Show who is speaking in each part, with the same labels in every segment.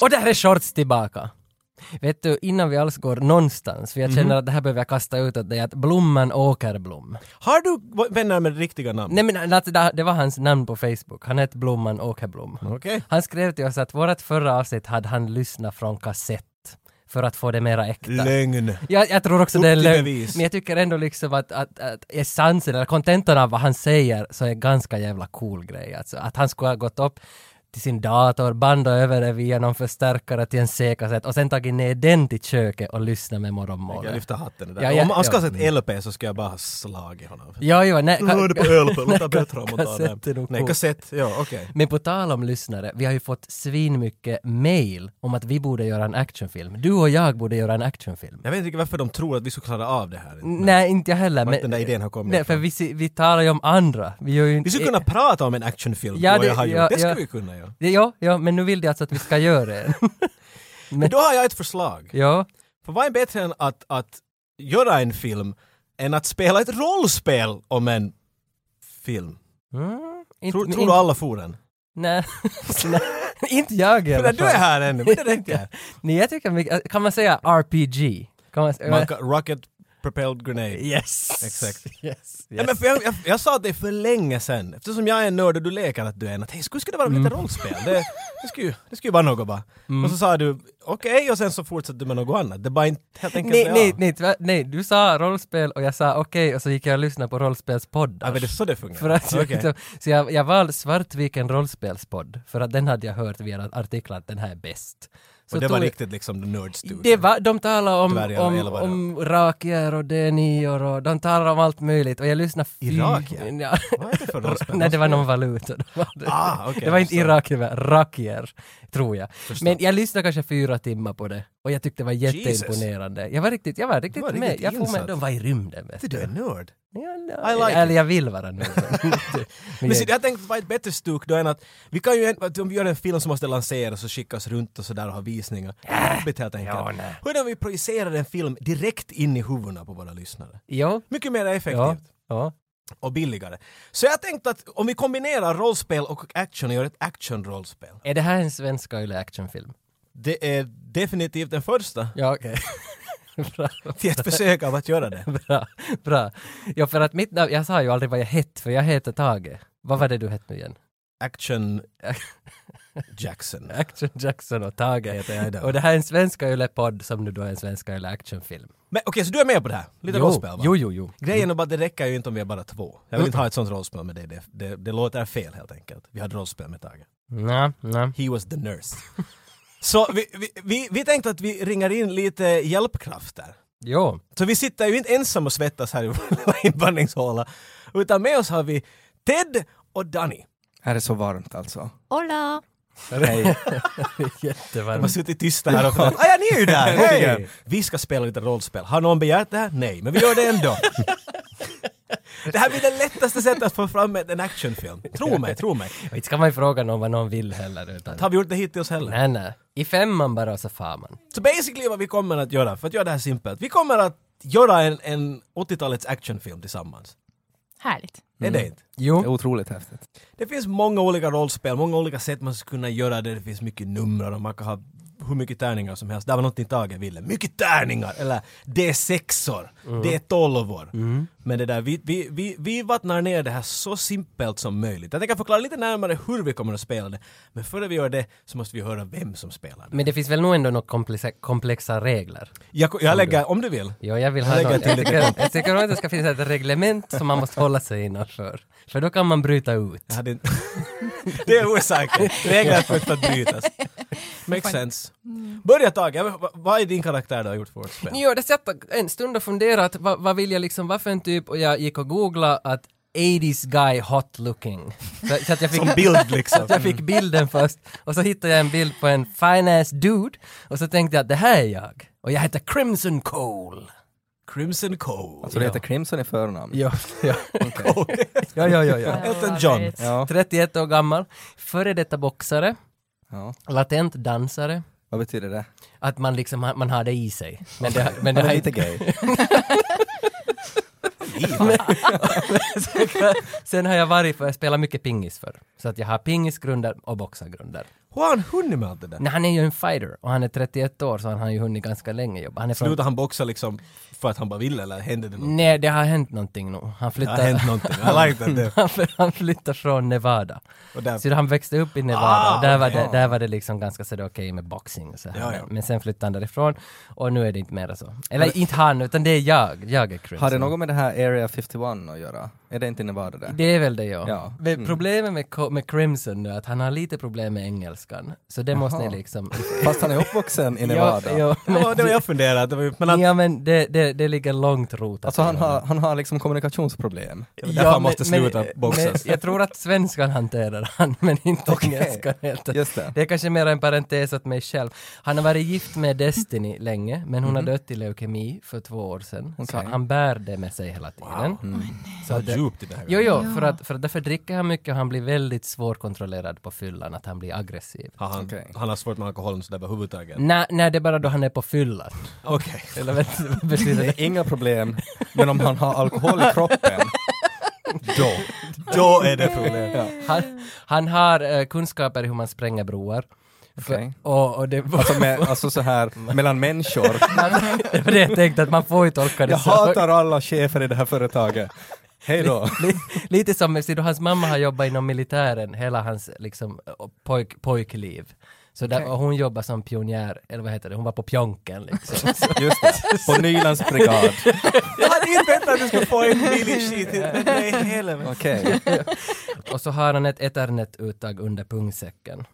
Speaker 1: Och där är shorts tillbaka! Vet du, innan vi alls går någonstans, för jag känner att det här behöver jag kasta ut åt dig, att Blomman Åkerblom.
Speaker 2: Har du v- vänner med riktiga namn?
Speaker 1: Nej men alltså, det det var hans namn på Facebook, han hette Blomman Åkerblom.
Speaker 2: Okej.
Speaker 1: Han skrev till oss att vårt förra avsnitt hade han lyssnat från kassett för att få det mera äkta.
Speaker 2: Lögn.
Speaker 1: Jag, jag tror också
Speaker 2: Upp
Speaker 1: det är
Speaker 2: till
Speaker 1: lögn,
Speaker 2: bevis.
Speaker 1: men jag tycker ändå liksom att, att, att essensen eller kontentan av vad han säger så är ganska jävla cool grej. Alltså, att han skulle ha gått upp till sin dator, bandat över det via någon förstärkare till en C-kassett och sen tagit ner den till köket och lyssnat med
Speaker 2: Jag
Speaker 1: morgonmålet.
Speaker 2: lyfter hatten där.
Speaker 1: Ja, ja,
Speaker 2: Om han ska
Speaker 1: ja.
Speaker 2: ha sett LP så ska jag bara ha slagit honom.
Speaker 1: Ja, jo, nej,
Speaker 2: Nu är det på LP, låter
Speaker 1: Nej,
Speaker 2: bättre om man
Speaker 1: kassett
Speaker 2: tar
Speaker 1: är
Speaker 2: den.
Speaker 1: nog
Speaker 2: Nej,
Speaker 1: cool.
Speaker 2: kassett. Ja, okej.
Speaker 1: Men på tal om lyssnare, vi har ju fått svinmycket mail om att vi borde göra en actionfilm. Du och jag borde göra en actionfilm.
Speaker 2: Jag vet inte varför de tror att vi skulle klara av det här.
Speaker 1: Nej, inte jag heller.
Speaker 2: Vart den där idén har kommit
Speaker 1: Nej, för
Speaker 2: ifrån.
Speaker 1: vi, se- vi talar ju om andra. Vi, gör ju inte,
Speaker 2: Vi skulle kunna prata om en actionfilm,
Speaker 1: eh, Ja,
Speaker 2: ja, det,
Speaker 1: det-
Speaker 2: jag har
Speaker 1: ja,
Speaker 2: gjort. Det skulle
Speaker 1: ja.
Speaker 2: vi kunna göra.
Speaker 1: Ja, Ja, ja, men nu vill de alltså att vi ska göra en.
Speaker 2: Men då har jag ett förslag.
Speaker 1: ja,
Speaker 2: För vad är bättre än att, att göra en film än att spela ett rollspel om en film?
Speaker 1: inte,
Speaker 2: Mm. Tror,
Speaker 1: men
Speaker 2: tror du
Speaker 1: inte-
Speaker 2: alla får den?
Speaker 1: Nej, nej, inte jag i
Speaker 2: Men
Speaker 1: alla
Speaker 2: du är
Speaker 1: fall.
Speaker 2: här ännu, men det räcker.
Speaker 1: Nej, jag tycker mycket, kan man säga RPG? Kan man, säga-
Speaker 2: Man kan- Rocket propelled grenade.
Speaker 1: Yes!
Speaker 2: Exakt.
Speaker 1: Yes, yes.
Speaker 2: Ja, men för jag, jag, jag sa det för länge sedan, eftersom jag är en nörd och du leker att du är en, att hej, skulle skulle det vara
Speaker 1: Mm.
Speaker 2: lite rollspel? Det, det skulle ju det skulle ju vara något bara. Och så sa du okej, och sen så fortsatte du med något annat. Det bara inte helt enkelt
Speaker 1: Nej,
Speaker 2: det
Speaker 1: nej,
Speaker 2: av.
Speaker 1: nej, tyvärr, nej, du sa rollspel och jag sa okej och så gick jag och lyssnade på
Speaker 2: Ja,
Speaker 1: rollspelspoddar.
Speaker 2: men det är så det fungerar.
Speaker 1: för att jag,
Speaker 2: Okej.
Speaker 1: liksom, så jag, jag valde Svartviken rollspelspodd, för att den hade jag hört via artiklar att den här är bäst. Så
Speaker 2: och det var
Speaker 1: tog-
Speaker 2: riktigt liksom nördstudio.
Speaker 1: Det var, de talar om,
Speaker 2: Dvärgar och
Speaker 1: om,
Speaker 2: älvar och-
Speaker 1: om rakier och denior och de talar om allt möjligt och jag lyssnade... fy-
Speaker 2: Irakier?
Speaker 1: Ja.
Speaker 2: Vad är det för rollspel?
Speaker 1: Nej, det var någon valuta. Det var, det.
Speaker 2: Ah, okej,
Speaker 1: det var inte
Speaker 2: förstår.
Speaker 1: Irak, det var rakier, tror jag. Men jag lyssnade kanske fyra timmar på det och jag tyckte det var jätteimponerande. Jag var riktigt, jag var riktigt
Speaker 2: var
Speaker 1: med.
Speaker 2: riktigt
Speaker 1: jag får med,
Speaker 2: insatt.
Speaker 1: de var i rymden. Vet
Speaker 2: Du är nörd.
Speaker 1: Ja,
Speaker 2: I like
Speaker 1: Eller jag vill vara nu.
Speaker 2: Men se, jag tänkte vad ett bättre stuk då än att vi kan ju, en- att om vi gör en film som måste lanseras och skickas runt och sådär och ha visningar. Jobbigt helt enkelt.
Speaker 1: Äh. Ja, nej.
Speaker 2: Hur är det om vi projicerar en film direkt in i huvudena på våra lyssnare?
Speaker 1: jo,
Speaker 2: Mycket mer effektivt.
Speaker 1: ja, ja.
Speaker 2: och billigare. Så jag tänkte att om vi kombinerar rollspel och action och gör ett action-rollspel.
Speaker 1: Är det här en svensk eller actionfilm?
Speaker 2: Det är definitivt den första
Speaker 1: Ja, okej. Bra.
Speaker 2: till ett försök av att göra det.
Speaker 1: Bra, bra. Ja, för att mitt namn, jag sa ju aldrig vad jag hette, för jag heter Tage. Vad var det du hette nu igen?
Speaker 2: Action Jackson.
Speaker 1: Action Jackson och Tage
Speaker 2: Heter jag idag.
Speaker 1: Och det här är en svenska Yle-podd som nu då är en svenska Yle-actionfilm.
Speaker 2: Men okej, så du är med på det här? Lite
Speaker 1: Jo,
Speaker 2: rollspel va?
Speaker 1: jo, jo, jo.
Speaker 2: Grejen är bara att det räcker ju inte om vi är bara två. Jag vill inte ha ett sånt rollspel med dig, det, det, det låter fel helt enkelt. Vi hade rollspel med Tage.
Speaker 1: Nja, nja.
Speaker 2: He was the nurse. Så vi, vi, vi, vi tänkte att vi ringar in lite hjälpkrafter.
Speaker 1: Jo.
Speaker 2: Så vi sitter ju inte ensam och svettas här i vår lilla invandringshåla. Utan med oss har vi Ted och Danny.
Speaker 3: Här är så varmt alltså.
Speaker 4: Hola!
Speaker 3: Hej.
Speaker 2: De har
Speaker 1: Jättevarmt.
Speaker 2: suttit tysta här och pratat. Ah, ja, ni är ju där! Hej!
Speaker 3: Hej!
Speaker 2: Vi ska spela lite rollspel. Har någon begärt det här? Nej, men vi gör det ändå. Det här blir det lättaste sättet att få fram en actionfilm. Tro mig, tro mig.
Speaker 1: Och inte ska man ju fråga någon vad någon vill heller, utan...
Speaker 2: Har vi gjort det hittills heller?
Speaker 1: Nej, nej. I femman bara och så far man.
Speaker 2: Så basically vad vi kommer att göra, för att göra det här simpelt. Vi kommer att göra en, en 80-talets actionfilm tillsammans.
Speaker 4: Härligt.
Speaker 2: Är det inte?
Speaker 3: Det är
Speaker 1: Jo.
Speaker 3: Otroligt häftigt.
Speaker 2: Det finns många olika rollspel, många olika sätt man skulle kunna göra det. Det finns mycket numrar och man kan ha hur mycket tärningar som helst. Det var någonting Tage ville. Mycket tärningar! Eller det är sexor, det är tolvor. Men det där, vi, vi, vi, vi vattnar ner det här så simpelt som möjligt. Jag tänker förklara lite närmare hur vi kommer att spela det. Men före vi gör det så måste vi höra vem som spelar det.
Speaker 1: Men det finns väl nog ändå några komplexa, komplexa regler?
Speaker 2: Jag, jag lägger, om du vill.
Speaker 1: Jo, jag vill
Speaker 2: Jag
Speaker 1: ha
Speaker 2: lägger
Speaker 1: någon.
Speaker 2: till
Speaker 1: Jag
Speaker 2: lite
Speaker 1: tycker, jag tycker nog att det ska finnas ett reglement som man måste hålla sig innanför. För då kan man bryta ut.
Speaker 2: Jag hade inte... det är orsaken. Regler för att brytas. Makes sense.
Speaker 1: Mm.
Speaker 2: Börja Tage, vad- vad är din karaktär du har gjort för vårt spel?
Speaker 1: Jo, det satt en stund och funderade att vad, vad vill jag liksom, vad för en typ och jag gick och googlade att 80s guy hot looking. Så, så att jag fick,
Speaker 2: Som bild liksom.
Speaker 1: jag fick bilden först och så hittade jag en bild på en fine ass dude och så tänkte jag att det här är jag och jag heter Crimson Cole.
Speaker 2: Crimson Cole.
Speaker 3: Så det heter Crimson i förnamn?
Speaker 1: Ja, ja,
Speaker 3: Okej.
Speaker 1: ja, ja, ja. ja.
Speaker 2: Elton John.
Speaker 3: ja.
Speaker 1: 31 år gammal, före detta boxare,
Speaker 3: ja.
Speaker 1: latent dansare,
Speaker 3: Vad betyder det?
Speaker 1: att man liksom, har- man har det i sig. Men det, men det
Speaker 3: Han
Speaker 1: har
Speaker 3: är
Speaker 1: inte
Speaker 3: lite gay.
Speaker 1: Sen har jag varit, för jag spelar mycket pingis för. Så att jag har pingisgrunder och boxargrunder.
Speaker 2: Hur har han hunnit med allt det där?
Speaker 1: Nej, han är ju en fighter och han är 31 år så han har ju hunnit ganska länge jobba. Han är från...
Speaker 2: Slutade han boxa liksom för att han bara ville eller hände det något?
Speaker 1: Nej, det har hänt någonting nu. Han
Speaker 2: Det har hänt
Speaker 1: flyttar,
Speaker 2: någonting. I like that.
Speaker 1: han,
Speaker 2: there.
Speaker 1: han flyttar från Nevada.
Speaker 2: Och där,
Speaker 1: Så han växte upp i Nevada
Speaker 2: Ah,
Speaker 1: och där var,
Speaker 2: okej.
Speaker 1: det, där var det liksom ganska så det okej med boxing och så här.
Speaker 2: Ja, ja.
Speaker 1: Men sen flyttade han därifrån och nu är det inte mer så. Eller inte han, utan det är jag. Jag är Crimson.
Speaker 3: Har det något med det här Area 51 att göra? Är det inte i Nevada där?
Speaker 1: Det är väl det ja.
Speaker 3: Ja.
Speaker 1: Men
Speaker 2: Mm.
Speaker 1: Problemet med, Co- med Crimson nu är att han har lite problem med engelskan. Så det måste ni
Speaker 3: Jaha.
Speaker 1: liksom...
Speaker 3: Fast han är uppvuxen i
Speaker 1: ja,
Speaker 3: Nevada.
Speaker 1: ja,
Speaker 2: det var det var jag funderade. Det var, men att,
Speaker 1: ja, men det, det, det ligger långt rotat.
Speaker 3: Alltså han
Speaker 1: i honom.
Speaker 3: har, han har liksom kommunikationsproblem.
Speaker 2: därför han måste sluta boxas.
Speaker 1: Men, jag tror att svenskan hanterar han, men inte
Speaker 3: Okej.
Speaker 1: engelskan. Helt.
Speaker 3: Just det.
Speaker 1: Det är kanske mer en parentes åt mig själv. Han har varit gift med Destiny länge, men hon har dött i leukemi för två år sedan.
Speaker 3: Okej.
Speaker 1: Så han bär det med sig hela tiden.
Speaker 2: så
Speaker 1: det-
Speaker 2: djupt i det här.
Speaker 1: Jo, jo, för att, för att därför dricker han mycket och han blir väldigt svårkontrollerad på fyllan, att han blir aggressiv.
Speaker 2: Har han,
Speaker 3: Okej.
Speaker 2: han har svårt med alkoholen sådär överhuvudtaget.
Speaker 1: Nej, nej, det är bara då han är på fyllan.
Speaker 2: Okej.
Speaker 1: Eller vet, du vad betyder det?
Speaker 3: Det är inga problem, men om han har alkohol i kroppen,
Speaker 2: Då. Då är det problem.
Speaker 3: ja.
Speaker 1: Han, han har eh, kunskaper i hur man spränger broar. För,
Speaker 3: Okej.
Speaker 1: och, och det,
Speaker 3: alltså, med, alltså så här mellan människor.
Speaker 1: det var det jag tänkte, att man får ju tolka det
Speaker 3: Jag
Speaker 1: så.
Speaker 3: hatar alla chefer i det här företaget. Hej då.
Speaker 1: Li- Lite som, ser du, hans mamma har jobbat inom militären hela hans liksom, pojk, pojkliv. Så där, och hon jobbar som pionjär, eller vad heter det, hon var på pjonken liksom. Så-
Speaker 3: Just det, på Nylands brigad.
Speaker 2: Jag hade inte väntat att du skulle få en billig shit. Nej, helvete.
Speaker 3: Okej.
Speaker 1: och så har han ett eternet uttag under pungsäcken.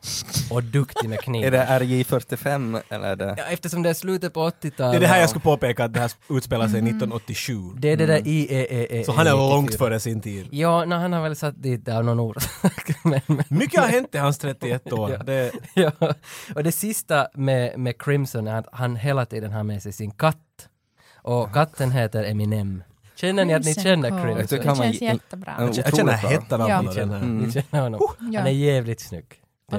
Speaker 1: Och duktig med
Speaker 3: Är
Speaker 1: kniv.
Speaker 3: det RJ45 eller är det...
Speaker 1: Ja, eftersom det är slutet på 80-talet.
Speaker 2: Det är det här jag skulle påpeka, att det här utspelar sig
Speaker 4: Mm.
Speaker 2: 1987.
Speaker 1: Det är det där E IEEE.
Speaker 2: Så han är långt före sin tid.
Speaker 1: Ja, no, han har väl satt dit det av någon orsak. men, men,
Speaker 2: Mycket har hänt i hans 31 år. Det,
Speaker 1: ja. Och det sista med, med Crimson är att han hela tiden har med sig sin katt. Och katten heter Eminem. Känner ni att ni
Speaker 4: Crimson
Speaker 1: känner
Speaker 4: Cold.
Speaker 1: Crimson?
Speaker 3: Crimson.
Speaker 4: Det
Speaker 3: Kan man
Speaker 4: känns
Speaker 3: ge-
Speaker 4: jättebra.
Speaker 3: Mm.
Speaker 2: jag känner
Speaker 3: Otroligt bra.
Speaker 2: hettan av
Speaker 4: Ja. Mm.
Speaker 2: honom. den här.
Speaker 1: Ni känner honom.
Speaker 4: Ja.
Speaker 1: Han är jävligt snygg.
Speaker 4: Och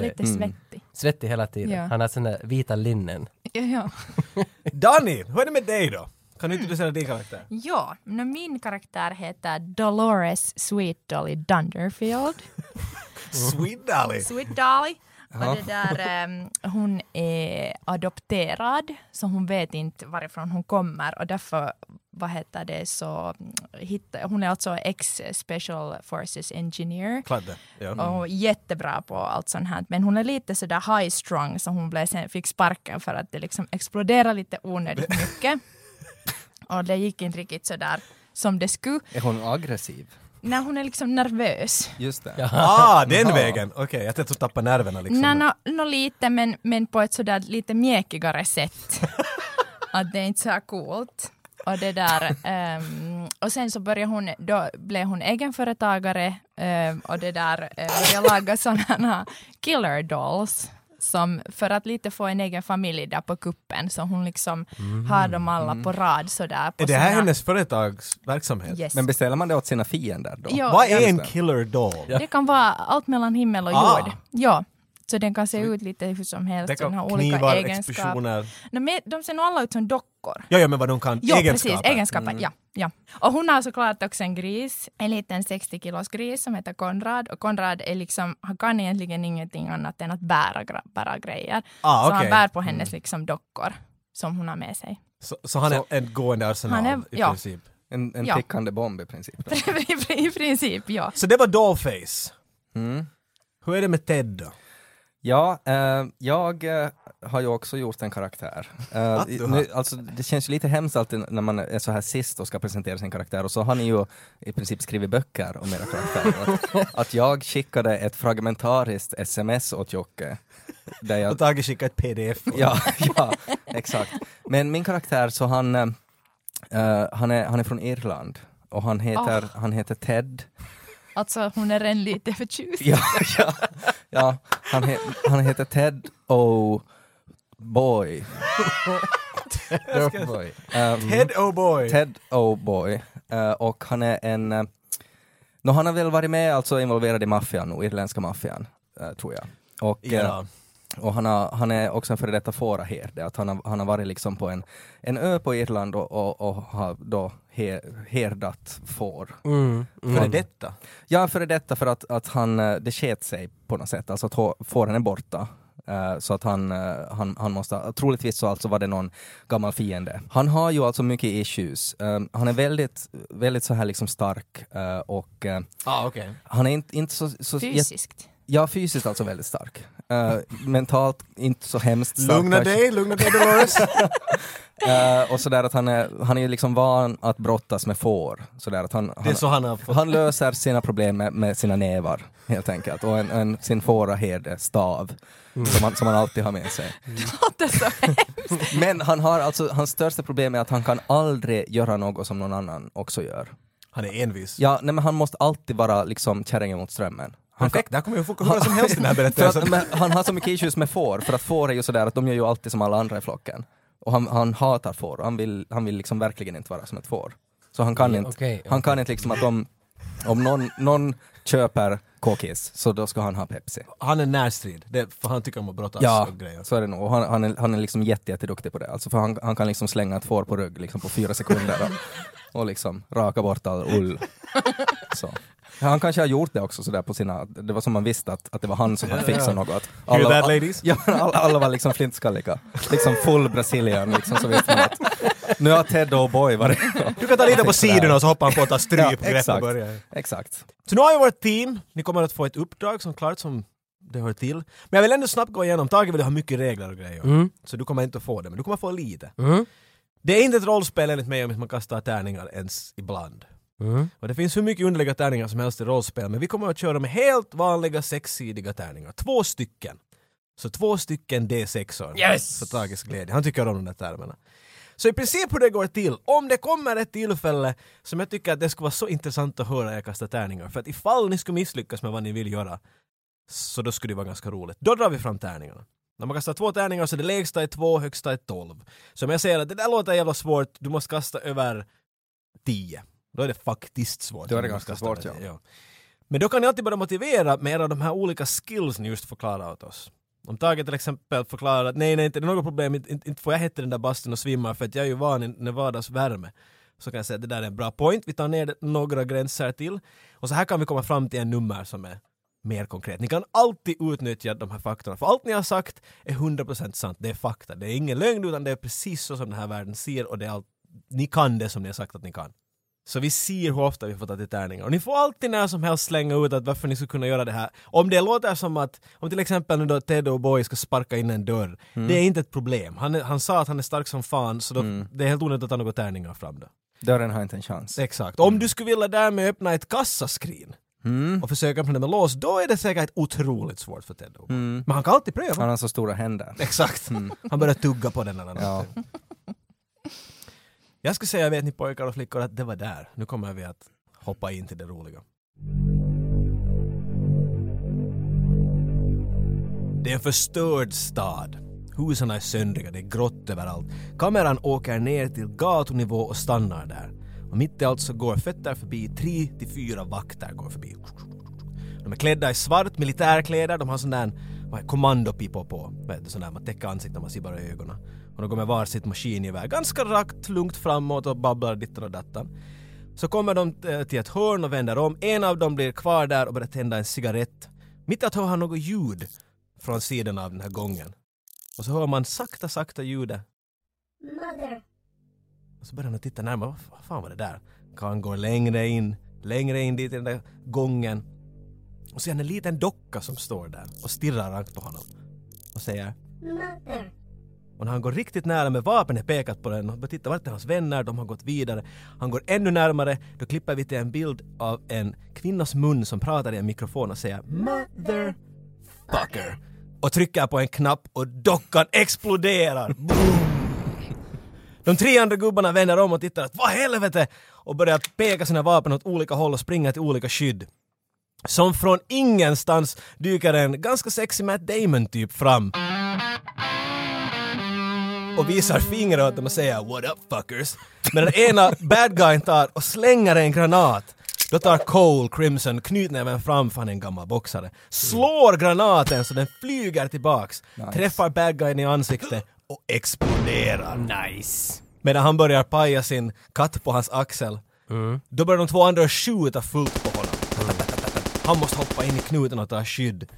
Speaker 1: Det-
Speaker 4: lite svettig.
Speaker 1: Svettig hela tiden.
Speaker 4: Ja.
Speaker 1: Han har såna där vita linnen.
Speaker 4: Ja, ja.
Speaker 2: Danny, hur är det med dig då? Kan du introducera din karaktär?
Speaker 4: ja no, min karaktär heter Dolores Sweet Dolly Dunderfield.
Speaker 2: Sweet Dolly.
Speaker 4: Sweet Dolly. Och det där, ehm, hon är adopterad, så hon vet inte varifrån hon kommer och därför, vad heter det, så mm, hittar, hon är alltså ex-special forces engineer.
Speaker 2: Klart det. Ja.
Speaker 4: och jättebra på allt sånt här. Men hon är lite sådär high strung så hon blev sen, fick sparken för att det liksom exploderade lite onödigt mycket. och det gick inte riktigt sådär som det skulle.
Speaker 3: Är hon aggressiv?
Speaker 4: När hon är liksom nervös.
Speaker 3: Just det.
Speaker 2: Ah, den vägen! Okej, jag tänkte att hon tappade nerverna liksom.
Speaker 4: Nå, nå, nå lite men, men på ett sådär lite mjäkigare sätt. att det är inte så här coolt. Och det där. ehm, och sen så började hon, då blev hon egenföretagare ehm, och det där eh, började laga sådana killer dolls. Som för att lite få en egen familj där på kuppen så hon liksom har dem alla på rad sådär.
Speaker 2: Mm.
Speaker 4: På
Speaker 2: Är det här
Speaker 4: såna-
Speaker 2: hennes företagsverksamhet?
Speaker 4: Alltså, Yes.
Speaker 3: Men beställer man det åt sina fiender då?
Speaker 4: Ja,
Speaker 2: Vad
Speaker 4: ja. Alltså,
Speaker 2: är en killer doll?
Speaker 4: Det kan vara allt mellan himmel och
Speaker 2: Ah.
Speaker 4: jord. Ja. Så den kan se ut lite hur som helst.
Speaker 2: Det
Speaker 4: Den har
Speaker 2: kan
Speaker 4: olika
Speaker 2: knivar,
Speaker 4: egenskaper.
Speaker 2: explosioner.
Speaker 4: No, men de ser nog alla ut som dockor.
Speaker 2: Ja, ja, men vad de kan.
Speaker 4: Ja,
Speaker 2: egenskaper. Mm.
Speaker 4: precis. Egenskaper. Ja, ja. Och hon har såklart också en gris, en liten 60-kilos gris som heter Konrad. Och Konrad är liksom, han kan egentligen ingenting annat än att bära, gra- bära grejer.
Speaker 2: Ah,
Speaker 4: Så han
Speaker 2: okej.
Speaker 4: bär på hennes liksom dockor som hon har med sig.
Speaker 2: Så, så han är en gående arsenal
Speaker 4: Han är-
Speaker 2: i
Speaker 4: ja.
Speaker 2: princip.
Speaker 3: En, en
Speaker 4: Ja.
Speaker 3: tickande bomb i princip. då.
Speaker 4: I princip, ja.
Speaker 2: Så det var Dollface.
Speaker 3: Mm.
Speaker 2: Hur är det med Ted då?
Speaker 3: Ja, eh, jag eh, har ju också gjort en karaktär. Eh,
Speaker 2: Att du har.
Speaker 3: nu, alltså, det känns ju lite hemskt alltid när man är så här sist och ska presentera sin karaktär och så har ni ju i princip skrivit böcker om era karaktärer. att, att jag skickade ett fragmentariskt sms åt Jocke. Där jag
Speaker 2: Och Tage skickade ett pdf.
Speaker 3: Ja, ja, exakt. Men min karaktär, så han, eh, eh, han, är, han är från Irland och han heter,
Speaker 4: Ah.
Speaker 3: han heter Ted.
Speaker 4: Alltså hon är en lite förtjust.
Speaker 3: Ja, ja, ja han, he, han heter Ted O. Boy.
Speaker 1: Dirtboy.
Speaker 3: Eh,
Speaker 2: Ted oh boy!
Speaker 3: Ted O. Boy. Eh, och han är en... eh, nå, han har väl varit med, alltså involverad i maffian, och irländska maffian, eh, tror jag. Och, eh,
Speaker 2: Ja.
Speaker 3: Och han, har, han är också en före detta fåraherde, att han har, han har varit liksom på en, en ö på Irland och, och, och har då he, herdat får.
Speaker 1: Mm, mm.
Speaker 2: För detta?
Speaker 3: Ja, före detta för att, att han, eh, det sket sig på något sätt, alltså att hå- fåren är borta. Eh, så att han, eh, han, han måste, troligtvis så alltså var det någon gammal fiende. Han har ju alltså mycket issues. Eh, han är väldigt, väldigt så här liksom stark eh, och eh,
Speaker 2: Ah, okej.
Speaker 3: han är inte, inte så, så jätte-
Speaker 4: Fysiskt.
Speaker 3: Ja, fysiskt alltså väldigt stark. Eh, mentalt inte så hemskt stark.
Speaker 2: Lugna
Speaker 3: kanske.
Speaker 2: dig, lugna dig Dolores.
Speaker 3: Eh, och sådär att han är, han är ju liksom van att brottas med får. Sådär att han,
Speaker 2: det är
Speaker 3: han,
Speaker 2: så han har fått.
Speaker 3: han löser sina problem med, med sina nävar, helt enkelt. Och en, en, sin fåraherdestav, som, han, som han alltid har med sig.
Speaker 4: Låter så
Speaker 3: Men han har alltså, hans största problem är att han kan aldrig göra något som någon annan också gör.
Speaker 2: Han är envis.
Speaker 3: Ja, nej, men han måste alltid vara liksom kärringen mot strömmen. Han kan,
Speaker 2: Perfekt, där kommer jag få hur många som helst i den här
Speaker 3: För att,
Speaker 2: berättelsen.
Speaker 3: men han har så mycket issues med får, för att får är ju sådär att de gör ju alltid som alla andra i flocken. Och han, han hatar får, och han vill, han vill liksom verkligen inte vara som ett får. Så han kan inte,
Speaker 1: okej,
Speaker 3: han kan inte liksom att om, om någon, någon köper kokis, så då ska han ha Pepsi.
Speaker 2: Han är närstrid, det är, för han tycker om att brottas
Speaker 3: Ja,
Speaker 2: och Alltså, grejer.
Speaker 3: så är det nog. Och Han, han, är, han är liksom jätte, jätteduktig på det. Alltså för han, han kan liksom slänga ett får på rygg liksom på fyra sekunder och, och liksom raka bort all ull. Så. Ja, Han kanske har gjort det också sådär på sina, det var som man visste att, att det var han som hade fixat något.
Speaker 2: Hear
Speaker 3: Alla-
Speaker 2: that ladies?
Speaker 3: Ja, men alla, alla var liksom flintskalliga. Liksom full brasilian, liksom, så vet man att nu har Ted och Boy varit...
Speaker 2: Du kan ta lite på sidorna och så hoppar han på att ta strypgrepp och
Speaker 3: exakt.
Speaker 2: börjar.
Speaker 3: Exakt.
Speaker 2: Så nu har jag vårt team, ni kommer att få ett uppdrag som klart som det hör till. Men jag vill ändå snabbt gå igenom, Tage vill ha mycket regler och grejer.
Speaker 1: Mm.
Speaker 2: Så du kommer inte att få det, men du kommer få lite.
Speaker 1: Mm.
Speaker 2: Det är inte ett rollspel enligt mig om man kastar tärningar ens ibland.
Speaker 1: Mm.
Speaker 2: Och det finns hur mycket underliga tärningar som helst i rollspel, men vi kommer att köra med helt vanliga sexsidiga tärningar. Två stycken. Så två stycken D6-or.
Speaker 1: Yes!
Speaker 2: För Tages glädje. Han tycker om de där termerna. Så i princip hur det går till, om det kommer ett tillfälle som jag tycker att det skulle vara så intressant att höra er kasta tärningar, för att ifall ni skulle misslyckas med vad ni vill göra, så då skulle det vara ganska roligt. Då drar vi fram tärningarna. När man kastar två tärningar så det lägsta är två, högsta är tolv. Så om jag säger att det där låter jävla svårt, du måste kasta över tio. Då är det faktiskt svårt.
Speaker 3: Då är det
Speaker 2: Du
Speaker 3: ganska
Speaker 2: måste kasta
Speaker 3: svårt,
Speaker 2: över tio, Men då kan ni alltid börja motivera med era av de här olika skills ni just förklarar åt oss. Om Tage till exempel förklarar att nej, nej, inte det är något problem, inte, inte inte får jag hetta den där bastun och svimma för att jag är ju van i Nevadas värme. Så kan jag säga att det där är en bra point, vi tar ner det några gränser till. Och så här kan vi komma fram till en nummer som är mer konkret. Ni kan alltid utnyttja de här faktorna, för allt ni har sagt är 100% sant. Det är fakta. Det är ingen lögn, utan det är precis så som den här världen ser och det är allt, ni kan det som ni har sagt att ni kan. Så vi ser hur ofta vi får ta till tärningar. Och ni får alltid när som helst slänga ut att varför ni skulle kunna göra det här. Om det låter som att, om till exempel nu då Ted och Boy ska sparka in en dörr, det är inte ett problem. Han, är, han sa att han är stark som fan, så då, det är helt onödigt att ta några tärningar fram då.
Speaker 3: Dörren har inte en chans.
Speaker 2: Exakt. Om du skulle vilja därmed öppna ett kassaskrin
Speaker 3: Mm.
Speaker 2: och försöka öppna det med lås, då är det säkert otroligt svårt för Ted Dobo.
Speaker 3: Mm.
Speaker 2: Men han kan alltid pröva.
Speaker 3: Han har så stora händer.
Speaker 2: Exakt. Han börjar tugga på den eller något.
Speaker 3: Ja.
Speaker 2: Jag skulle säga, vet ni pojkar och flickor, att det var där. Nu kommer vi att hoppa in till det roliga. Det är en förstörd stad. Husen är söndriga, det är grått överallt. Kameran åker ner till gatunivå och stannar där. Och mitt i allt så går fötter förbi, tre till fyra vakter går förbi. De är klädda i svart, militärkläder, de har sån där vad är- kommandopipor på. Vet du, sån där man täcker ansiktet, man ser bara ögonen. Och de går med varsitt maskingevär, ganska rakt, lugnt framåt och babblar ditten och dattan. Så kommer de eh, till ett hörn och vänder om. En av dem blir kvar där och börjar tända en cigarett. Mitt i att höra något ljud från sidan av den här gången. Och så hör man sakta, sakta ljudet.
Speaker 5: Mother,
Speaker 2: Och så börjar han titta närmare. Vad f- Vad fan var det där? Kan går längre in, längre in dit i den där gången. Och ser han en liten docka som står där och stirrar rakt på honom. Och säger
Speaker 5: mother,
Speaker 2: och när han går riktigt nära med vapnet pekat på den, och bara tittar vart är hans vänner, de har gått vidare. Han går ännu närmare, då klipper vi till en bild av en kvinnas mun som pratar i en mikrofon och säger “Motherfucker” och trycker på en knapp och dockan exploderar. Boom! De tre andra gubbarna vänder om och tittar att “Vad helvete?” och börjar peka sina vapen åt olika håll och springa till olika skydd. Som från ingenstans dyker en ganska sexig Matt Damon-typ fram och visar fingrar åt dem och säger “What up fuckers?” Medan ena bad guyen tar och slänger en granat. Då tar Cole Crimson knytnäven fram, för han är en gammal boxare, slår granaten så den flyger tillbaks, träffar bad guyen i ansiktet och exploderar.
Speaker 1: Nice.
Speaker 2: Medan han börjar paja sin katt på hans axel. Då börjar de två andra skjuta fullt på honom. Han måste hoppa in i knuten och ta skydd.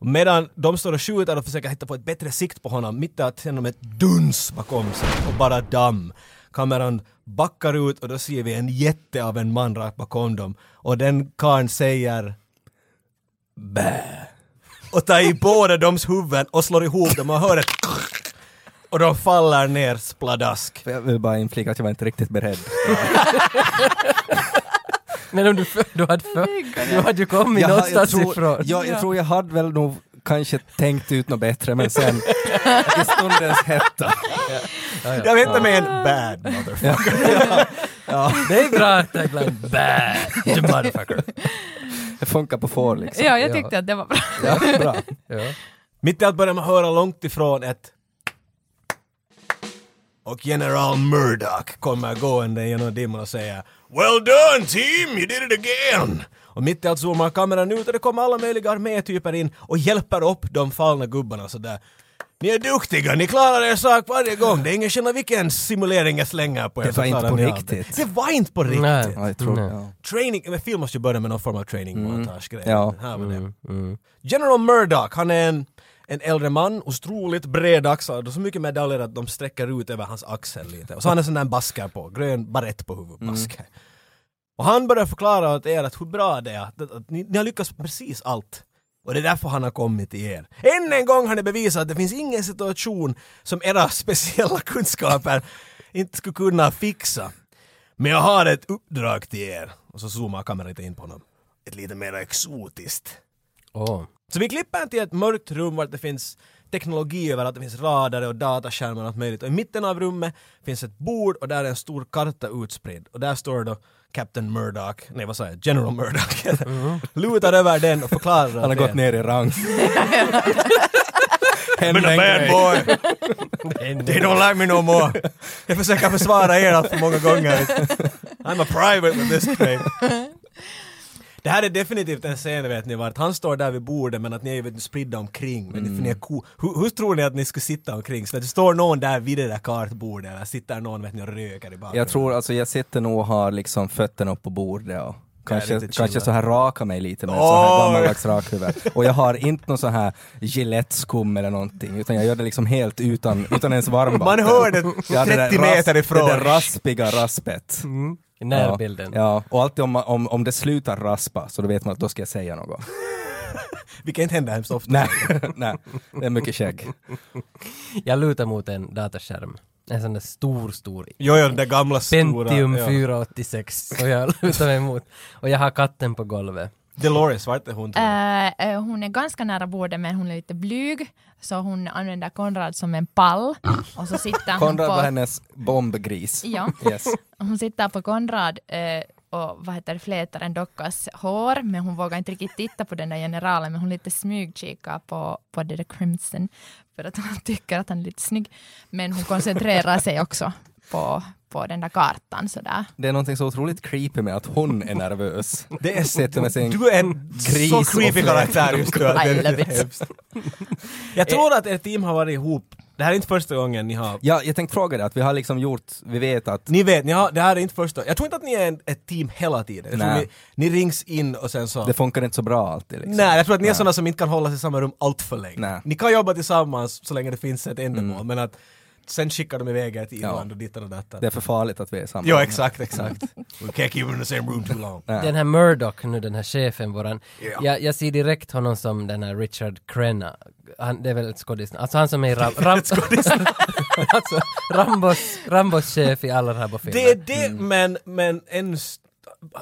Speaker 2: Medan de står och skjuter och försöker hitta på ett bättre sikt på honom, mitt i att känner de ett duns bakom sig och bara damm. Kameran backar ut och då ser vi en jätte av en man rakt bakom dem. Och den karln säger Bä! Och tar i båda dems huvuden och slår ihop dem och hör ett och de faller ner spladask.
Speaker 3: För Jag vill bara inflika att jag var inte riktigt beredd.
Speaker 1: Men om du, för, du, hade för, du hade ju kommit
Speaker 3: Jag- jag
Speaker 1: någonstans
Speaker 3: tror-
Speaker 1: ifrån.
Speaker 3: Jag, jag tror jag hade väl nog kanske tänkt ut något bättre, men sen i stundens hetta.
Speaker 2: Jag vet inte med en bad motherfucker.
Speaker 1: Det är bra att jag glömde. Bad you motherfucker.
Speaker 3: Det funkar på får liksom.
Speaker 4: Ja, jag
Speaker 1: Ja.
Speaker 4: tyckte att det var bra.
Speaker 3: Ja, bra.
Speaker 1: Ja.
Speaker 2: Mitt i allt börjar man höra långt ifrån ett och General Murdoch kommer gående genom dimman och säger Well done team, you did it again! Och mitt i allt zoomar kameran ut och det kommer alla möjliga armétyper in och hjälper upp de fallna gubbarna sådär. Ni är duktiga, ni klarar er sak varje gång. Det är ingen skillnad vilken simulering jag slänger på er.
Speaker 3: Det
Speaker 2: så
Speaker 3: var inte
Speaker 2: klarar
Speaker 3: på
Speaker 2: ni av
Speaker 3: riktigt.
Speaker 2: Det. det var inte på riktigt.
Speaker 1: Nej.
Speaker 3: Ja, jag tror,
Speaker 1: Nej.
Speaker 3: ja.
Speaker 2: Training, men film måste ju börja med någon form av training montage-grej.
Speaker 3: Ja.
Speaker 2: Här var det.
Speaker 1: Mm.
Speaker 2: General Murdoch, han är en, en äldre man, otroligt bredaxlad och så mycket medaljer att de sträcker ut över hans axel lite. Och så har han en sån där basker på, grön barett på huvudet,
Speaker 1: Mm.
Speaker 2: basker. Och han börjar förklara åt er att hur bra det är, att, att ni, ni har lyckats med precis allt. Och det är därför han har kommit till er. Än en gång har ni bevisat att det finns ingen situation som era speciella kunskaper inte skulle kunna fixa. Men jag har ett uppdrag till er. Och så zoomar kameran lite in på honom. Ett lite mer exotiskt.
Speaker 1: Åh.
Speaker 2: Så vi klipper till ett mörkt rum var det finns teknologi överallt, det finns radare och dataskärmar och allt möjligt. Och i mitten av rummet finns ett bord och där är en stor karta utspridd. Och där står då Captain Murdoch, nej vad sa jag, General Murdoch. Lutar över den och förklarar
Speaker 3: Mm. Han har gått ner i rang. Händer en grej.
Speaker 2: boy! They don't like me no more! Jag försöker försvara er allt för många gånger. I'm a private with this train. Det här är definitivt en scen vet ni vart han står där vid bordet men att ni är ju vet ni, spridda omkring. Men för ni är ko- hur, hur tror ni att ni skulle sitta omkring? Så att det står någon där vid det där kartbordet eller sitter någon vet ni och röker i bakgrunden?
Speaker 3: Jag tror alltså, jag sitter nog och har liksom fötterna upp på bordet och
Speaker 2: Ja,
Speaker 3: kanske,
Speaker 2: lite
Speaker 3: kanske
Speaker 2: chillat.
Speaker 3: så här raka mig lite med så
Speaker 2: Oj!
Speaker 3: här gammaldags rakhuvud. Och jag har inte någon så här Gillette-skum eller någonting, utan jag gör det liksom helt utan, utan ens varmvatten.
Speaker 2: Man hör det
Speaker 3: Ja, där
Speaker 2: 30 meter ifrån. Mm.
Speaker 3: Det där raspiga raspet.
Speaker 1: I närbilden.
Speaker 3: Ja, ja. och alltid om, man- om, om det slutar raspa så då vet man att då ska jag säga något.
Speaker 2: Vilket inte händer hemskt ofta.
Speaker 3: nej, nej, det är mycket skägg.
Speaker 1: Jag lutar mot en dataskärm. En sån där stor, stor
Speaker 2: Jo, jo, den där gamla stora...
Speaker 1: Pentium
Speaker 2: ja.
Speaker 1: 486 som jag lutar mig mot. Och jag har katten på golvet.
Speaker 2: Dolores, vart är hon? tror jag?
Speaker 4: Eh, eh, hon är ganska nära bordet men hon är lite blyg. Så hon använder Konrad som en pall. Och så sitter hon
Speaker 3: Konrad var
Speaker 4: på...
Speaker 3: hennes bombgris.
Speaker 4: Ja,
Speaker 3: Yes.
Speaker 4: hon sitter på Konrad eh, och vad heter det, flätar en dockas hår. Men hon vågar inte riktigt titta på den där generalen. Men hon lite smygkikar på, på det där Crimson. För att hon tycker att han är lite snygg. Men hon koncentrerar sig också på, på den där kartan sådär.
Speaker 3: Det är någonting så otroligt creepy med att hon är nervös.
Speaker 2: Det är
Speaker 3: Sitter med sin...
Speaker 2: Du är en
Speaker 3: Gris
Speaker 2: så
Speaker 3: och
Speaker 2: creepy
Speaker 3: flät.
Speaker 2: karaktär just nu. att det är
Speaker 4: I love it.
Speaker 2: hemskt. Jag tror att ert team har varit ihop. Det här är inte första gången ni har...
Speaker 3: Ja, jag tänkte fråga dig att vi har liksom gjort, vi vet att
Speaker 2: Ni vet, ni har, det här är inte första... Jag tror inte att ni är en, ett team hela tiden. Jag tror ni,
Speaker 3: Nej.
Speaker 2: ni rings in och sen så...
Speaker 3: det funkar inte så bra alltid liksom.
Speaker 2: Nej, jag tror att ni är sådana som inte kan hålla sig i samma rum allt för länge.
Speaker 3: Nej.
Speaker 2: Ni kan jobba tillsammans så länge det finns ett ändamål, men att sen skickar de iväg er till
Speaker 3: Ja.
Speaker 2: Irland och dittan och dattan.
Speaker 3: Det är för farligt att vi är samma.
Speaker 2: Jo, exakt, exakt. We can't keep them in the same room too long.
Speaker 3: Ja.
Speaker 1: Den här Murdoch nu, den här chefen våran.
Speaker 2: Ja.
Speaker 1: Jag, jag ser direkt honom som den här Richard Crenna. Han, det är väl ett skådis. Alltså han som är Ram, Ram, alltså, Rambos, Rambos chef i alla Rambo-filmer.
Speaker 2: Det är det, men, men än st-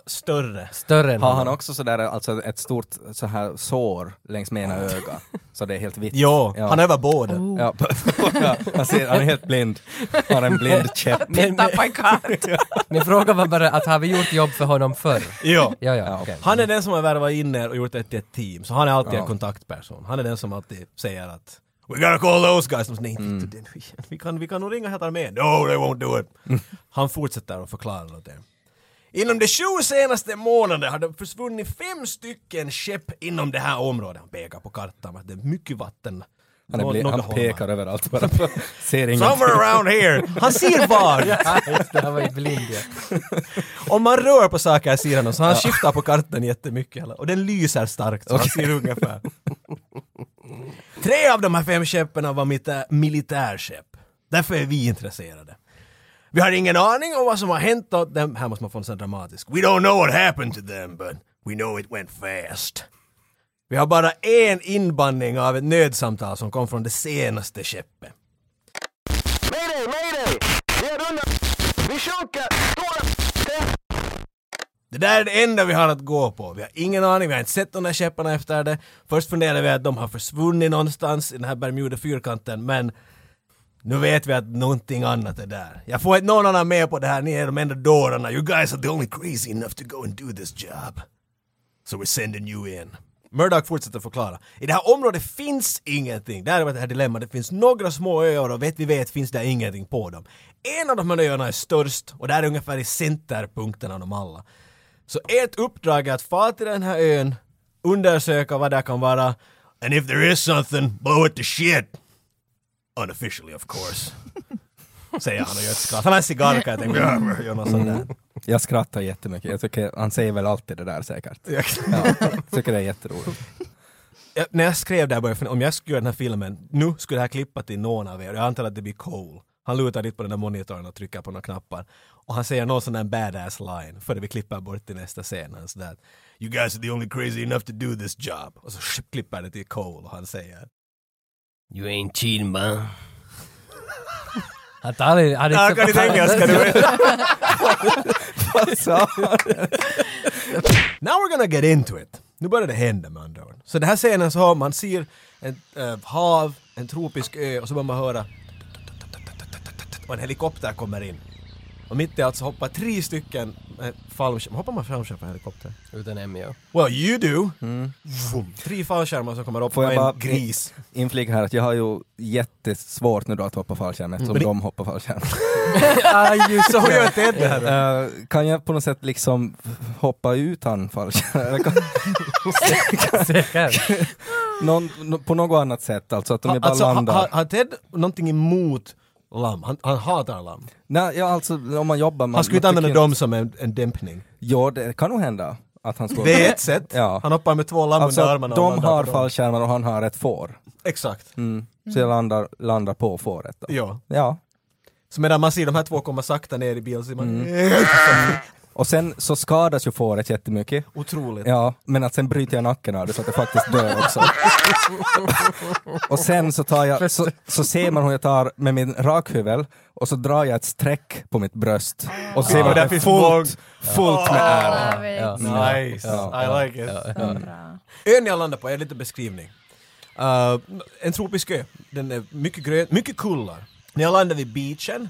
Speaker 2: större.
Speaker 1: Större än
Speaker 3: Har han också sådär alltså ett stort så här sår längs med ena ögat? Så det är helt vitt.
Speaker 2: Jo,
Speaker 3: Ja.
Speaker 2: han övar båda.
Speaker 3: Ja, ja, han, ser, han är helt blind. Har en blind käpp.
Speaker 1: Men, men,
Speaker 4: Titta på en karta!
Speaker 1: min fråga var bara att har vi gjort jobb för honom förr?
Speaker 2: Jo.
Speaker 1: Ja,
Speaker 3: Ja.
Speaker 1: ja, okej.
Speaker 2: Han är den som har värvat in er och gjort det till ett team, så han är alltid en
Speaker 3: Ja.
Speaker 2: kontaktperson. Han är den som alltid säger att We gotta call those guys! De säger, Nej,
Speaker 3: Mm.
Speaker 2: inte den skiten. vi, kan, vi kan nog ringa hela armén. No, they won't do it! Han fortsätter att förklara åt det. Inom de sju senaste månaderna har det försvunnit fem stycken skepp inom det här området. Han pekar på kartan, att det är mycket vatten.
Speaker 3: Han, är
Speaker 2: Nå-
Speaker 3: blind,
Speaker 2: några
Speaker 3: han
Speaker 2: holmar.
Speaker 3: pekar överallt bara. Ser ingenting.
Speaker 2: Somewhere around here! Han ser var!
Speaker 1: Han var ju blind ja.
Speaker 2: Om man rör på saker ser han dem, så han skiftar på kartan jättemycket. eller- Och den lyser starkt, så han ser ungefär. Tre av de här fem skeppen var mita- militärskepp. Därför är vi intresserade. Vi har ingen aning om vad som har hänt åt dem. Här måste man få en sån dramatisk. We don't know what happened to them, but we know it went fast. Vi har bara en inbandning av ett nödsamtal som kom från det senaste skeppet. Det där är det enda vi har att gå på. Vi har ingen aning, vi har inte sett de där käpparna efter det. Först funderade vi att de har försvunnit någonstans i den här Bermuda-fyrkanten, men nu vet vi att någonting annat är där. Jag får inte någon annan med på det här, ni är de enda dårarna. You guys are the only crazy enough to go and do this job. So we're sending you in. Murdoch fortsätter förklara. I det här området finns ingenting. Där var det här dilemmat. Det finns några små öar och vet vi vet finns det ingenting på dem. En av de här öarna är störst och där är ungefär i centerpunkten av dem alla. Så ert uppdrag är att fara till den här ön, undersöka vad det kan vara. And if there is something, blow it to shit. Unofficially of course. Säger han och gör ett skratt. Han har en cigarr kan jag tänka mig. Gör något sånt där.
Speaker 3: Jag skrattar jättemycket. Jag tycker, han säger väl alltid det där säkert. Ja, tycker det är jätteroligt.
Speaker 2: jag, när jag skrev det här började jag fundera, om jag skulle göra den här filmen, nu skulle det här klippa till någon av er, jag antar att det blir Cole. Han lutar dit på den där monitorn och trycker på några knappar. Och han säger någon sån där badass line, före vi klipper bort till nästa scen. Han sådär, You guys are the only crazy enough to do this job. Och så klipper det till Cole och han säger
Speaker 1: You ain't cheating man. Han talar han
Speaker 2: Ja, kan inte engelska du vet.
Speaker 3: Vad sa han?
Speaker 2: Now we're gonna get into it. Nu börjar det hända med andra ord. Så den här scenen så har man ser en eh, hav, en tropisk ö och så börjar man höra och en helikopter kommer in. Och mitt i allt så hoppar tre stycken eh, fallskärmar, hoppar man fallskärm från helikopter?
Speaker 1: Utan Emmy,
Speaker 2: Well you do! Vroom. Tre fallskärmar som kommer upp och
Speaker 3: Mm. Får jag
Speaker 2: en
Speaker 3: bara-
Speaker 2: gris.
Speaker 3: Inflik här att jag har ju jättesvårt nu då att hoppa fallskärm eftersom
Speaker 2: Men det-
Speaker 3: de hoppar fallskärm.
Speaker 2: Så hur gör Ted det här då?
Speaker 3: Eh, kan jag på något sätt liksom hoppa utan fallskärm?
Speaker 1: Säkert.
Speaker 3: Någon, nå- på något annat sätt alltså, att om jag bara
Speaker 2: Alltså, har
Speaker 3: landar.
Speaker 2: har- har Ted någonting emot lamm? Han, han hatar lamm.
Speaker 3: Nej, ja, alltså om man jobbar... Man,
Speaker 2: Han skulle inte
Speaker 3: man tycker
Speaker 2: använda
Speaker 3: ju-
Speaker 2: dem som en, en dämpning.
Speaker 3: Ja, det kan nog hända att han skulle...
Speaker 2: Det är ett sätt.
Speaker 3: Ja.
Speaker 2: Han hoppar med två lamm
Speaker 3: Alltså,
Speaker 2: under armarna och
Speaker 3: de
Speaker 2: landar
Speaker 3: har
Speaker 2: på dem.
Speaker 3: fallskärmar och han har ett får.
Speaker 2: Exakt.
Speaker 3: Mm. Så jag landar, landar på fåret då.
Speaker 2: Ja.
Speaker 3: Ja.
Speaker 2: Så medan man ser de här två komma sakta ner i bilen så är man
Speaker 3: Mm.
Speaker 2: eh,
Speaker 3: Och sen så skadas ju fåret jättemycket.
Speaker 2: otroligt.
Speaker 3: Ja, men att sen bryter jag nacken av det så att det faktiskt dör också. och sen så tar jag, så, så ser man hur jag tar med min rakhyvel och så drar jag ett streck på mitt bröst och ser
Speaker 2: Ja,
Speaker 3: vad det
Speaker 2: där
Speaker 3: är
Speaker 2: finns
Speaker 3: fullt, fullt med ärr.
Speaker 4: Jag vet.
Speaker 2: Nice,
Speaker 3: Ja,
Speaker 2: I like it.
Speaker 4: Så bra.
Speaker 2: Ön jag landar på, jag har lite beskrivning. Uh, en tropisk ö. Den är mycket grön, mycket kullar. Ni har landat vid beachen,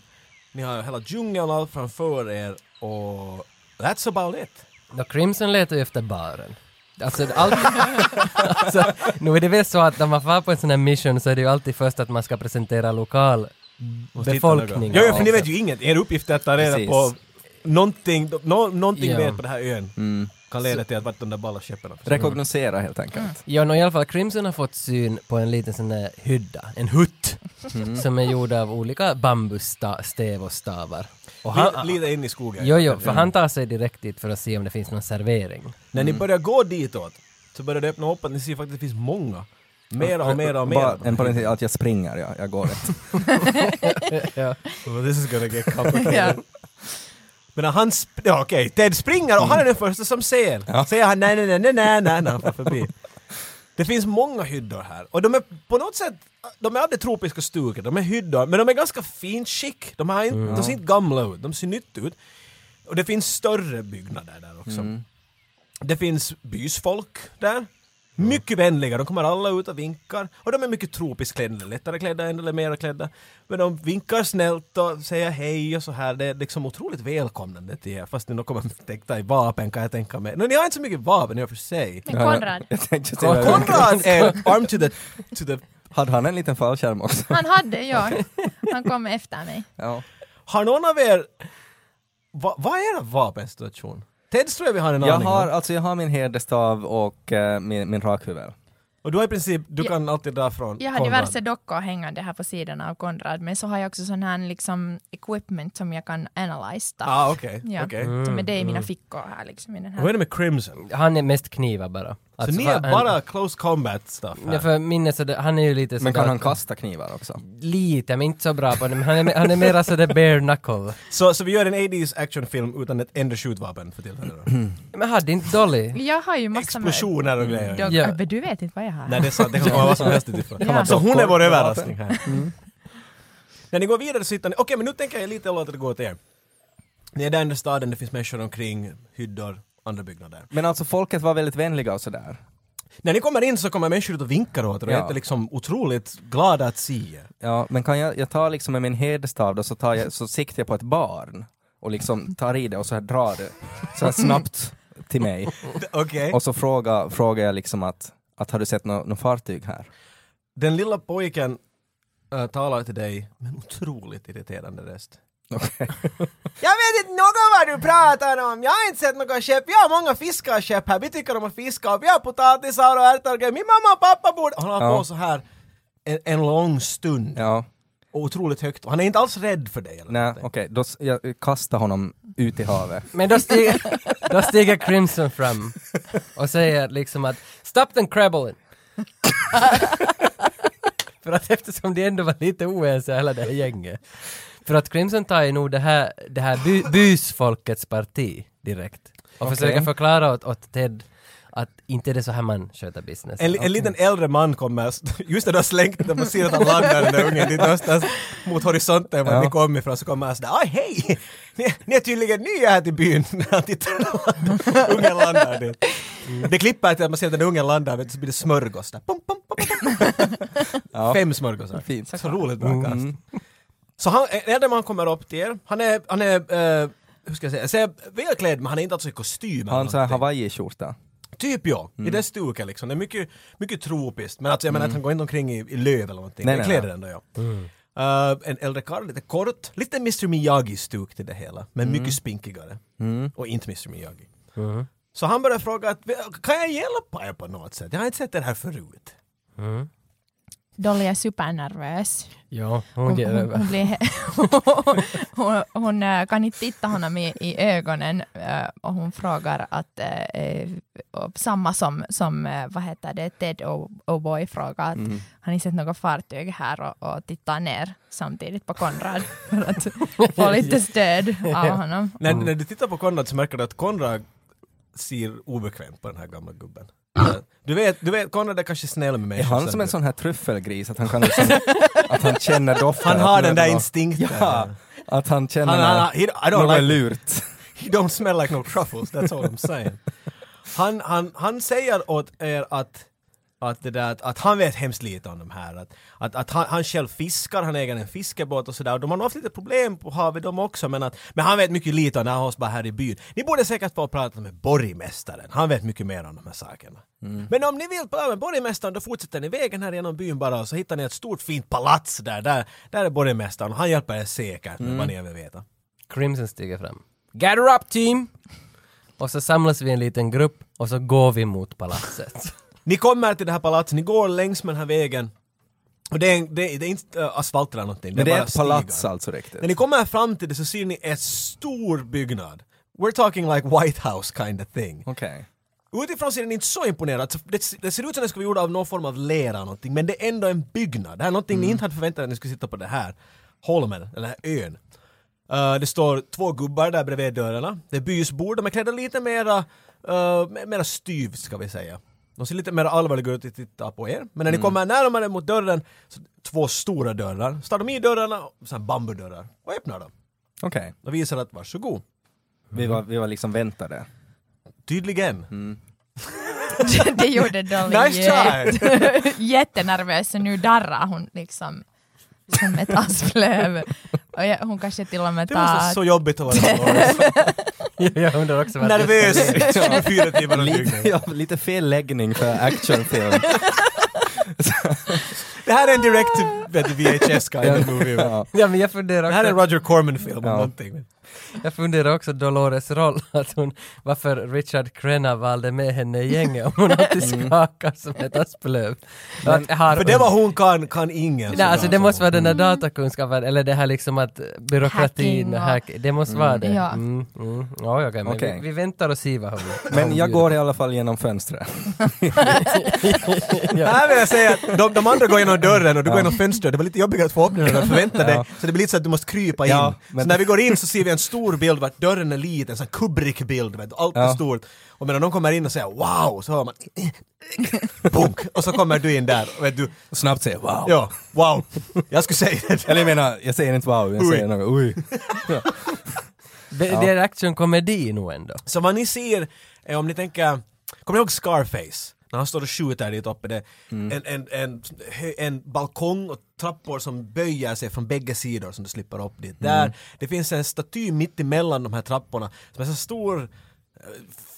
Speaker 2: ni har hela djungeln och allt framför er och that's about it.
Speaker 1: Nå, Crimson letar ju efter baren. Alltså, allt, alltså, nu är det väl så att när man far på en sån här mission så är det ju alltid först att man ska presentera lokal befolkning. alltså.
Speaker 2: Ja, ja, för ni vet ju inget. Er uppgift är att ta reda
Speaker 3: Precis.
Speaker 2: på någonting, no, någonting
Speaker 1: Ja.
Speaker 2: vet på den här ön kan leda till att vart de där balla skeppen har försvunnit.
Speaker 3: Rekognosera helt enkelt.
Speaker 1: Ja, nå, i alla fall Crimson har fått syn på en liten sån där hydda, en hutt,
Speaker 2: Mm.
Speaker 1: som är gjord av olika bambusstäv och stavar. Och
Speaker 2: Lite-
Speaker 1: han,
Speaker 2: Lite in i skogen.
Speaker 1: jo, jo, för han tar sig direkt dit för att se om det finns någon servering.
Speaker 2: När ni börjar gå ditåt så börjar det öppna upp att ni ser faktiskt att det finns många. Mera Mm. och mera och
Speaker 3: Bara
Speaker 2: mera.
Speaker 3: en parentes, att jag springer, ja, jag går inte.
Speaker 2: Well, this is gonna get complicated.
Speaker 4: Ja.
Speaker 2: Men när han, sp- ja, okej, Ted springer och han är den första som ser. Säger han nej, nej, nej, nej, nej, nej, när han får förbi. Det finns många hyddor här och de är på något sätt, de är av det tropiska stuket, de är hyddor, men de är ganska fint skick. De, har inte, de ser inte gamla ut, de ser nytt ut. Och det finns större byggnader där också. Det finns bysfolk där. Mycket vänliga, de kommer alla ut och vinkar. Och de är mycket tropiskt klädda, lättare klädda än eller mer klädda. Men de vinkar snällt och säger hej och så här. Det är liksom otroligt välkomnande till er. Fast ni nog kommer täckta i vapen kan jag tänka mig. Men ni har inte så mycket vapen i och för sig.
Speaker 4: Men Konrad,
Speaker 3: Jag tänkte säga,
Speaker 2: Konrad är Eh, arm to the... To the
Speaker 3: hade han en liten fallskärm också?
Speaker 4: han hade, ja. Han kom efter mig.
Speaker 3: Ja.
Speaker 2: har någon av er... Va, vad är er vapensituation? Ted tror jag vi har en
Speaker 3: Jag
Speaker 2: aning
Speaker 3: har,
Speaker 2: om.
Speaker 3: alltså, jag har min herdestav och eh, min, min rakhyvel.
Speaker 2: Och du har i princip, du
Speaker 4: Ja.
Speaker 2: kan alltid dra från
Speaker 4: Jag har diverse dockor hängande här på sidan av Konrad, men så har jag också sån här liksom equipment som jag kan analyse stuff.
Speaker 2: Ah, okej.
Speaker 4: Ja. Mm.
Speaker 2: okej. Mm.
Speaker 4: Som är det i mina fickor här liksom i den
Speaker 2: Vad är
Speaker 4: här.
Speaker 2: det med Crimson?
Speaker 1: Han är mest knivar bara.
Speaker 2: Så
Speaker 1: Alltså,
Speaker 2: ni
Speaker 1: va-
Speaker 2: är bara close combat stuff
Speaker 1: Ja,
Speaker 2: här.
Speaker 1: för minnet så det, han är ju lite
Speaker 3: Men kan
Speaker 1: sådär-
Speaker 3: han kasta knivar också?
Speaker 1: Lite, men inte så bra på det. Men han är, me- han är mera sådär bare knuckle.
Speaker 2: Så, så vi gör en 80s actionfilm utan ett enda skjutvapen för tillfället då.
Speaker 1: Men hade inte Dolly?
Speaker 4: Jag har ju massa med...
Speaker 2: Explosioner och grejer.
Speaker 4: Dog,
Speaker 1: Ja.
Speaker 4: Men du vet inte vad jag har.
Speaker 2: Nej det är sant, det kan komma vad som helst utifrån.
Speaker 4: Ja.
Speaker 2: Så hon är vår överraskning här.
Speaker 3: Mm.
Speaker 2: När ni går vidare så hittar ni, okej men nu tänker jag lite låta det gå åt er. Ni är där inne i staden, det finns människor omkring, hyddor, andra byggnader.
Speaker 3: Men alltså folket var väldigt vänliga och sådär.
Speaker 2: När ni kommer in så kommer människor ut och vinkar åt er och
Speaker 3: Ja.
Speaker 2: är liksom otroligt glada att se er.
Speaker 3: Ja, men kan jag, jag tar liksom med min hederstav då så, tar jag, så siktar jag på ett barn och liksom tar i det och så här drar det så här snabbt till mig.
Speaker 2: Okej.
Speaker 3: Och så frågar, frågar jag liksom att, att har du sett något nå fartyg här?
Speaker 2: Den lilla pojken äh, talar till dig med en otroligt irriterande röst.
Speaker 3: Okej.
Speaker 2: Jag vet inte något vad du pratar om! Jag har inte sett några skepp, jag har många fiskarskepp här, vi tycker om att fiska och vi har potatisar och ärtor och grejer. min mamma och pappa borde... Han har
Speaker 3: Ja.
Speaker 2: på så här en, en lång stund,
Speaker 3: Ja,
Speaker 2: och otroligt högt, och han är inte alls rädd för dig eller
Speaker 3: nej,
Speaker 2: någonting.
Speaker 3: okej, då s- jag kastar honom ut i havet.
Speaker 1: Men då stiger, då stiger Crimson fram och säger liksom att “Stop den crabbling!” För att eftersom de ändå var lite oense hela det här gänget. För att Crimson tar ju nog det här, det här by, bysfolkets parti direkt. Och försöker förklara åt, åt Ted att inte är det så här man sköter business.
Speaker 2: En, en liten äldre man kommer, just när du har slängt den på sidan av landaren, den där ungen dit östas mot horisonten var
Speaker 3: Ja.
Speaker 2: ni kom ifrån, så kommer han sådär ”Aj hej! Ni, ni är tydligen nya här till byn” när han tittar på landet. ungen landar dit.
Speaker 3: Mm.
Speaker 2: Det klipper till att man ser att den där ungen landar, vet du, så blir det smörgås där. Pum, pum, pum, pum, pum.
Speaker 3: Ja.
Speaker 2: Fem smörgåsar.
Speaker 3: Fint. Mm.
Speaker 2: Så roligt bra kast. Så han, en äldre man kommer upp till er, han är, han är eh, hur ska jag säga, jag säger välklädd men han är inte alltså i kostym. eller
Speaker 3: Har han så här
Speaker 2: någonting.
Speaker 3: hawaii-skjorta?
Speaker 2: Typ ja,
Speaker 3: Mm.
Speaker 2: i det stuket liksom. Det är mycket, mycket tropiskt. Men alltså, jag menar att han går inte omkring i, i löv eller någonting.
Speaker 3: Nej,
Speaker 2: Nej,
Speaker 3: nej,
Speaker 2: kläder
Speaker 3: nej. Mm.
Speaker 2: ändå ja. Eh, en äldre karl, lite kort. Lite Mr Miyagi-stuk till det hela. Men
Speaker 3: Mm.
Speaker 2: mycket spinkigare. Och inte Mr Miyagi.
Speaker 1: Mm-hmm.
Speaker 2: Så han börjar fråga att kan jag hjälpa er på något sätt? Jag har inte sett det här förut.
Speaker 1: Mm-hmm.
Speaker 4: Dolly är supernervös.
Speaker 1: Ja,
Speaker 4: Hon,
Speaker 1: hon ger
Speaker 4: hon, hon,
Speaker 1: över.
Speaker 4: blir, hon, hon äh, kan inte titta honom i, i ögonen äh, och hon frågar att äh, äh, och samma som, som äh, vad heter det, Ted O'Boy frågar att
Speaker 2: Mm.
Speaker 4: har ni sett något fartyg här och, och tittar ner samtidigt på Konrad för att få lite stöd av honom.
Speaker 2: När,
Speaker 3: Mm.
Speaker 2: när du tittar på Konrad så märker du att Konrad ser obekvämt på den här gamla gubben. Eh, Du vet, du vet Konrad är kanske snäll med mig.
Speaker 3: Är han som en sån här truffelgris? Att han kan liksom, att han känner doften?
Speaker 2: Han
Speaker 3: att
Speaker 2: har
Speaker 3: nu är
Speaker 2: den
Speaker 3: det
Speaker 2: där
Speaker 3: nå-
Speaker 2: instinkten.
Speaker 3: Ja, att han känner
Speaker 2: Han, han, he, I don't
Speaker 3: något
Speaker 2: like
Speaker 3: lurt.
Speaker 2: He don't smell like no truffles, that's all I'm saying. Han, han, han säger åt er att, att, det där, att, att han vet hemskt lite om de här. Att, att, att han, han själv fiskar, han äger en fiskebåt och sådär. Och De har nog haft lite problem på havet de också men, att, men han vet mycket lite om det här hos bara här i byn. Ni borde säkert få prata med borgmästaren, han vet mycket mer om de här sakerna. Men om ni vill prata med borgmästaren då fortsätter ni vägen här genom byn bara och så hittar ni ett stort fint palats där. Där, där är borgmästaren och han hjälper er säkert med vad ni vill veta.
Speaker 1: Crimson stiger fram. “Gather up team!” Och så samlas vi i en liten grupp och så går vi mot palatset.
Speaker 2: Ni kommer till det här palatset, ni går längs med den här vägen. Och det är, en- det, är- det är inte äh, asfalt eller någonting.
Speaker 3: Men det
Speaker 2: bara
Speaker 3: är ett palats
Speaker 2: stigar.
Speaker 3: alltså riktigt.
Speaker 2: När ni kommer fram till det så ser ni en stor byggnad. We're talking like White House kind of thing.
Speaker 3: Okej.
Speaker 2: Utifrån ser den inte så imponerad ut. Det, det ser ut som den skulle vara gjord av någon form av lera eller någonting, men det är ändå en byggnad. Det här är någonting ni inte hade förväntat er att ni skulle sitta på det här holmen, eller här ön. Eh, det står två gubbar där bredvid dörrarna. Det är bysbord, de är klädda lite mera, eh, me- mera styvt ska vi säga. De ser lite mer allvarliga ut att titta på er. Men när ni kommer närmare mot dörren, så två stora dörrar. Så tar de i dörrarna, så här bambudörrar, och öppnar dem.
Speaker 3: Okej,
Speaker 2: De visar att varsågod.
Speaker 3: vi, var, vi var liksom väntade.
Speaker 2: Tydligen.
Speaker 4: det gjorde Dolly
Speaker 2: Nice try!
Speaker 4: jättenervös och nu darrar hon liksom som ett asplöv. Och jag, hon kanske till och med
Speaker 2: Det var
Speaker 4: tar...
Speaker 2: så- så jobbigt att vara Lawrence.
Speaker 1: Jag undrar också varför-
Speaker 2: nervös 24 timmar om dygnet.
Speaker 3: ja, lite fel läggning för actionfilm.
Speaker 2: Det här är en direkt vet du, VHS kind of movie.
Speaker 3: ja.
Speaker 1: Ja men jag funderar
Speaker 2: Det här är
Speaker 1: också.
Speaker 2: en Roger Corman film om
Speaker 3: Ja.
Speaker 2: någonting.
Speaker 1: Jag funderar också Dolores roll, att hon, varför Richard Crenna valde med henne i gänget om hon alltid skakar som ett asplöv. Att har-
Speaker 2: För det var hon kan, kan ingen. så
Speaker 1: Nej, alltså
Speaker 2: bra
Speaker 1: det
Speaker 2: som
Speaker 1: måste
Speaker 2: hon.
Speaker 1: vara den där datakunskapen, eller det här liksom att byråkratin
Speaker 4: Hacking
Speaker 1: och
Speaker 4: och-
Speaker 1: hack, det måste vara det.
Speaker 4: Ja.
Speaker 1: Mm, mm. Ja, okej, men
Speaker 3: Okej.
Speaker 1: Vi, vi väntar och ser vad hon
Speaker 3: Men
Speaker 1: hon
Speaker 3: jag
Speaker 1: bjuder.
Speaker 3: går i alla fall genom fönstret.
Speaker 2: Här vill jag säga att de, de andra går genom dörren och du går genom fönstret. Det var lite jobbigare att få upp den än vad du förväntade dig. Så det blir lite så att du måste krypa in.
Speaker 3: Ja, men-
Speaker 2: Så när vi går in så ser vi en stor bild vart dörren är liten, en sån Kubrick-bild. vet du, Allt är
Speaker 3: Ja.
Speaker 2: stort. Och medan de kommer in och säger wow, så hör man Bunk! Och så kommer du in där. och Vet du,
Speaker 3: Och snabbt säger wow.
Speaker 2: ja, wow. Jag skulle säga det.
Speaker 3: Eller jag menar, jag säger inte wow, jag
Speaker 2: Ui.
Speaker 3: säger något oj.
Speaker 1: Det, det är actionkomedi nog ändå.
Speaker 2: Så vad ni ser, eh, om ni tänker, kommer ni ihåg Scarface? När han står och skjuter dit uppe, det är
Speaker 3: Mm.
Speaker 2: en, en, en, hö- en balkong och trappor som böjer sig från bägge sidor som du slipper upp dit.
Speaker 3: Mm.
Speaker 2: Där, det finns en staty mitt emellan de här trapporna som är så stor eh,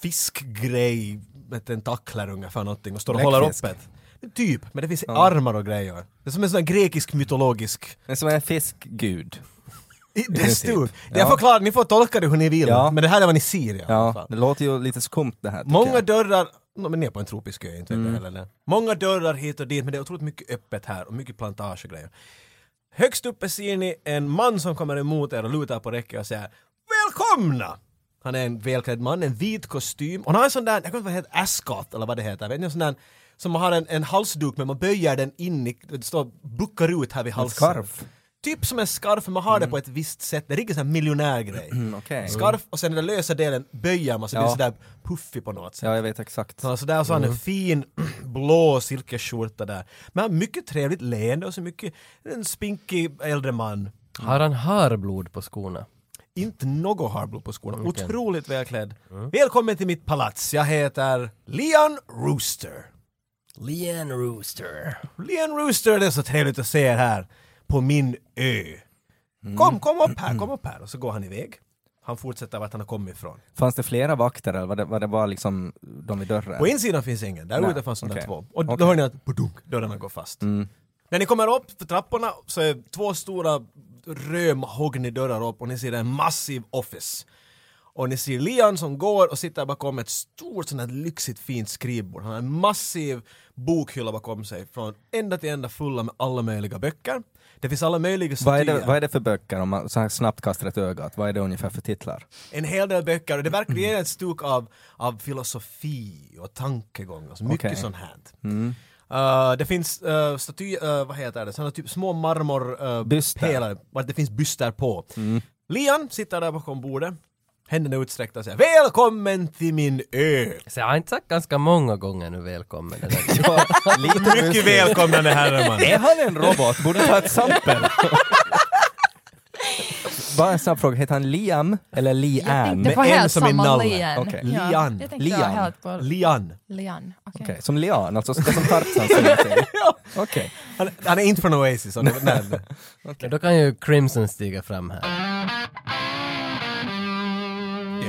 Speaker 2: fiskgrej med tentakler ungefär någonting och står och håller
Speaker 3: Bläckfisk.
Speaker 2: upp ett. Typ, men det finns armar och grejer. Det är som en sån här grekisk mytologisk
Speaker 3: Det är som en fiskgud.
Speaker 2: i- det är
Speaker 3: princip.
Speaker 2: stort. Det
Speaker 3: typ. Ja.
Speaker 2: är förklarat, ni får tolka det hur ni vill.
Speaker 3: Ja.
Speaker 2: Men det här är vad ni ser i alla fall.
Speaker 3: Ja, det låter ju lite skumt det här. tycker
Speaker 2: Många
Speaker 3: jag. Mm.
Speaker 2: dörrar, no, men ner på en tropisk ö, inte vet jag heller. nej. Många dörrar hit och dit, men det är otroligt mycket öppet här och mycket plantage och grejer. Högst uppe ser ni en man som kommer emot er och lutar på räcket och säger Välkomna! Han är en välklädd man, en vit kostym och han har en sån där, jag kommer inte ihåg vad det heter, ascot eller vad det heter, vet ni en sån där som har en, en halsduk men man böjer den in i, det står buckar ut här vid halsen.
Speaker 3: skarf.
Speaker 2: Typ som en skarf, men man har det på ett visst sätt. Det är riktigt sån här miljonärgrej.
Speaker 3: Mm. Okej.
Speaker 2: Skarf och sen den där lösa delen böjer man så det blir
Speaker 3: Ja.
Speaker 2: sådär puffig på något sätt.
Speaker 3: Ja, jag vet exakt.
Speaker 2: Så, så där så har han en fin blå silkesskjorta där. Men han har mycket trevligt leende och så mycket, en spinkig äldre man.
Speaker 1: Har han harblod på skorna?
Speaker 2: Inte något harblod på skorna. Otroligt välklädd. Välkommen till mitt palats. Jag heter Leon Rooster.
Speaker 1: Leon Rooster.
Speaker 2: Leon Rooster, det är så trevligt att se er här på min ö. Kom, kom upp här, kom upp här. Och så går han iväg. Han fortsätter vart han har kommit ifrån.
Speaker 3: Fanns det flera vakter eller var det, var det bara liksom de vid dörren?
Speaker 2: På insidan finns ingen, där
Speaker 3: Nej,
Speaker 2: ute fanns de där
Speaker 3: okej.
Speaker 2: två. Och då
Speaker 3: Okej. Mm.
Speaker 2: hör ni att badunk, dörrarna går fast. När ni kommer upp för trapporna så är två stora römhognidörrar upp och ni ser en massiv office. Och ni ser Leon som går och sitter bakom ett stort sånt här lyxigt fint skrivbord. Han har en massiv bokhylla bakom sig från ända till ända fulla med alla möjliga böcker. Det finns alla möjliga
Speaker 3: Vad är,
Speaker 2: statyer.
Speaker 3: det, vad är det för böcker om man så här snabbt kastar ett öga åt? Vad är det ungefär för titlar?
Speaker 2: en hel del böcker och det verkar det är ett stuk av, av filosofi och tankegångar, så mycket
Speaker 3: Okej. Mm.
Speaker 2: sånt här. Uh, det finns uh, statyer, uh, vad heter det, sådana typ små
Speaker 3: Byster. Mm.
Speaker 2: marmorpelare, uh, vart det finns byster på. Leon sitter där bakom bordet, händerna utsträckta och säger Välkommen till min ö!
Speaker 1: Så jag har inte sagt ganska många gånger nu välkommen. den här-
Speaker 3: Ja, lite
Speaker 2: Mycket
Speaker 3: ruskigt.
Speaker 2: välkomnande herre man!
Speaker 3: Är han en robot? Borde ta ett sampel. bara en snabb fråga, heter han Liam eller
Speaker 4: Jag
Speaker 3: Lian?
Speaker 4: tänkte på
Speaker 2: med en
Speaker 4: helt
Speaker 2: som är
Speaker 4: samma
Speaker 2: nalle.
Speaker 4: Lian.
Speaker 3: Okej.
Speaker 4: Ja,
Speaker 2: Lian.
Speaker 4: Jag tänkte
Speaker 3: Lian.
Speaker 4: helt på
Speaker 2: Leon,
Speaker 4: Lian. Okej.
Speaker 3: Okej, som lian, alltså det som Tarzan syns till. Okej.
Speaker 2: han, han är inte från Oasis. så det- nej, nej.
Speaker 1: Då kan ju Crimson stiga fram här.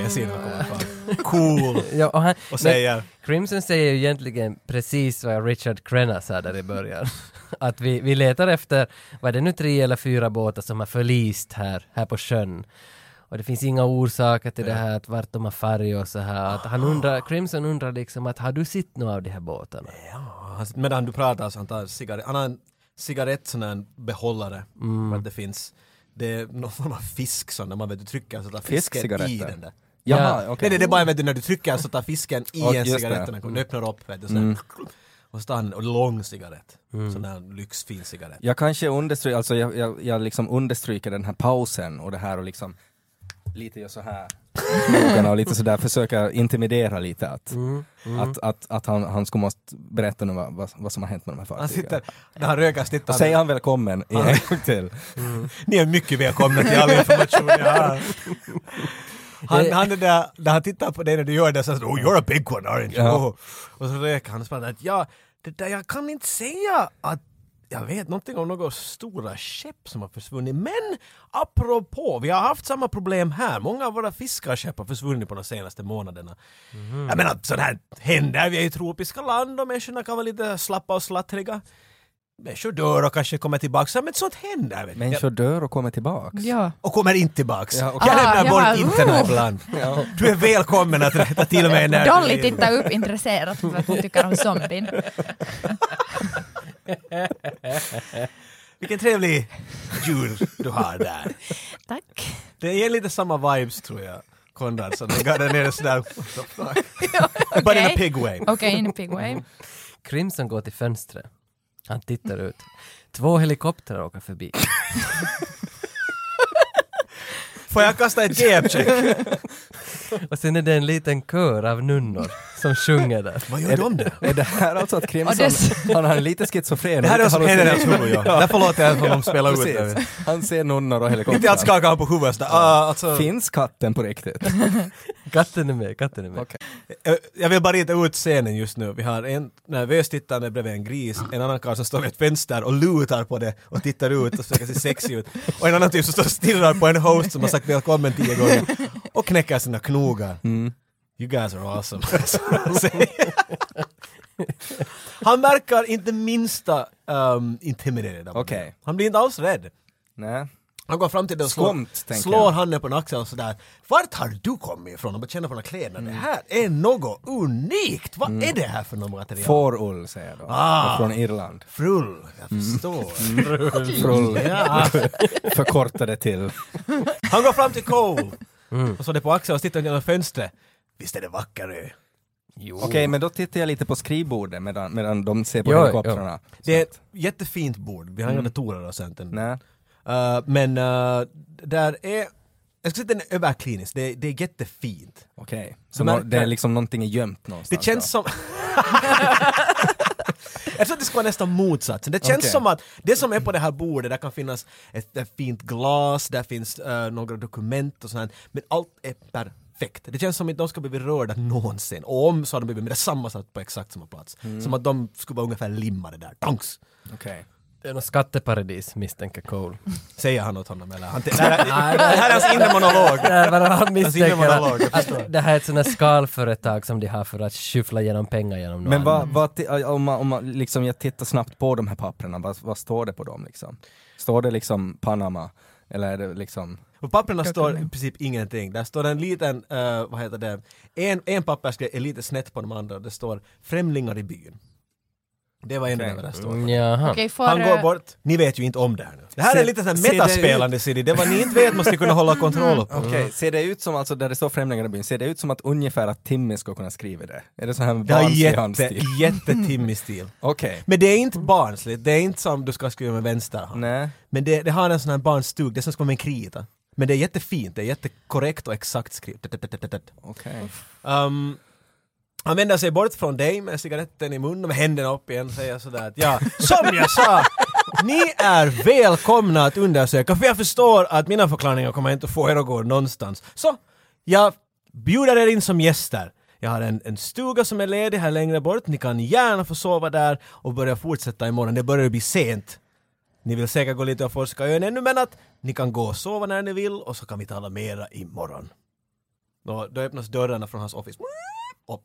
Speaker 2: Jag ser när han kommer fram. Cool!
Speaker 1: Ja, och han,
Speaker 2: Och säger
Speaker 1: Crimson säger ju egentligen precis vad Richard Crenna sa där i början. Att vi, vi letar efter, var det nu tre eller fyra båtar som har förlist här, här på sjön. Och det finns inga orsaker till det här, att vart de har farit och så här. Att han undrar, Crimson undrar liksom att har du sett några av de här båtarna?
Speaker 2: Han- Medan du pratar så han tar cigarett, han har en cigarett sån här behållare
Speaker 3: Mm.
Speaker 2: för att det finns det är någon form av fisk som när man vet, du trycker så tar fisken i
Speaker 3: Fiskcigaretter.
Speaker 2: den där.
Speaker 3: Jaha,
Speaker 1: Ja.
Speaker 3: okej.
Speaker 2: Nej, nej, det är bara vet du, när du trycker så tar fisken i
Speaker 3: Ja,
Speaker 2: en
Speaker 3: just
Speaker 2: cigarett
Speaker 3: det. Mm.
Speaker 2: och den kommer- den öppnar upp vet du, så här. och så tar han en lång cigarett.
Speaker 3: Mm.
Speaker 2: Sån där lyxfin cigarett.
Speaker 3: Jag kanske understryker, alltså jag, jag, jag liksom understryker den här pausen och det här och liksom lite gör så här med ögonen och lite sådär, försöka intimidera lite att, att, att, att han, han skulle måste berätta nu vad, vad, vad som har hänt med de här
Speaker 2: Han sitter,
Speaker 3: fartygen.
Speaker 2: när han röker så tittar
Speaker 3: Och säger
Speaker 2: han,
Speaker 3: han välkommen i en gång till.
Speaker 2: ni är mycket välkomna till all information jag har. Han,
Speaker 1: Det-
Speaker 2: han är där, när han tittar på dig när du gör det så säger oh you're a big one aren't you?
Speaker 3: Ja.
Speaker 2: Oh. Och så röker han och så bara, att ja, det där, jag kan inte säga att jag vet någonting om några stora skepp som har försvunnit. Men apropå, vi har haft samma problem här. Många av våra fiskarskepp har försvunnit på de senaste månaderna. Jag menar, sånt här händer. Vi är i tropiska land och människorna kan vara lite slappa och slattriga. Människor dör och kanske kommer tillbaka, men sånt händer. Vet du.
Speaker 3: Människor dör och kommer tillbaks.
Speaker 4: Ja.
Speaker 2: Och kommer inte tillbaks.
Speaker 3: Ja,
Speaker 2: Jag
Speaker 4: Ah,
Speaker 2: lämnar
Speaker 4: ja,
Speaker 2: bort internet
Speaker 4: ooh.
Speaker 2: ibland.
Speaker 3: Ja.
Speaker 2: Du är välkommen att rätta till mig när du
Speaker 4: Dolly
Speaker 2: vill.
Speaker 4: tittar upp intresserat för att hon tycker om zombien.
Speaker 2: Vilken trevlig djur du har där.
Speaker 4: Tack.
Speaker 2: Det ger lite samma vibes tror jag. Konrad som den där nere sådär. what the fuck? But in a
Speaker 4: Okej.
Speaker 2: pig way.
Speaker 4: Okej, in a pig way.
Speaker 1: Crimson går till fönstret. Han tittar ut. Två helikoptrar åker förbi.
Speaker 2: Får jag kasta ett gapcheck?
Speaker 1: Och sen är det en liten kör av nunnor som sjunger där.
Speaker 2: Vad gör de där?
Speaker 3: Är det här alltså att
Speaker 4: Och det
Speaker 3: Crimson,
Speaker 4: är så-
Speaker 3: han är lite schizofren?
Speaker 2: Det här är vad som händer i hans
Speaker 3: hallucin-
Speaker 2: huvud. Ja. Därför låter jag honom spela ut
Speaker 3: Precis.
Speaker 2: det.
Speaker 3: Han ser nunnor och
Speaker 2: Inte att
Speaker 3: helikoptrar.
Speaker 2: skaka honom på huvudet sådär. Ah, alltså,
Speaker 3: Finns katten på riktigt?
Speaker 1: Katten är med, katten är med.
Speaker 3: Okej.
Speaker 2: Eh, Jag vill bara rita ut scenen just nu. Vi har en nervös tittande bredvid en gris, en annan karl som står vid ett fönster och lutar på det och tittar ut och försöker se sexig ut. Och en annan typ som står och stirrar på en host som har sagt välkommen tio gånger och knäcker sina knogar. You guys are awesome. Han verkar inte minsta um, intimiderad. av
Speaker 3: Okej.
Speaker 2: det. Han blir inte alls rädd.
Speaker 3: Nej.
Speaker 2: Han går fram till den och
Speaker 3: Skumt,
Speaker 2: slår,
Speaker 3: tänker
Speaker 2: slår
Speaker 3: jag.
Speaker 2: handen på en axel och sådär. Vart har du kommit ifrån? Och bara känner på de här kläderna. Det här är något unikt! Vad
Speaker 3: Mm.
Speaker 2: är det här för något material?
Speaker 3: Fårull säger jag då.
Speaker 2: Ah.
Speaker 3: Och Från Irland.
Speaker 2: Frull, jag
Speaker 3: Mm.
Speaker 2: förstår.
Speaker 3: Frull.
Speaker 2: Ja.
Speaker 3: Förkortade till.
Speaker 2: Han går fram till Cole
Speaker 3: Mm.
Speaker 2: och slår det på axeln och tittar genom fönstret. Visst är det vackert?
Speaker 1: Jo.
Speaker 3: Okej, men då tittar jag lite på skrivbordet medan, medan de ser på
Speaker 1: Jo,
Speaker 3: helikoptrarna.
Speaker 2: Det är ett jättefint bord. Vi har inga datorer och sånt ännu.
Speaker 3: Mm. Nej.
Speaker 2: Eh, Men eh, där är... Jag skulle säga att den är överklinisk. Det, är- det är jättefint.
Speaker 3: Okej. Så
Speaker 2: Du
Speaker 3: nå-
Speaker 2: märker-
Speaker 3: det är liksom någonting är gömt någonstans?
Speaker 2: Det känns som... Jag tror att det ska vara nästan motsatsen. Det känns
Speaker 3: Okej.
Speaker 2: som att det som är på det här bordet, där kan finnas ett, ett fint glas, där finns eh, några dokument och sånt, men allt är perfekt. Det känns som att de ska bli berörda någonsin. Och om så har de blivit med detsamma satt på exakt samma plats. Som att de skulle vara ungefär limmade där. Tanks!
Speaker 3: då. Okej.
Speaker 1: Det är något skatteparadis misstänker Cole.
Speaker 2: Säger han åt honom eller? Han det, här, är- det här är hans inre monolog.
Speaker 1: Det är bara han misstänker
Speaker 2: inre monolog, jag
Speaker 1: att, att det här är ett sånt här skalföretag som de har för att skyffla genom pengar genom någon
Speaker 3: Men vad,
Speaker 1: annan.
Speaker 3: vad, ti- om, man, om man, liksom jag tittar snabbt på de här papperna, vad, vad står det på dem liksom? Står det liksom Panama? Eller är det liksom...
Speaker 2: På papperna står i princip ingenting. Där står en liten, eh, vad heter det, en, en pappersgrej är lite snett på de andra och det står “Främlingar i byn”. Det var en
Speaker 3: Okej.
Speaker 2: av där står.
Speaker 1: Jaha.
Speaker 4: Okej, får...
Speaker 2: Han går
Speaker 4: eh,
Speaker 2: bort, ni vet ju inte om det här nu. Det här
Speaker 3: Ser-
Speaker 2: är lite sån
Speaker 3: ser
Speaker 2: här
Speaker 3: det
Speaker 2: metaspelande CD, det vad ni inte vet måste ni kunna hålla kontroll på.
Speaker 3: Okej, ser det ut som, alltså där det står Främlingar i byn, ser det ut som att ungefär att Timmy ska kunna skriva det? Är det så här
Speaker 2: Det är
Speaker 3: barnslig
Speaker 2: jätte,
Speaker 3: handstil?
Speaker 2: jättetimmig stil.
Speaker 3: Okej.
Speaker 2: Men det är inte barnsligt, det är inte som du ska skriva med vänster hand.
Speaker 3: Nej.
Speaker 2: Men det, det har en sån här barnstug, det är som ska vara med en krita. Men det är jättefint, det är jättekorrekt och exakt skrivet.
Speaker 3: Okej.
Speaker 2: Um, han vänder sig bort från dig med cigaretten i munnen och med händerna upp igen och säger sådär att ja, som jag sa! Ni är välkomna att undersöka för jag förstår att mina förklaringar kommer inte att få er att gå någonstans. Så, jag bjuder er in som gäster. Jag har en, en stuga som är ledig här längre bort, ni kan gärna få sova där och börja fortsätta imorgon, det börjar bli sent. Ni vill säkert gå lite och forska ön ännu men att ni kan gå och sova när ni vill och så kan vi tala mera imorgon. Då, då öppnas dörrarna från hans office. Upp.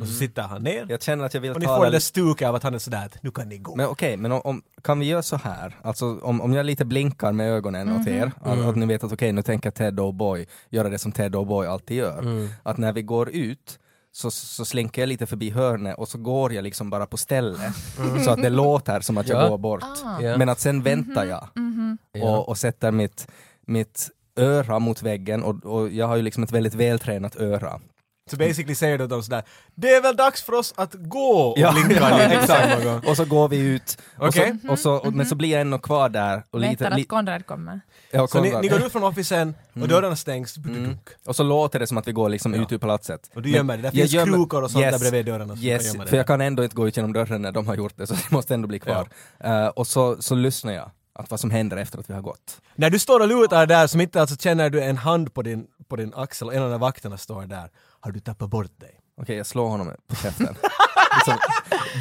Speaker 2: Och så sitter han ner.
Speaker 3: Mm. Jag känner att jag vill
Speaker 2: Och ni
Speaker 3: tala
Speaker 2: får det där stuket av att han är sådär att nu kan ni gå.
Speaker 3: Men okej, men om, om, kan vi göra så här? Alltså om, om jag lite blinkar med ögonen åt er, att, att ni vet att okej, nu tänker Ted O'Boy göra det som Ted O'Boy alltid gör. Att när vi går ut så, så slinker jag lite förbi hörnet och så går jag liksom bara på stället. Så att det låter som att jag
Speaker 1: Ja.
Speaker 3: går bort.
Speaker 1: Ja.
Speaker 3: Men att sen väntar jag
Speaker 1: Ja.
Speaker 3: och, och sätter mitt, mitt öra mot väggen och, och jag har ju liksom ett väldigt vältränat öra.
Speaker 2: Så basically säger du dem sådär Det är väl dags för oss att gå! Och
Speaker 3: Ja.
Speaker 2: blinkar lite
Speaker 3: Ja,
Speaker 2: exakt någon gång.
Speaker 3: liksom. Och så går vi ut, och så,
Speaker 2: Okej.
Speaker 3: och så, och, men så blir jag ändå kvar där. Och lite,
Speaker 4: Väntar
Speaker 3: li,
Speaker 4: eh, att Konrad kommer.
Speaker 3: ja,
Speaker 2: Så ni,
Speaker 3: Konrad.
Speaker 2: ni går ut från officen
Speaker 3: Mm.
Speaker 2: och dörrarna stängs.
Speaker 3: Och så låter det som att vi går liksom ut ur palatset.
Speaker 2: Och du gömmer dig. Där finns
Speaker 3: jag gömmer-
Speaker 2: krokar och sånt
Speaker 3: Yes.
Speaker 2: där bredvid dörrarna. som kan
Speaker 3: Yes,
Speaker 2: gömma dig
Speaker 3: för jag
Speaker 2: där.
Speaker 3: kan ändå inte gå ut genom dörren när de har gjort det, så det måste ändå bli kvar. Eh, och så, så lyssnar jag, att vad som händer efter att vi har gått.
Speaker 2: När du står och lutar där som inte alltså känner du en hand på din, på din axel och en av de vakterna står där. Har du tappat bort dig?
Speaker 3: Okej, jag slår honom på käften. liksom,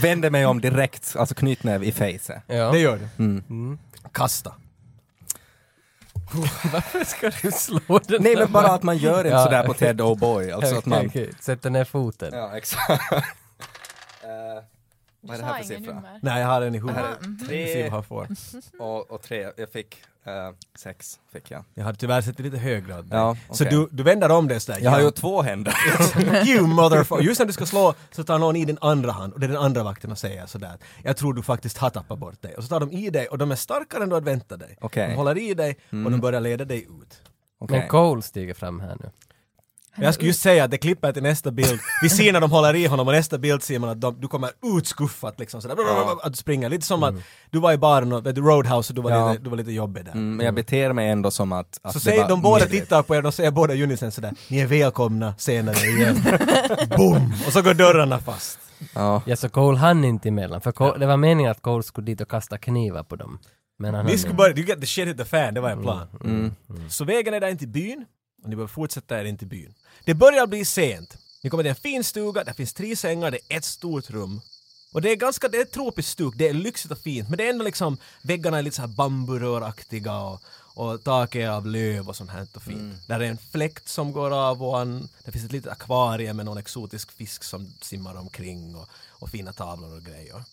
Speaker 3: vänder mig om direkt, alltså knytnäv i face.
Speaker 1: Ja.
Speaker 2: Det gör du.
Speaker 3: Mm.
Speaker 2: Kasta.
Speaker 1: Varför ska du slå den
Speaker 3: Nej
Speaker 1: där
Speaker 3: men bara att man gör inte
Speaker 1: Ja,
Speaker 3: sådär på
Speaker 1: okej.
Speaker 3: Ted O'Boy, alltså att
Speaker 1: Okej,
Speaker 3: man...
Speaker 1: okej. Sätter ner foten.
Speaker 3: Ja, exakt. Eh,
Speaker 4: Du
Speaker 3: Vad är det
Speaker 4: sa
Speaker 3: här för
Speaker 4: inga
Speaker 3: siffra?
Speaker 4: nummer.
Speaker 2: Nej, jag har en i
Speaker 3: Det här
Speaker 2: huvudet.
Speaker 4: Mm.
Speaker 3: är
Speaker 2: Vi ser vad
Speaker 3: tre
Speaker 2: han får.
Speaker 3: och, och tre, jag fick eh, sex. Fick jag.
Speaker 2: Jag hade tyvärr sett det lite högre åt dig.
Speaker 3: Ja,
Speaker 2: Så
Speaker 3: okej.
Speaker 2: du, du vänder om det sådär.
Speaker 3: Jag har
Speaker 2: ja.
Speaker 3: ju två händer.
Speaker 2: You motherfucker! Just när du ska slå så tar någon i din andra hand och det är den andra vakten och säger sådär att jag tror du faktiskt har tappat bort dig. Och så tar de i dig och de är starkare än du hade väntat dig.
Speaker 3: Okej. Mm.
Speaker 2: De håller i dig och de börjar leda dig ut.
Speaker 1: Men Cole stiger fram här nu.
Speaker 2: Jag skulle just säga att det klipper till nästa bild. Vi ser när de håller i honom och nästa bild ser man att de, du kommer utskuffat liksom sådär. Att du springer. Lite som att du var i baren och vet du, Roadhouse och du var,
Speaker 3: Ja.
Speaker 2: lite, du var lite jobbig där.
Speaker 3: Mm, men jag beter mig ändå som att... att
Speaker 2: Så
Speaker 3: det
Speaker 2: säger
Speaker 3: var
Speaker 2: de båda
Speaker 3: medvetet.
Speaker 2: tittar på er, de säger båda unison sådär Ni är välkomna senare igen. Boom! Och så går dörrarna fast.
Speaker 3: Ja.
Speaker 1: Ja, så Cole hann inte emellan, för Cole, det var meningen att Cole skulle dit och kasta knivar på dem. Men han
Speaker 2: Ni
Speaker 1: hann
Speaker 2: skulle
Speaker 1: inte.
Speaker 2: börja, you get the shit hit the fan, det var en plan.
Speaker 3: Mm.
Speaker 2: Så vägen är där in till byn och ni behöver fortsätta er in till byn. Det börjar bli sent. Ni kommer till en fin stuga, där finns tre sängar, det är ett stort rum. Och det är ganska, det är ett tropiskt stuk, det är lyxigt och fint men det är ändå liksom, väggarna är lite så här bamburöraktiga och, och taket är av löv och sånt här och fint.
Speaker 3: Mm.
Speaker 2: Där är en fläkt som går av och en, det finns ett litet akvarium med någon exotisk fisk som simmar omkring och, och fina tavlor och grejer.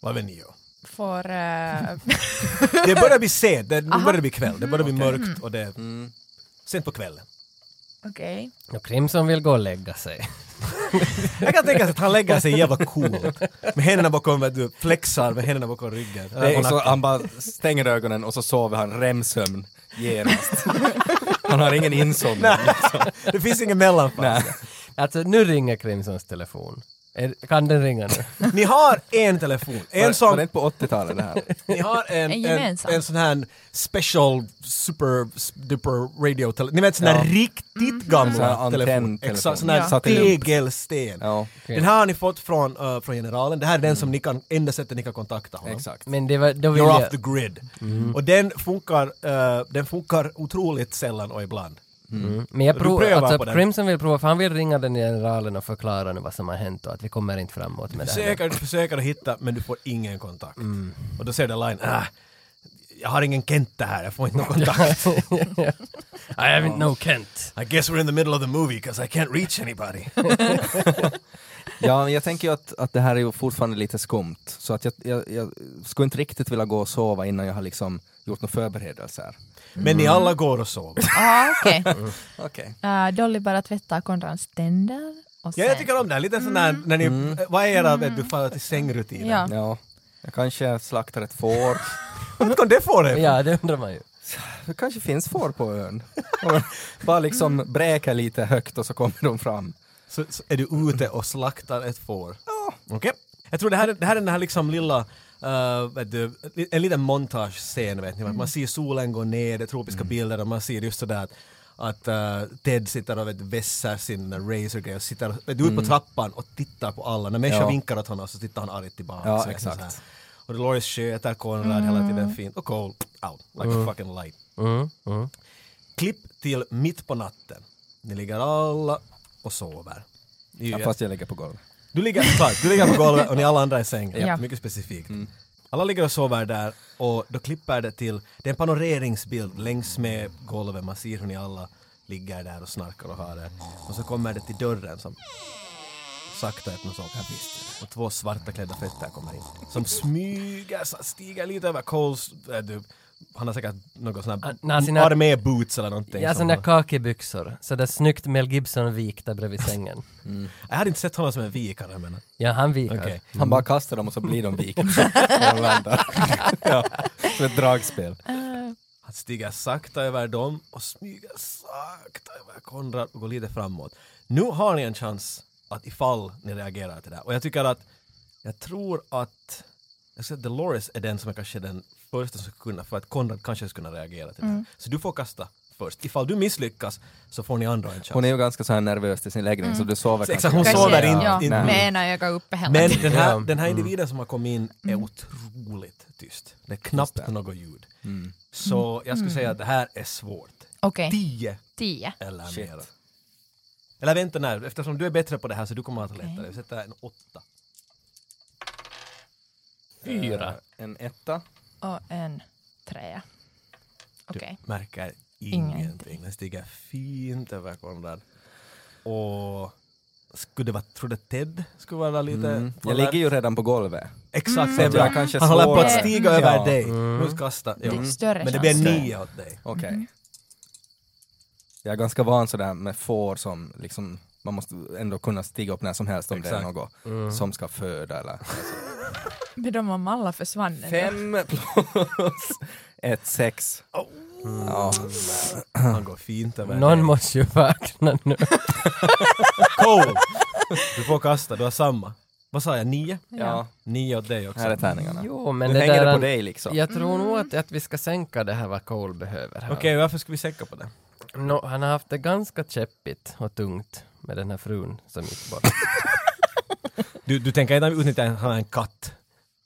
Speaker 2: Vad vill ni göra?
Speaker 4: Får... eh,
Speaker 2: Det börjar bli sent, det nu börjar det bli kväll, det börjar bli mörkt och det är
Speaker 4: Mm.
Speaker 2: sent på kvällen.
Speaker 4: Okej.
Speaker 1: Och Crimson vill gå och lägga sig.
Speaker 2: Jag kan tänka sig att han lägger sig jävla coolt. Med händerna bakom, vet du flexar med händerna bakom ryggen.
Speaker 3: Det, Eh, och
Speaker 2: Och
Speaker 3: så
Speaker 2: nacken.
Speaker 3: han bara stänger ögonen och så sover han remsömn genast. han har ingen insomning.
Speaker 2: det finns ingen mellanfas.
Speaker 1: Alltså nu ringer Crimsons telefon. Är, kan den ringa nu?
Speaker 2: Ni har en telefon,
Speaker 3: Var,
Speaker 2: en
Speaker 3: var det
Speaker 2: sån,
Speaker 3: inte på 80-talet det här?
Speaker 2: ni har en,
Speaker 4: En
Speaker 2: en,
Speaker 4: gemensam.
Speaker 2: en sån här special super duper radio telefon. Ni vet sån här
Speaker 3: Ja.
Speaker 2: riktigt gamla
Speaker 3: Sån här
Speaker 2: telefon.
Speaker 3: antenntelefon.
Speaker 2: Exakt, sån här
Speaker 4: Mm. Ja.
Speaker 3: Satellit.
Speaker 2: tegelsten.
Speaker 3: Ja, Mm.
Speaker 2: Den här har ni fått från, eh, från generalen, det här är den som ni kan, enda sättet ni kan kontakta honom.
Speaker 3: exakt.
Speaker 1: Men det var, då vill Mm.
Speaker 2: You're
Speaker 1: jag...
Speaker 2: off the grid. Och den funkar, eh, den funkar otroligt sällan och ibland.
Speaker 1: Mm. Men jag
Speaker 2: Du
Speaker 1: provar,
Speaker 2: prövar
Speaker 1: alltså
Speaker 2: på den.
Speaker 1: Crimson vill prova, för han vill ringa den generalen och förklara nu vad som har hänt och att vi kommer inte framåt med det Mm. här.
Speaker 2: Försöker, försöker att hitta men du får ingen kontakt. Och då ser du line, ah, jag har ingen Kenta här, jag får inte någon kontakt.
Speaker 1: I haven't no Kent.
Speaker 2: I guess we're in the middle of the movie because I can't reach anybody.
Speaker 3: Ja, men jag tänker ju att, att det här är ju fortfarande lite skumt. Så att jag, jag, jag skulle inte riktigt vilja gå och sova innan jag har liksom gjort några förberedelser.
Speaker 2: Men
Speaker 1: Mm.
Speaker 2: ni alla går och sover.
Speaker 4: Ah, okej.
Speaker 3: Okej.
Speaker 4: Eh, Dolly bara tvättar Konrads tänder. Och
Speaker 2: Ja,
Speaker 4: sen,
Speaker 2: jag tycker om det här, lite sån
Speaker 1: Mm.
Speaker 2: där, när ni, vad är era, vet du, faller till sängrutiner?
Speaker 4: Ja.
Speaker 3: Ja. Jag kanske slaktar ett får.
Speaker 2: Vart kom det får det?
Speaker 1: Ja, det undrar man ju.
Speaker 3: Det kanske finns får på ön. Och Bara liksom bräka lite högt och så kommer de fram.
Speaker 2: så, så är du ute och slaktar ett får. Okej. Jag tror det här, är- det här är den här liksom lilla, eh, vet du, li- en liten montagescen vet ni. vad?
Speaker 3: Mm.
Speaker 2: Man ser solen gå ner, det är tropiska bilder och man ser just sådär att att eh, Ted sitter och vet, du, vässar sin razorgrej och sitter och- vet du, ut på trappan och tittar på alla. När människor
Speaker 3: Mm. Ja.
Speaker 2: vinkar åt honom så tittar han argt tillbaka.
Speaker 3: Ja,
Speaker 2: Så vet ni,
Speaker 3: exakt. Mm.
Speaker 2: så här. Och Dolores sköter Konrad hela tiden fint och Cole out like a fucking light.
Speaker 1: Mm, mm.
Speaker 2: Klipp till mitt på natten. Ni ligger alla och sover. Ni är
Speaker 3: Ja,
Speaker 2: ju
Speaker 3: fast jag ligger på golvet.
Speaker 2: du ligger, sorry, du ligger på golvet och ni alla andra i sängen.
Speaker 4: Ja.
Speaker 2: Mycket specifikt.
Speaker 1: Mm.
Speaker 2: Alla ligger och sover där och då klipper det till, det är en panoreringsbild längs med golvet, man ser hur ni alla ligger där och snarkar och har det. Och så kommer det till dörren som sakta öppnas upp. Och två svarta klädda fötter kommer in. Som smyger, så stiger lite över Coles, äh, du, han har säkert någon sån
Speaker 1: Ah,
Speaker 2: här
Speaker 1: nej, sina-
Speaker 2: arméboots eller någonting.
Speaker 1: Ja,
Speaker 2: som
Speaker 1: sådana där
Speaker 2: han-
Speaker 1: kakebyxor. Sådär snyggt Mel Gibson vikta bredvid sängen.
Speaker 2: jag hade inte sett honom som en vikare men
Speaker 1: Ja, han vikar.
Speaker 2: okej.
Speaker 3: Han bara kastar dem och så blir de vikna. När de landar. ja. Som ett dragspel.
Speaker 2: Han stiger sakta över dem och smyger sakta över Konrad och går lite framåt. Nu har ni en chans att ifall ni reagerar till det här. Och jag tycker att, jag tror att, jag ska säga att Dolores är den som är kanske den första som skulle kunna, för att Konrad kanske skulle kunna reagera till det här. Så du får kasta först. Ifall du misslyckas så får ni andra en chans.
Speaker 3: Hon är ju ganska så här nervös till sin läggning så du sover
Speaker 2: Exakt,
Speaker 3: kanske
Speaker 2: Mm. hon
Speaker 3: ganska
Speaker 4: Kanske,
Speaker 2: sover
Speaker 3: bra.
Speaker 2: in-
Speaker 4: ja,
Speaker 2: in-
Speaker 4: med ena ögat uppe hela
Speaker 2: Men
Speaker 4: tiden.
Speaker 2: den här,
Speaker 1: Ja.
Speaker 2: den här individen som har kommit in är otroligt tyst. Det är knappt något ljud.
Speaker 3: Mm.
Speaker 2: Så jag skulle säga att det här är svårt.
Speaker 4: Okej,
Speaker 2: Tio
Speaker 4: tio.
Speaker 2: eller
Speaker 3: Shit.
Speaker 2: mer. Eller vänta nej, eftersom du är bättre på det här så du kommer att ha det lättare. Vi sätter en åtta.
Speaker 1: Fyra.
Speaker 3: Eh, En etta.
Speaker 4: Och en trea. Okej.
Speaker 2: Du märker
Speaker 4: Ingenting.
Speaker 2: ingenting. Den stiger fint över Konrad. Och Skulle det vara, tror det Ted skulle vara lite...
Speaker 3: Mm. Jag ligger ju redan på golvet.
Speaker 2: Exakt,
Speaker 3: Så att
Speaker 2: Zebra.
Speaker 3: jag kanske
Speaker 2: Han håller på att
Speaker 3: slår-
Speaker 2: stiga
Speaker 3: Ja. Mm.
Speaker 2: över dig. Nu ska kasta. Ja.
Speaker 4: Det är större
Speaker 2: Men det blir
Speaker 4: chans.
Speaker 2: nio åt dig.
Speaker 3: Okej. Jag är ganska van sådär med får som liksom, man måste ändå kunna stiga upp när som helst om det är
Speaker 2: Exakt. Mm.
Speaker 3: något
Speaker 1: Mm.
Speaker 3: som ska föda eller...
Speaker 4: Men de har alla försvann. ändå.
Speaker 3: Fem plus ett, sex. Ja.
Speaker 2: Han går fint över
Speaker 1: Någon
Speaker 2: dig.
Speaker 1: måste ju vakna nu.
Speaker 2: Cole! Du får kasta, du har samma. Vad sa jag, nio?
Speaker 3: ja,
Speaker 2: Nio åt dig också.
Speaker 3: här är tärningarna.
Speaker 1: Jo, men
Speaker 3: nu
Speaker 1: det
Speaker 3: hänger
Speaker 1: där...
Speaker 3: det på dig liksom.
Speaker 1: Jag tror nog att, att vi ska sänka det här vad Cole behöver. här.
Speaker 2: Okej, varför ska vi säcka på det?
Speaker 1: Nå, han har haft det ganska käppigt och tungt med den här frun som gick bort.
Speaker 2: Du, du tänker inte utnyttja att han är en katt?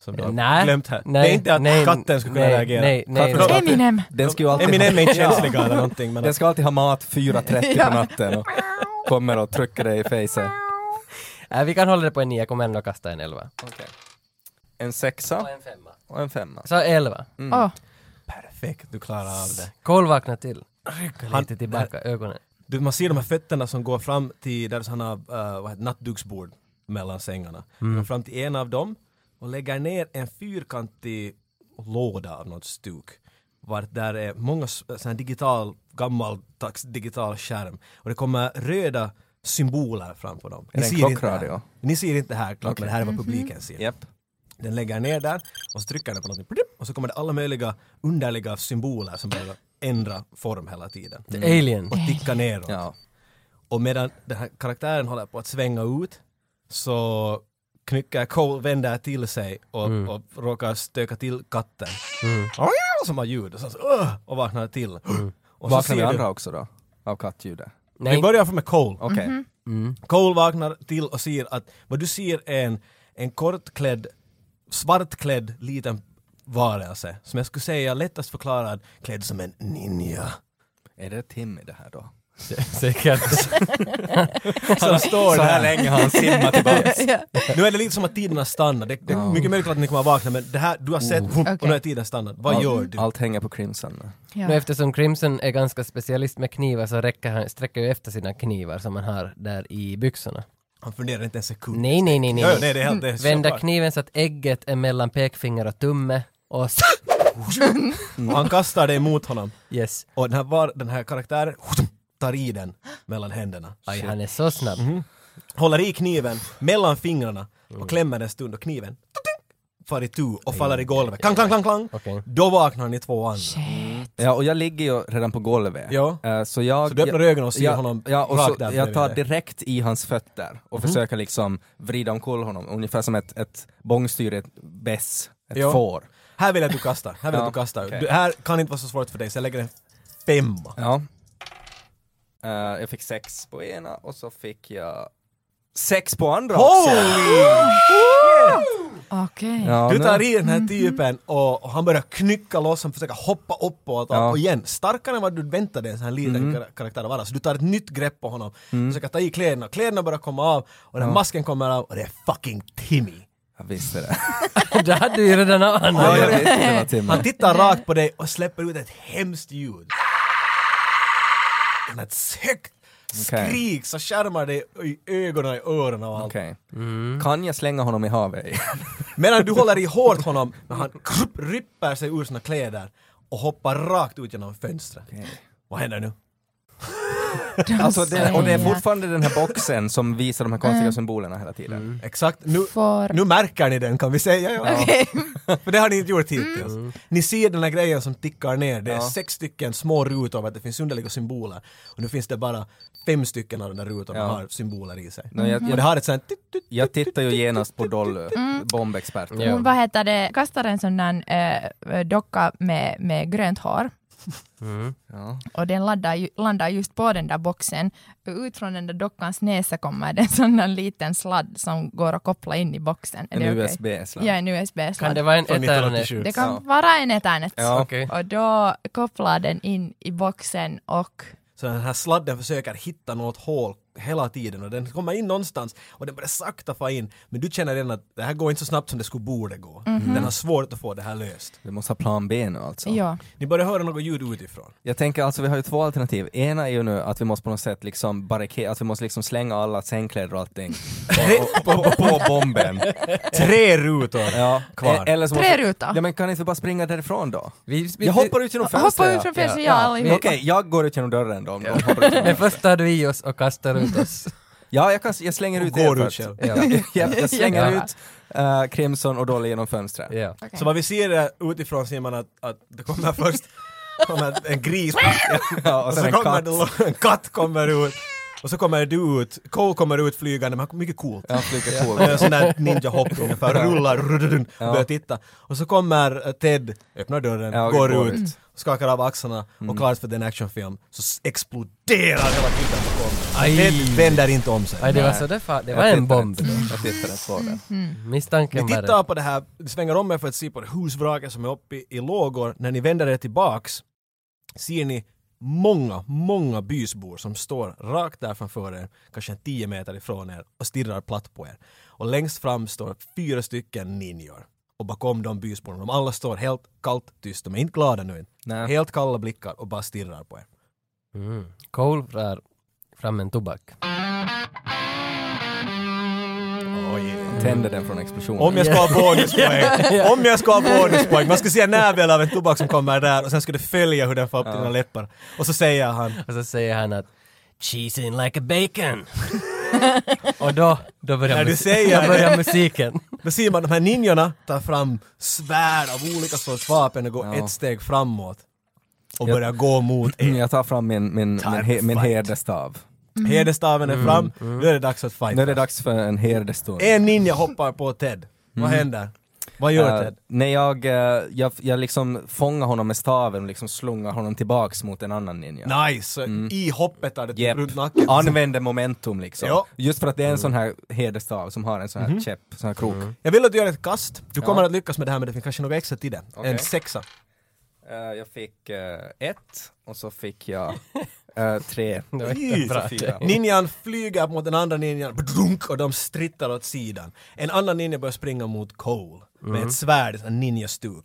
Speaker 2: Som du har
Speaker 1: Nej,
Speaker 2: glömt här. det är inte att katten skulle kunna
Speaker 1: nej,
Speaker 2: reagera.
Speaker 1: Nej, nej,
Speaker 3: Katten-
Speaker 1: nej.
Speaker 4: Eminem!
Speaker 3: Den ska ju alltid
Speaker 2: Eminem är inte
Speaker 3: Ja.
Speaker 2: känsligare eller någonting. Men
Speaker 3: Den ska alltid ha mat 4.30
Speaker 4: Ja.
Speaker 3: på natten och kommer och trycker dig i facet.
Speaker 1: Nej, Äh, vi kan hålla det på en nia, jag kommer ändå kasta en elva.
Speaker 3: En sexa
Speaker 1: Och en femma.
Speaker 3: och en femma.
Speaker 1: Så elva.
Speaker 3: Mm.
Speaker 4: Åh,
Speaker 2: perfekt, du klarar av det.
Speaker 1: Cole vaknar till. Rycker
Speaker 2: Han-
Speaker 1: lite tillbaka ögonen.
Speaker 2: Du, man ser de här fötterna som går fram till, där han har uh, vad heter, nattduksbord mellan sängarna. Går fram till en av dem och lägger ner en fyrkantig låda av något stuk. Vart där är många s- sån här digital, gammaldags digital skärm. Och det kommer röda symboler framför dem.
Speaker 3: Är det en
Speaker 2: ser inte
Speaker 3: klockradio?
Speaker 2: här. Ni ser inte här klart, men det här är vad
Speaker 3: Mhm.
Speaker 2: publiken ser.
Speaker 3: Japp.
Speaker 2: Den lägger ner där och så trycker den på något och så kommer det alla möjliga underliga symboler som bara ändrar form hela tiden.
Speaker 1: Alien.
Speaker 2: Och tickar neråt.
Speaker 3: Ja.
Speaker 2: Och medan den här karaktären håller på att svänga ut så knycker Cole, vänder till sig och,
Speaker 3: Mm.
Speaker 2: och råkar stöka till katten.
Speaker 1: Mm.
Speaker 2: Som har ljud och, så, "Åh!" och vaknar till. Och så
Speaker 3: Mm. Vaknar vi
Speaker 2: ser du-
Speaker 3: andra också då? Av kattljudet?
Speaker 2: Vi
Speaker 1: Nej, Mm.
Speaker 2: börjar från med Cole.
Speaker 3: Okej.
Speaker 2: Cole vaknar till och ser att vad du ser är en, en kortklädd, svartklädd liten varelse som jag skulle säga lättast förklarad klädd som en ninja.
Speaker 3: Är det Timmy det här då?
Speaker 1: säkert. Alltså,
Speaker 2: Som står
Speaker 3: Så här
Speaker 2: där.
Speaker 3: länge har han simmat tillbaks.
Speaker 2: Nu är det lite som att tiden har stannat. Det, det är mycket möjligt att ni kommer att vakna men det här, du har sett
Speaker 1: Oh.
Speaker 2: och nu är tiden stannat. Vad gör du?
Speaker 3: Allt hänger på Crimson nu.
Speaker 1: Nu
Speaker 4: ja.
Speaker 1: eftersom Crimson är ganska specialist med knivar så räcker han, sträcker ju efter sina knivar som han har där i byxorna.
Speaker 2: Han funderar inte en sekund.
Speaker 1: Nej, nej, nej, nej.
Speaker 2: Ja, ja,
Speaker 1: nej.
Speaker 2: nej, det är helt, det är så
Speaker 1: Vända
Speaker 2: klart.
Speaker 1: kniven så att ägget är mellan pekfinger och tumme och så.
Speaker 2: Och han kastar dig mot honom
Speaker 1: Yes.
Speaker 2: och den här, var, den här karaktären tar i den mellan händerna.
Speaker 1: Aj, han är så snabb.
Speaker 2: Mhm. håller i kniven mellan fingrarna och klämmer en stund och kniven far itu och faller i golvet. Klang, klang, klang, klang.
Speaker 1: Okej.
Speaker 2: Då vaknar ni två andra.
Speaker 3: Ja, och jag ligger ju redan på golvet.
Speaker 2: Ja.
Speaker 3: Eh, så jag...
Speaker 2: Så du öppnar
Speaker 3: jag,
Speaker 2: ögonen och ser
Speaker 3: jag,
Speaker 2: honom
Speaker 3: ja, och
Speaker 2: rakt
Speaker 3: så,
Speaker 2: där
Speaker 3: Jag
Speaker 2: bredvid
Speaker 3: tar
Speaker 2: dig. Mhm.
Speaker 3: direkt i hans fötter och försöker liksom vrida omkull honom, ungefär som ett, ett bångstyr, i ett bess, ett
Speaker 2: Ja.
Speaker 3: får.
Speaker 2: Här vill jag att du kastar. Här vill jag att du
Speaker 3: Ja,
Speaker 2: kastar.
Speaker 3: okej.
Speaker 2: Du, här kan inte vara så svårt för dig så jag lägger en femma.
Speaker 3: Ja. Eh, jag fick sex på ena och så fick jag sex på andra också!
Speaker 4: Okej.
Speaker 3: Mm. Ja,
Speaker 2: Du
Speaker 3: nu-
Speaker 2: tar i den här typen och, och han börjar knycka loss, han försöker hoppa uppåt och,
Speaker 3: Ja. Mm.
Speaker 2: och igen, starkare än vad du väntade dig en sån här liten kar- karaktär att vara. Så du tar ett nytt grepp på honom, försöker ta i kläderna, kläderna börjar komma av och den här masken kommer av och det är fucking Timmy.
Speaker 3: Jag visste det.
Speaker 1: Det hade du ju redan anat.
Speaker 3: Ja, jag visste det var Timmy.
Speaker 2: Han tittar rakt på dig och släpper ut ett hemskt ljud. Ett högt
Speaker 3: Okej.
Speaker 2: skrik så skärmar det i ögonen och i öronen och allt.
Speaker 3: Okej. Kan jag slänga honom i havet?
Speaker 2: Medan du håller i hårt honom när han krupp, rypper sig ur sina kläder och hoppar rakt ut genom fönstret. Vad händer nu?
Speaker 3: Alltså det, och det är fortfarande den här boxen som visar de här konstiga symbolerna hela tiden.
Speaker 2: Exakt, nu,
Speaker 4: Får-
Speaker 2: nu märker ni den kan vi säga. Ja.
Speaker 4: Okej.
Speaker 2: För det har ni inte gjort hittills. Ni ser den här grejen som tickar ner. Det är
Speaker 3: Mm. Ja.
Speaker 2: sex stycken små rutor av att det finns underliga symboler. Och nu finns det bara fem stycken av de där rutorna
Speaker 3: Ja.
Speaker 2: har symboler i sig.
Speaker 3: No, jag,
Speaker 2: Och det
Speaker 3: jag,
Speaker 2: har ett sånt här tut, tut,
Speaker 3: jag tittar ju genast på Dolly, bombexperten.
Speaker 1: Ja.
Speaker 4: Hon, vad heter det, kastar en sån där eh, docka med, med grönt hår
Speaker 3: Mm. Ja.
Speaker 4: och den laddar, ju- landar just på den där boxen. Och ut från den där dockans näsa kommer det en sån där liten sladd som går att koppla in i boxen. Är
Speaker 3: En
Speaker 4: det okej?
Speaker 3: USB-sladd.
Speaker 4: Ja, en USB-sladd.
Speaker 1: Kan det vara en
Speaker 2: från
Speaker 1: Ethernet?
Speaker 2: 1987.
Speaker 4: Det kan
Speaker 3: Ja.
Speaker 4: vara en Ethernet.
Speaker 3: Ja.
Speaker 1: Okej.
Speaker 4: Och då kopplar den in i boxen och
Speaker 2: Så den här sladden försöker hitta något hål, hela tiden och den kommer in någonstans och den börjar sakta få in men du känner redan att det här går inte så snabbt som det skulle borde gå. Den har svårt att få det här löst.
Speaker 3: Du måste ha plan B nu alltså.
Speaker 4: Ja.
Speaker 2: Ni börjar höra något ljud utifrån.
Speaker 3: Jag tänker alltså, vi har ju två alternativ. Ena är ju nu att vi måste på något sätt liksom barrikera, att vi måste liksom slänga alla sängkläder och allting. Och, och, och, på bomben.
Speaker 2: Tre rutor!
Speaker 3: Ja,
Speaker 2: kvar.
Speaker 3: Eller så
Speaker 4: Tre rutor.
Speaker 3: Ja, men kan inte vi bara springa därifrån då?
Speaker 1: Vi, vi,
Speaker 3: Jag hoppar ut genom
Speaker 4: Hoppa
Speaker 3: fönstret.
Speaker 4: ut från fönstret, ja,
Speaker 3: Okej,
Speaker 4: allihopa.
Speaker 3: jag går ut genom dörren då. Om de hoppar ut genom-
Speaker 1: Men först tar du i oss och kastar ut oss.
Speaker 3: ja, jag, kan, jag slänger
Speaker 2: Och
Speaker 3: ut
Speaker 2: går
Speaker 3: er
Speaker 2: ut
Speaker 3: först.
Speaker 2: själv.
Speaker 3: Ja, ja, jag slänger
Speaker 1: Ja.
Speaker 3: ut eh, Crimson och Dolly genom fönstret.
Speaker 1: Ja.
Speaker 4: Okej.
Speaker 2: Så vad vi ser eh, utifrån ser man att, att det kommer först kommer en gris
Speaker 3: Ja,
Speaker 2: och
Speaker 3: och
Speaker 2: så
Speaker 3: sen en
Speaker 2: kommer
Speaker 3: katt.
Speaker 2: det, en katt kommer ut och så kommer du ut, Cole kommer ut flygande, men han- mycket coolt.
Speaker 3: Ja, flyger cool.
Speaker 2: En sån där ninja-hopp ungefär, rullar rududun, och börjar titta. Och så kommer eh, Ted, öppnar dörren,
Speaker 3: Ja, och
Speaker 2: går,
Speaker 3: går
Speaker 2: ut,
Speaker 3: ut. Mm.
Speaker 2: skakar av axlarna och klart för den actionfilm så s- exploderar hela killen på
Speaker 1: Aj.
Speaker 2: golvet. Ted vänder inte om sig.
Speaker 1: Nej, det var så det, fa- det
Speaker 3: Jag
Speaker 1: var
Speaker 3: tittar
Speaker 1: en bomb.
Speaker 3: inte. Jag tittar inte på den.
Speaker 1: Misstanken
Speaker 2: Ni
Speaker 1: var
Speaker 2: tittar på det här, ni svänger om er för att se på det husvraket som är uppe i, i lågor. När ni vänder er tillbaks ser ni många, många bysbor som står rakt där framför er, kanske en 10 meter ifrån er och stirrar platt på er. Och längst fram står fyra stycken ninjor. Och bakom de bysborna, de alla står helt kallt tyst, de är inte glada nu.
Speaker 3: Nej.
Speaker 2: Helt kalla blickar och bara stirrar på er.
Speaker 1: Mm. Cole drar fram en tobak.
Speaker 3: Tänder den från explosionen.
Speaker 2: Om jag ska ha bonuspoäng! Om jag ska ha bonuspoäng! Man ska se nävel av en tobak som kommer där och sen ska du följa hur den far upp till dina läppar. Och så säger han
Speaker 1: Och så säger han att Cheese in like a bacon! och då, då börjar,
Speaker 2: När du
Speaker 1: mus-
Speaker 2: säger
Speaker 1: då börjar musiken.
Speaker 2: Då ser man de här ninjorna ta fram svärd av olika sorts vapen och gå
Speaker 3: Ja.
Speaker 2: ett steg framåt. Och
Speaker 3: Jag-
Speaker 2: börja gå mot
Speaker 3: Mm,
Speaker 2: er.
Speaker 3: Jag tar fram min, min, min,
Speaker 2: Eh, Time
Speaker 3: he, min
Speaker 2: fight.
Speaker 3: herdestav.
Speaker 2: Hederstaven är fram, nu är det dags att
Speaker 3: Mm. Nu är det
Speaker 2: fighta.
Speaker 3: dags för en herdestund.
Speaker 2: En ninja hoppar på Ted.
Speaker 3: Mm.
Speaker 2: Vad händer? Vad gör
Speaker 3: Eh,
Speaker 2: Ted?
Speaker 3: när jag, eh, jag, jag liksom fångar honom med staven och liksom slungar honom tillbaks mot en annan ninja.
Speaker 2: Nice! Så
Speaker 3: Mm.
Speaker 2: I hoppet tar det typ
Speaker 3: Jep.
Speaker 2: runt nacken.
Speaker 3: Använder momentum liksom.
Speaker 2: Ja.
Speaker 3: Just för att det är en sån här hederstav som har en sån här käpp, sån här krok.
Speaker 2: Jag vill att du gör ett kast. Du
Speaker 3: Ja.
Speaker 2: kommer att lyckas med det här men det finns kanske något extra till det.
Speaker 3: Okej.
Speaker 2: En sexa.
Speaker 3: Eh, jag fick eh, ett och så fick jag eh, tre.
Speaker 1: Det var inte bra.
Speaker 3: Fyra.
Speaker 2: Ninjan flyger mot den andra ninjan badunk, och de strittar åt sidan. En annan ninja börjar springa mot Cole med ett svärd, en ninjastuk.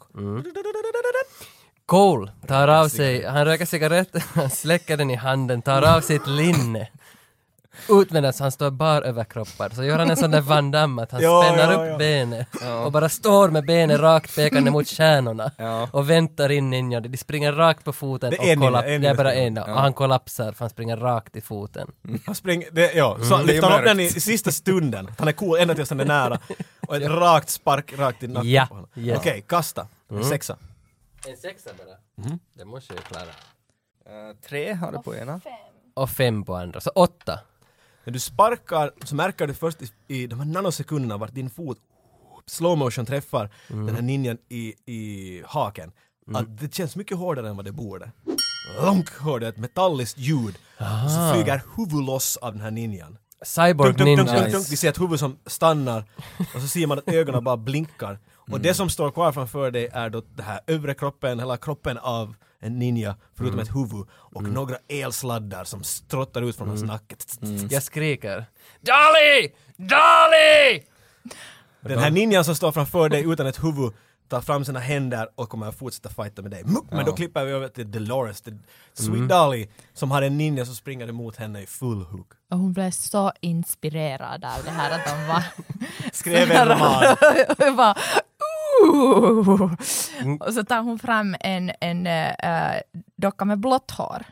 Speaker 1: Cole tar av sig, han röker cigarett, han släcker den i handen, tar av sitt linne. Ut medan han står bar överkroppad, så gör han en sån där Van Damme att han
Speaker 2: Ja,
Speaker 1: spänner
Speaker 2: ja,
Speaker 1: upp
Speaker 2: ja.
Speaker 1: benet och bara står med benet rakt pekande mot stjärnorna
Speaker 3: Ja.
Speaker 1: och väntar in ninjan. De springer rakt på foten
Speaker 2: Det är
Speaker 1: och
Speaker 2: en ninja,
Speaker 1: kollap-
Speaker 2: en
Speaker 1: det är
Speaker 2: ninja
Speaker 1: bara
Speaker 2: springer.
Speaker 1: en, och han kollapsar för han springer rakt i foten.
Speaker 2: Han springer, det, ja, så
Speaker 3: det är
Speaker 2: lyfter han upp
Speaker 3: mörkt.
Speaker 2: den i sista stunden. Han är cool ända tills han är nära. Och ett rakt spark rakt i nacken
Speaker 1: Ja,
Speaker 2: på honom.
Speaker 1: ja.
Speaker 2: Okej, kasta. En Sexa.
Speaker 1: En sexa bara?
Speaker 2: Mhm.
Speaker 1: Det måste jag ju klara.
Speaker 3: Eh, tre har du på ena.
Speaker 1: Och fem på andra, så åtta.
Speaker 2: När du sparkar så märker du först i, i de här nanosekunderna vart din fot slow motion träffar den här ninjan i, i haken. Att det känns mycket hårdare än vad det borde. Långt hörde ett metalliskt ljud. Och Så flyger huvud loss av den här ninjan.
Speaker 1: Cyborg
Speaker 2: Dunk, dunk, dunk,
Speaker 1: Ninja.
Speaker 2: dunk, dunk. Vi ser ett huvud som stannar och så ser man att ögonen bara blinkar. Och det som står kvar framför dig är då det här övre kroppen, hela kroppen av en ninja förutom ett huvud och några elsladdar som strottar ut från hans nacke.
Speaker 1: Jag skriker. Dolly! Dolly!
Speaker 2: Den här ninjan som står framför dig utan ett huvud tar fram sina händer och kommer att fortsätta fighta med dig. Muck! Men då klipper vi över till Dolores, till
Speaker 3: Mm.
Speaker 2: Sweet Dolly, som har en ninja som springer emot henne i full hook.
Speaker 4: Och hon blev så inspirerad av det här att de var...
Speaker 2: Skrev en roman.
Speaker 4: Jag bara, "Ooh."
Speaker 3: Mm.
Speaker 4: Och så tar hon fram en, en eh, docka med blått hår.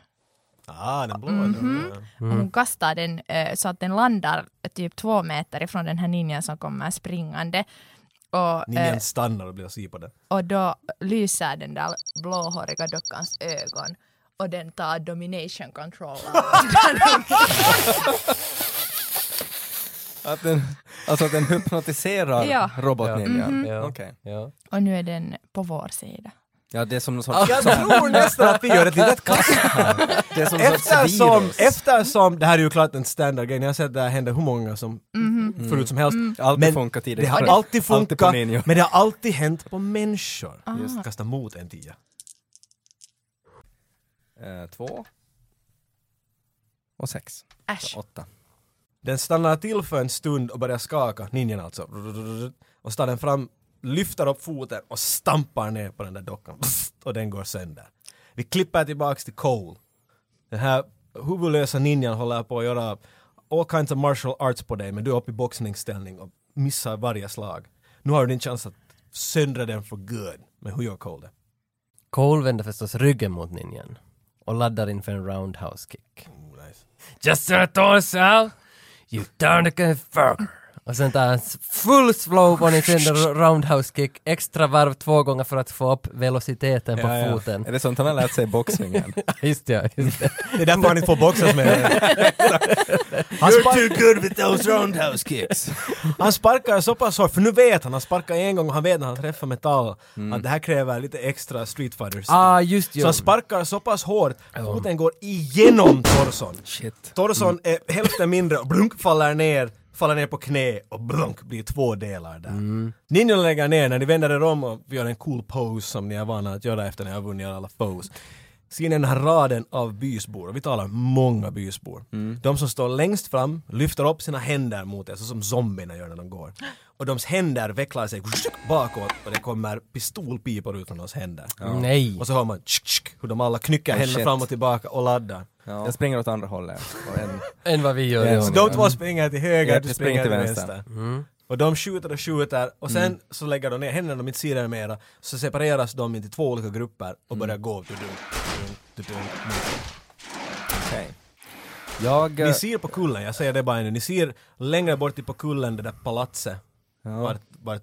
Speaker 2: Ah, den blå. den.
Speaker 4: Och
Speaker 3: Mm.
Speaker 4: hon kastar den eh, så att den landar typ två meter ifrån den här ninjan som kommer springande. Och, eh,
Speaker 2: Ninjan stannar och blir sur på den.
Speaker 4: och då lyser den där blåhåriga dockans ögon och den tar domination control.
Speaker 3: Att den, alltså att den hypnotiserar
Speaker 4: Ja.
Speaker 3: robotninjan.
Speaker 1: Ja.
Speaker 3: Okej.
Speaker 1: Ja.
Speaker 4: och nu är den på vår sida.
Speaker 3: Ja, det är som någon sorts...
Speaker 2: Jag tror nästan att vi gör ett litet kast.
Speaker 3: Det är som någon sorts
Speaker 2: Eftersom,
Speaker 3: virus.
Speaker 2: eftersom, det här är ju klart en standardgrej, jag har sett det här hända hur många som Mm. förut som helst.
Speaker 3: Alltid
Speaker 2: Men
Speaker 3: funkat tidigare.
Speaker 2: Det har alltid
Speaker 3: Alltid på
Speaker 2: funkat,
Speaker 3: ninjor.
Speaker 2: men det har alltid hänt på människor. Kasta mot en tia.
Speaker 3: Eh, två. Och sex.
Speaker 4: Äsch.
Speaker 3: Åtta.
Speaker 2: Den stannar till för en stund och börjar skaka, ninjan alltså. Och så tar den fram, lyfter upp foten och stampar ner på den där dockan. Och den går sönder. Vi klipper tillbaks till Cole. Den här huvudlösa ninjan håller på att göra all kinds of martial arts på dig men du är uppe i boxningsställning och missar varje slag. Nu har du din chans att söndra den för good. Men hur gör Cole det?
Speaker 1: Cole vänder förstås ryggen mot ninjan och laddar in för en roundhouse kick.
Speaker 2: Oh, nice.
Speaker 1: Just so it all so, you darn the fucker. Och sen tar han s- full slow
Speaker 2: Oh,
Speaker 1: på sin roundhouse kick, extra varv två gånger för att få upp velociteten på
Speaker 2: Ja, ja.
Speaker 1: foten.
Speaker 3: Är det sånt han har lärt sig i boxningen?
Speaker 1: Just ja, just det.
Speaker 2: Det är därför han inte får boxas med den. Han sparkar-
Speaker 3: You're too good with those roundhouse kicks!
Speaker 2: Han sparkar så pass hårt, för nu vet han, han sparkar en gång och han vet när han träffar metall att det här kräver lite extra Street Fighters.
Speaker 1: Ah, just
Speaker 2: så
Speaker 1: ja.
Speaker 2: han sparkar så pass hårt, foten går igenom torson.
Speaker 3: Shit.
Speaker 2: Torson är hälften mindre och blunk faller ner, faller ner på knä och blunk blir två delar där. Mm. Ninjon lägger ner när ni vänder er om och gör en cool pose som ni är vana att göra efter när jag har vunnit alla foes. Ser ni den här raden av bysbor, och vi talar många bysbor. De som står längst fram lyfter upp sina händer mot er, så som zombierna gör när de går. Och deras händer vecklar sig bakåt och det kommer pistolpipor ut från deras händer.
Speaker 1: Nej.
Speaker 2: Mm. Och så hör man tsk, tsk, hur de alla knycker
Speaker 3: Oh,
Speaker 2: händerna
Speaker 3: shit.
Speaker 2: fram och tillbaka och laddar.
Speaker 3: Ja. Jag springer åt andra hållet. Och en,
Speaker 1: Än vad vi gör.
Speaker 3: Ja,
Speaker 1: i
Speaker 2: Så
Speaker 1: ordning.
Speaker 2: de två springer till höger,
Speaker 3: Ja,
Speaker 2: du springer till vänster.
Speaker 3: Mm.
Speaker 2: Och de skjuter och skjuter och sen så lägger de ner händerna, de inte ser det mera. Så separeras de in till två olika grupper
Speaker 3: Mm.
Speaker 2: och börjar gå. Du, du, du, du, du.
Speaker 3: okay. Jag... eh,
Speaker 2: Ni ser på kullen, jag säger det bara nu, ni ser längre bort på kullen det där palatset. Vart, vart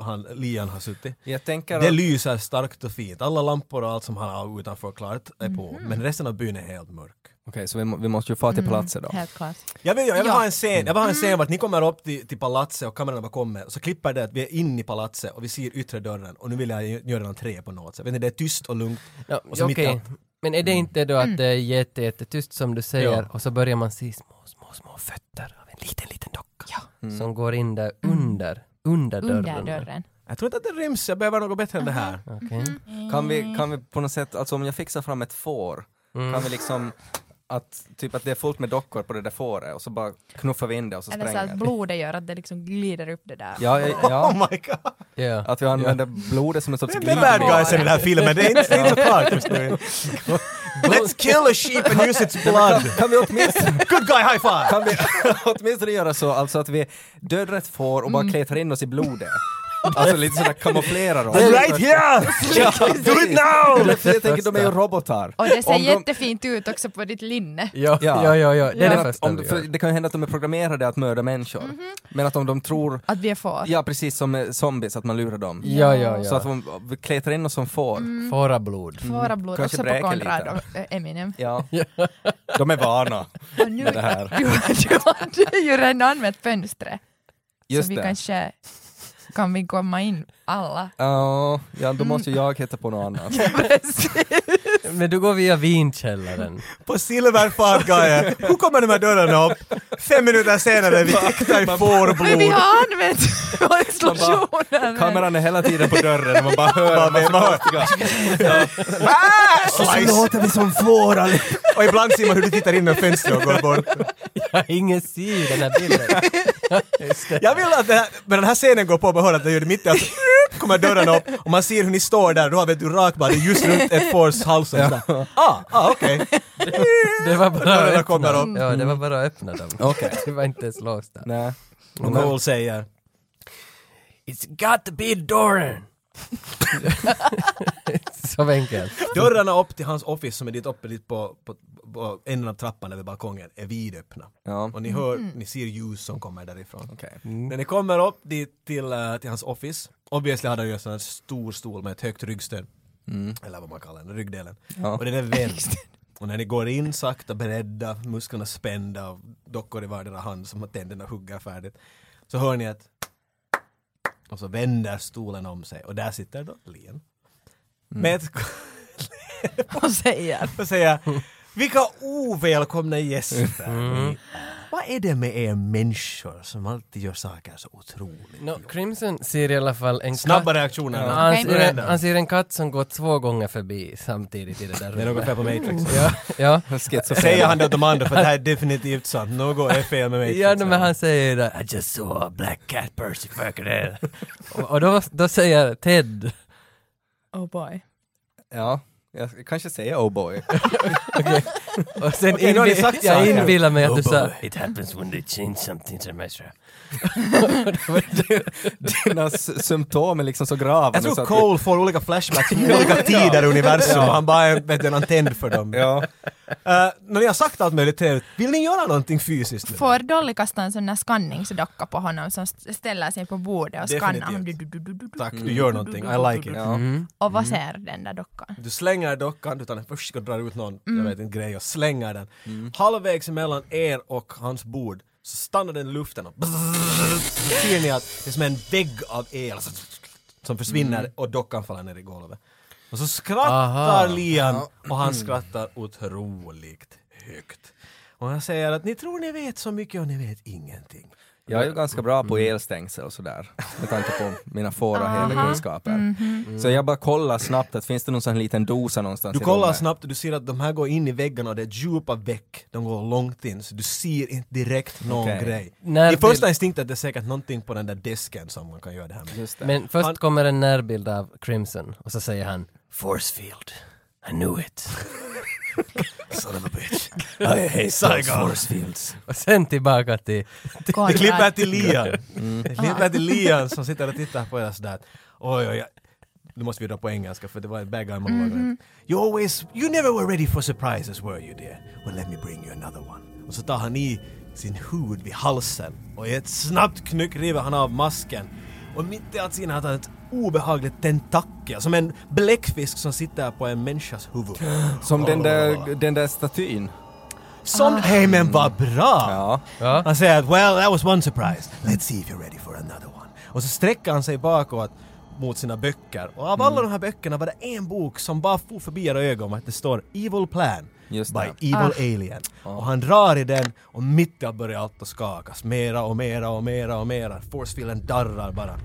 Speaker 2: han, Lian har suttit.
Speaker 3: Jag tänker
Speaker 2: Det
Speaker 3: att-
Speaker 2: lyser starkt och fint. Alla lampor och allt som han har utanför klart är på.
Speaker 3: Mhm.
Speaker 2: Men resten av byn är helt mörk.
Speaker 3: Okej, så vi, må- vi måste ju få till
Speaker 4: Mm.
Speaker 3: palatset då.
Speaker 4: Helt klart.
Speaker 2: Jag vill, jag vill
Speaker 4: Ja.
Speaker 2: ha en scen, jag vill ha en scen vart ni kommer upp till, till palatset och kameran bara kommer så klipper det att vi är inne i palatset och vi ser yttre dörren och nu vill jag ju- göra en entré på något sätt. Vet ni, det är tyst och lugnt.
Speaker 1: Ja,
Speaker 2: Och så mitt
Speaker 1: okej.
Speaker 2: i allt. Mm.
Speaker 1: Men är det inte då att det är jätte, jättetyst som du säger
Speaker 2: Ja.
Speaker 1: och så börjar man se små, små, små fötter av en liten, liten docka
Speaker 3: Mm.
Speaker 1: som går in där under, under dörren.
Speaker 4: Under dörren. Mm.
Speaker 2: Jag tror inte att det ryms, jag behöver något bättre än det här.
Speaker 1: Okej.
Speaker 3: Kan vi, kan vi på något sätt, alltså om jag fixar fram ett får,
Speaker 1: Mm.
Speaker 3: kan vi liksom att, typ att det är fullt med dockor på det där fåret och så bara knuffar vi in det och så
Speaker 4: Eller så
Speaker 3: spränger
Speaker 4: att
Speaker 3: det.
Speaker 4: blodet gör att det liksom glider upp det där.
Speaker 3: Ja, ja, ja,
Speaker 2: Oh my god!
Speaker 1: Ja.
Speaker 3: att vi använder blodet som en sorts
Speaker 2: Det är bad
Speaker 3: glidmedel.
Speaker 2: guys i den här filmen, det är inte, det är inte så klart just nu. Let's kill a sheep and use its blood!
Speaker 3: Kan vi, åtminstone,
Speaker 2: Good guy high five!
Speaker 3: kan vi åtminstone göra så, alltså att vi dödar ett får och bara kletar in oss i blodet? Alltså lite sådär kamouflerar oss.
Speaker 2: Right here! Do it now!
Speaker 3: För jag tänker, de är ju robotar.
Speaker 4: Och det ser
Speaker 3: Om de-
Speaker 4: jättefint ut också på ditt linne.
Speaker 1: Ja, ja,
Speaker 3: Ja.
Speaker 1: ja, ja, det är
Speaker 3: Men
Speaker 1: det
Speaker 3: att,
Speaker 1: första
Speaker 3: om,
Speaker 1: vi
Speaker 3: för
Speaker 1: gör.
Speaker 3: det kan ju hända att de är programmerade att mörda människor. Men att om de tror,
Speaker 4: Att vi är får.
Speaker 3: ja precis som eh, zombies, att man lurar dem.
Speaker 1: Ja, ja,
Speaker 3: Så att
Speaker 1: ja.
Speaker 3: de vi klätrar in oss som får.
Speaker 1: Fåra blod.
Speaker 4: Våra Mm. blod också
Speaker 3: Kanske
Speaker 4: på
Speaker 3: bräker
Speaker 4: Konrad
Speaker 3: lite.
Speaker 4: och eh, Eminem.
Speaker 3: Ja. De är vana.
Speaker 4: Och nu,
Speaker 3: Med det här.
Speaker 4: Du, du hade ju redan använt fönstret.
Speaker 3: Just
Speaker 4: så vi
Speaker 3: det.
Speaker 4: kanske kan vi komma in alla.
Speaker 3: Ja, ja, då måste ju jag hitta på något annat.
Speaker 1: Men du går via vinkällaren.
Speaker 2: På Silver Fart Guy, hur kommer de här dörrarna upp? Fem minuter senare, vi täckta i
Speaker 4: Men vi
Speaker 2: fårblod.
Speaker 4: har använt våra explosioner!
Speaker 3: Kameran är hela tiden på dörren och man bara hör en massa konstiga...
Speaker 2: Och så låter vi Ah! som får Och ibland ser man hur du tittar in genom fönstret och går bort.
Speaker 1: Ingen ser den här bilden. Just det.
Speaker 2: Jag vill att det här, när den här scenen går på, man hör att det gör det mitt i allt. kommer dörren upp och man ser hur ni står där, då har vet du rakbladet just runt ett fårs hals och sådär. Ah, ah okej.
Speaker 1: Det var bara
Speaker 2: Dörrarna
Speaker 1: att öppna
Speaker 2: kommer
Speaker 1: dem.
Speaker 2: upp.
Speaker 1: Ja, det var bara att öppna dem.
Speaker 3: Okej.
Speaker 1: Det var inte ens låst där.
Speaker 3: Nej.
Speaker 2: Och Cole säger
Speaker 1: It's got to be Doran! Så enkelt.
Speaker 2: Dörrarna upp till hans office som är dit uppe dit på, på, på änden av trappan över balkongen är vidöppna.
Speaker 3: Ja,
Speaker 2: Och ni hör, ni ser ljus som kommer därifrån.
Speaker 3: okej.
Speaker 2: När ni kommer upp dit till, eh, till hans office, obviously hade han ju en sån här stor stol med ett högt ryggstöd. Eller vad man kallar den, ryggdelen.
Speaker 3: Ja.
Speaker 2: Och den är vänd. Och när ni går in sakta beredda, musklerna spända, och dockor i vardera hand som att tänderna huggar färdigt. Så hör ni att... Och så vänder stolen om sig och där sitter då Len. Med ett
Speaker 4: och säger
Speaker 2: och säga vilka ovälkomna gäster ni är. Vad är det med er människor som alltid gör saker så otroligt?
Speaker 1: No, Crimson ser i alla fall en
Speaker 2: Snabba
Speaker 1: katt...
Speaker 2: reaktioner.
Speaker 1: Ja,
Speaker 2: Ja.
Speaker 1: han,
Speaker 4: Okej.
Speaker 1: ser, han ser en katt som går två gånger förbi samtidigt i det där
Speaker 2: Det är något
Speaker 1: rummet.
Speaker 2: fel på Matrix.
Speaker 1: Ja, ja.
Speaker 3: Schizofren.
Speaker 2: Säger han det åt de andra för det här är definitivt sant. Något är fel med Matrix.
Speaker 1: Ja, no, men han säger ju där I just saw a black cat person fucking there. och och då, då säger Ted,
Speaker 4: Oh boy.
Speaker 3: Ja, jag ska kanske säger oh boy.
Speaker 1: och sen
Speaker 2: Okej, nu har ni
Speaker 1: inbi-
Speaker 2: sagt
Speaker 1: jag
Speaker 2: saker.
Speaker 1: inbillar mig att
Speaker 2: Oh
Speaker 1: du sa
Speaker 2: boy.
Speaker 1: It happens when they change something to measure.
Speaker 3: Dina s- symptom är liksom så grava.
Speaker 2: Jag
Speaker 3: nu så
Speaker 2: tror
Speaker 3: att-
Speaker 2: Cole får olika flashbacks i olika tider i universum och han bara är vet du, en antenn för dem.
Speaker 3: Ja.
Speaker 2: Eh, när ni har sagt allt möjligt trevligt, vill ni göra någonting fysiskt? nu?
Speaker 4: Får Dolly kasta en sån där skanningsdocka på honom som st- ställer sig på bordet och
Speaker 2: Definitivt. Mm.
Speaker 4: skannar honom? Du, du, du, du, du, du.
Speaker 2: Tack, du gör någonting. I like it.
Speaker 3: Ja.
Speaker 4: Och vad ser den där dockan?
Speaker 2: Du slänger dockan, du tar den först och drar ut någon, jag vet inte, grej och slänger den. Halvvägs mellan er och hans bord så stannar den i luften och brrrr, så ser ni att det är som en vägg av el som försvinner och dockan faller ner i golvet. Och så skrattar
Speaker 1: Aha.
Speaker 2: Liam och han skrattar otroligt högt. Och han säger att ni tror ni vet så mycket och ni vet ingenting.
Speaker 3: Jag är ju ganska bra på
Speaker 2: Mm.
Speaker 3: elstängsel och sådär, med tanke på mina fåra helekunskaper.
Speaker 4: Mhm.
Speaker 3: Så jag bara kollar snabbt att finns det någon sån här liten dosa någonstans
Speaker 2: Du
Speaker 3: i
Speaker 2: kollar
Speaker 3: rummet?
Speaker 2: snabbt och du ser att de här går in i väggarna och det är djupa väck, de går långt in så du ser inte direkt någon
Speaker 3: Okej.
Speaker 2: grej.
Speaker 1: När
Speaker 2: Din första instinkt är att det är säkert någonting på den där desken som man kan göra det här med.
Speaker 3: Just det.
Speaker 1: Men först
Speaker 2: Han-
Speaker 1: kommer en närbild av Crimson och så säger han Force field. I knew it.
Speaker 2: Son of a bitch. I hate Saigon. Force fields.
Speaker 1: Och sen tillbaka till...
Speaker 2: Det klipper till Lian. Det klipper till Lian som sitter och tittar på er sådär. Oj, oj, oj. Nu måste vi dra på engelska för det var en bad guy monolog. You always, you never were ready for surprises were you dear? Well let me bring you another one. Och så tar han i sin hud vid halsen och i ett snabbt knyck river han av masken. Och mitt i allt sin hade han ett obehagligt tentakel, som en bläckfisk som sitter på en människas huvud.
Speaker 3: Som den där, den där statyn.
Speaker 2: Som, hej men vad bra!
Speaker 3: Ja.
Speaker 1: Ja.
Speaker 2: Han säger att “Well, that was one surprise. Let's see if you're ready for another one”. Och så sträcker han sig bakåt mot sina böcker. Och av alla
Speaker 3: Mm.
Speaker 2: de här böckerna var det en bok som bara for förbi era ögon att det står “Evil Plan”
Speaker 3: Just
Speaker 2: by
Speaker 3: det.
Speaker 2: Evil Alien. Och han drar i den och mitt i allt börjar allt att skakas. Mera och mera och mera och mera. Forcefielden darrar bara.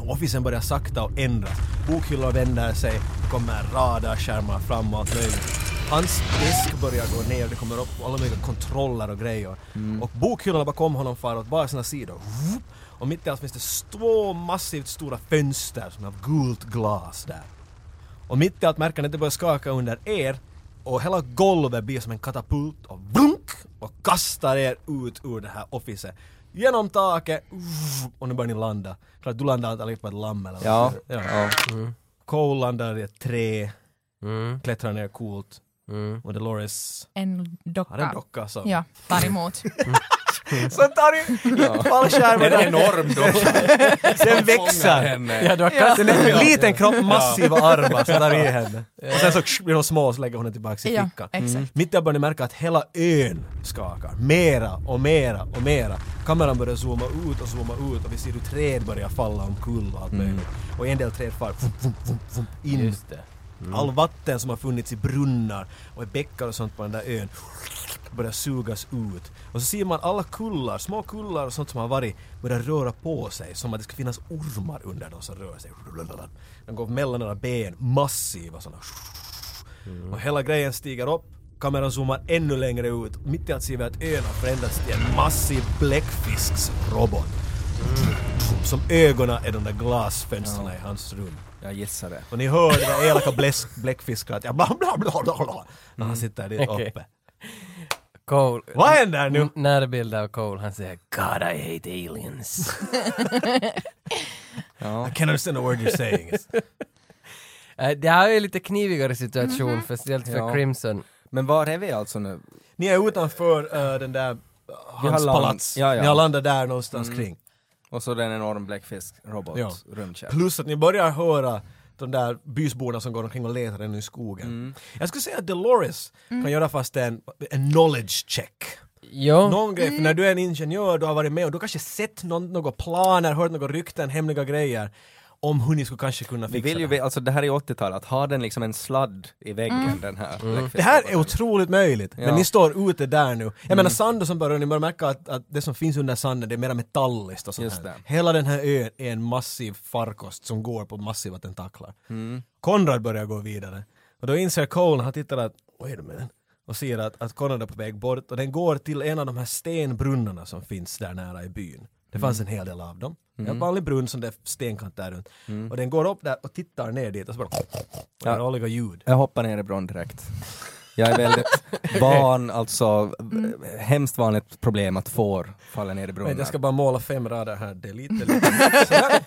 Speaker 2: Och Officen börjar sakta och ändras. Bokhyllor vänder sig, kommer radarskärmar fram och allt möjligt. Hans disk börjar gå ner, det kommer upp alla möjliga kontroller och grejer. Och bokhyllorna bakom honom far åt bara sina sidor. Och mitt i allt finns det två massivt stora fönster som är av gult glas där. Och mitt i allt märker ni att det börjar skaka under er och hela golvet blir som en katapult och vrunk och kastar er ut ur det här officet. Genom taket uff, och nu börjar ni landa. Klart du landar antagligen på ett lamm eller
Speaker 3: Ja.
Speaker 2: något.
Speaker 3: ja.
Speaker 2: Cole landar i ett trä,
Speaker 1: Mm,
Speaker 2: klättrar ner coolt
Speaker 1: mm.
Speaker 2: och Dolores
Speaker 4: En docka.
Speaker 2: har en docka som...
Speaker 4: Ja, tar emot.
Speaker 2: Som tar ju fallskärmen!
Speaker 3: Den är enorm då.
Speaker 2: Den växer!
Speaker 3: henne.
Speaker 1: Ja, du har
Speaker 4: Ja.
Speaker 2: Den
Speaker 1: kastat
Speaker 2: är en liten kropp, massiva armar som tar i henne. Och sen så tsch, blir hon små och så lägger hon den tillbaka i
Speaker 4: ja,
Speaker 2: fickan.
Speaker 1: Mm.
Speaker 4: exakt.
Speaker 2: Mitt där börjar ni märka att hela ön skakar. Mera och mera och mera. Kameran börjar zooma ut och zooma ut och vi ser hur träd börjar falla omkull och allt möjligt. Och en del träd far vum, vum, vum, vum, in.
Speaker 1: Mm. Just det. Mm.
Speaker 2: All vatten som har funnits i brunnar och i bäckar och sånt på den där ön börjar sugas ut. Och så ser man alla kullar, små kullar och sånt som har varit, börjar röra på sig som att det ska finnas ormar under dem som rör sig. De går mellan era ben, massiva sådana. Och hela grejen stiger upp, kameran zoomar ännu längre ut. Mitt i allt ser vi att ön har förändrats till en massiv bläckfisksrobot. Mm. Som ögonen är de där glasfönstren i hans rum.
Speaker 3: Jag gissar det.
Speaker 2: Och ni hör det där elaka bläs- bläckfiskrat, ja bla bla bla bla bla. När han sitter dit
Speaker 1: Okej.
Speaker 2: uppe.
Speaker 1: Cole.
Speaker 2: Vad händer nu?
Speaker 1: N- Närbild av Cole, han säger God I hate aliens.
Speaker 2: I can't understand a word you're saying.
Speaker 1: Eh, det här är en lite knivigare situation,
Speaker 2: Mhm.
Speaker 1: speciellt för
Speaker 3: Ja.
Speaker 1: Crimson.
Speaker 3: Men var är vi alltså nu?
Speaker 2: Ni är utanför eh, den där eh, hans
Speaker 3: har land-
Speaker 2: palats.
Speaker 3: Ja, Mm. ja.
Speaker 2: Ni har landat där någonstans kring.
Speaker 3: Och så den enorm bläckfisk-robot,
Speaker 2: Ja.
Speaker 3: rymdkärl.
Speaker 2: Plus att ni börjar höra de där bysborna som går omkring och letar ännu i skogen.
Speaker 3: Mm.
Speaker 2: Jag skulle säga att Dolores kan göra fast en, en knowledge check.
Speaker 1: Jo,
Speaker 2: Någon grej, för när du är en ingenjör, du har varit med och du har kanske sett någon, några planer, hört några rykten, hemliga grejer. om hur ni skulle kanske kunna
Speaker 3: Vi
Speaker 2: fixa
Speaker 3: vill ju,
Speaker 2: det.
Speaker 3: vi- alltså det här är 80-talet, att ha den liksom en sladd i väggen den här. Black
Speaker 2: Mm. Det här är
Speaker 3: Festival.
Speaker 2: otroligt möjligt,
Speaker 3: Ja. Mm.
Speaker 2: men ni står ute där nu. Jag menar sanden som börjar, ni börjar märka att, att det som finns under sanden det är mera metalliskt och sånt
Speaker 3: Just
Speaker 2: här.
Speaker 3: det.
Speaker 2: Hela den här ön är en massiv farkost som går på massiva tentaklar.
Speaker 3: Mm.
Speaker 2: Konrad börjar gå vidare. Och då inser Cole när han tittar att, wait a minute, och ser att, att Konrad är på väg bort och den går till en av de här stenbrunnarna som finns där nära i byn. Det fanns
Speaker 3: Mm.
Speaker 2: en hel del av dem. En vanlig brunn som det är stenkant där runt. Och den går upp där och tittar ner dit och så bara... Och det är
Speaker 3: Mm. Ja.
Speaker 2: olika ljud.
Speaker 3: Jag hoppar ner i bron direkt. Jag är väldigt van, alltså hemskt vanligt problem att får faller ner i
Speaker 2: Men
Speaker 3: brunnar.
Speaker 2: jag ska bara måla fem rader här, det är lite... lite. Sådär.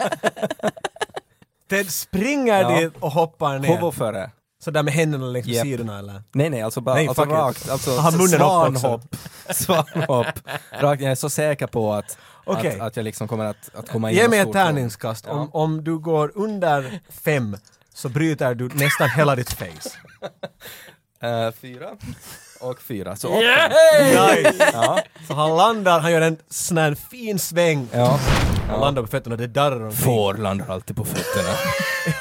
Speaker 2: Ted springer
Speaker 3: Ja.
Speaker 2: dit och hoppar ner.
Speaker 3: Hovoföre.
Speaker 2: Sådär med händerna längs med
Speaker 3: Japp.
Speaker 2: sidorna eller?
Speaker 3: Nej nej, alltså bara
Speaker 2: Nej,
Speaker 3: alltså
Speaker 2: fuck it.
Speaker 3: rakt, alltså
Speaker 2: Han har munnen upp också.
Speaker 3: svanhopp. Svanhopp. Rakt, jag är så säker på att,
Speaker 2: Okej.
Speaker 3: att, att jag liksom kommer att, att komma in
Speaker 2: Ge
Speaker 3: och
Speaker 2: mig ett
Speaker 3: stort hål.
Speaker 2: tärningskast. Om,
Speaker 3: Ja.
Speaker 2: om du går under fem så bryter du nästan hela ditt face.
Speaker 3: Eh, fyra. Och fyra, så åtta.
Speaker 2: Nice.
Speaker 3: Ja,
Speaker 2: Så han landar, han gör en sån här fin sväng.
Speaker 3: ja.
Speaker 2: Han landar på fötterna, det darrar omkring.
Speaker 3: Får landar alltid på fötterna.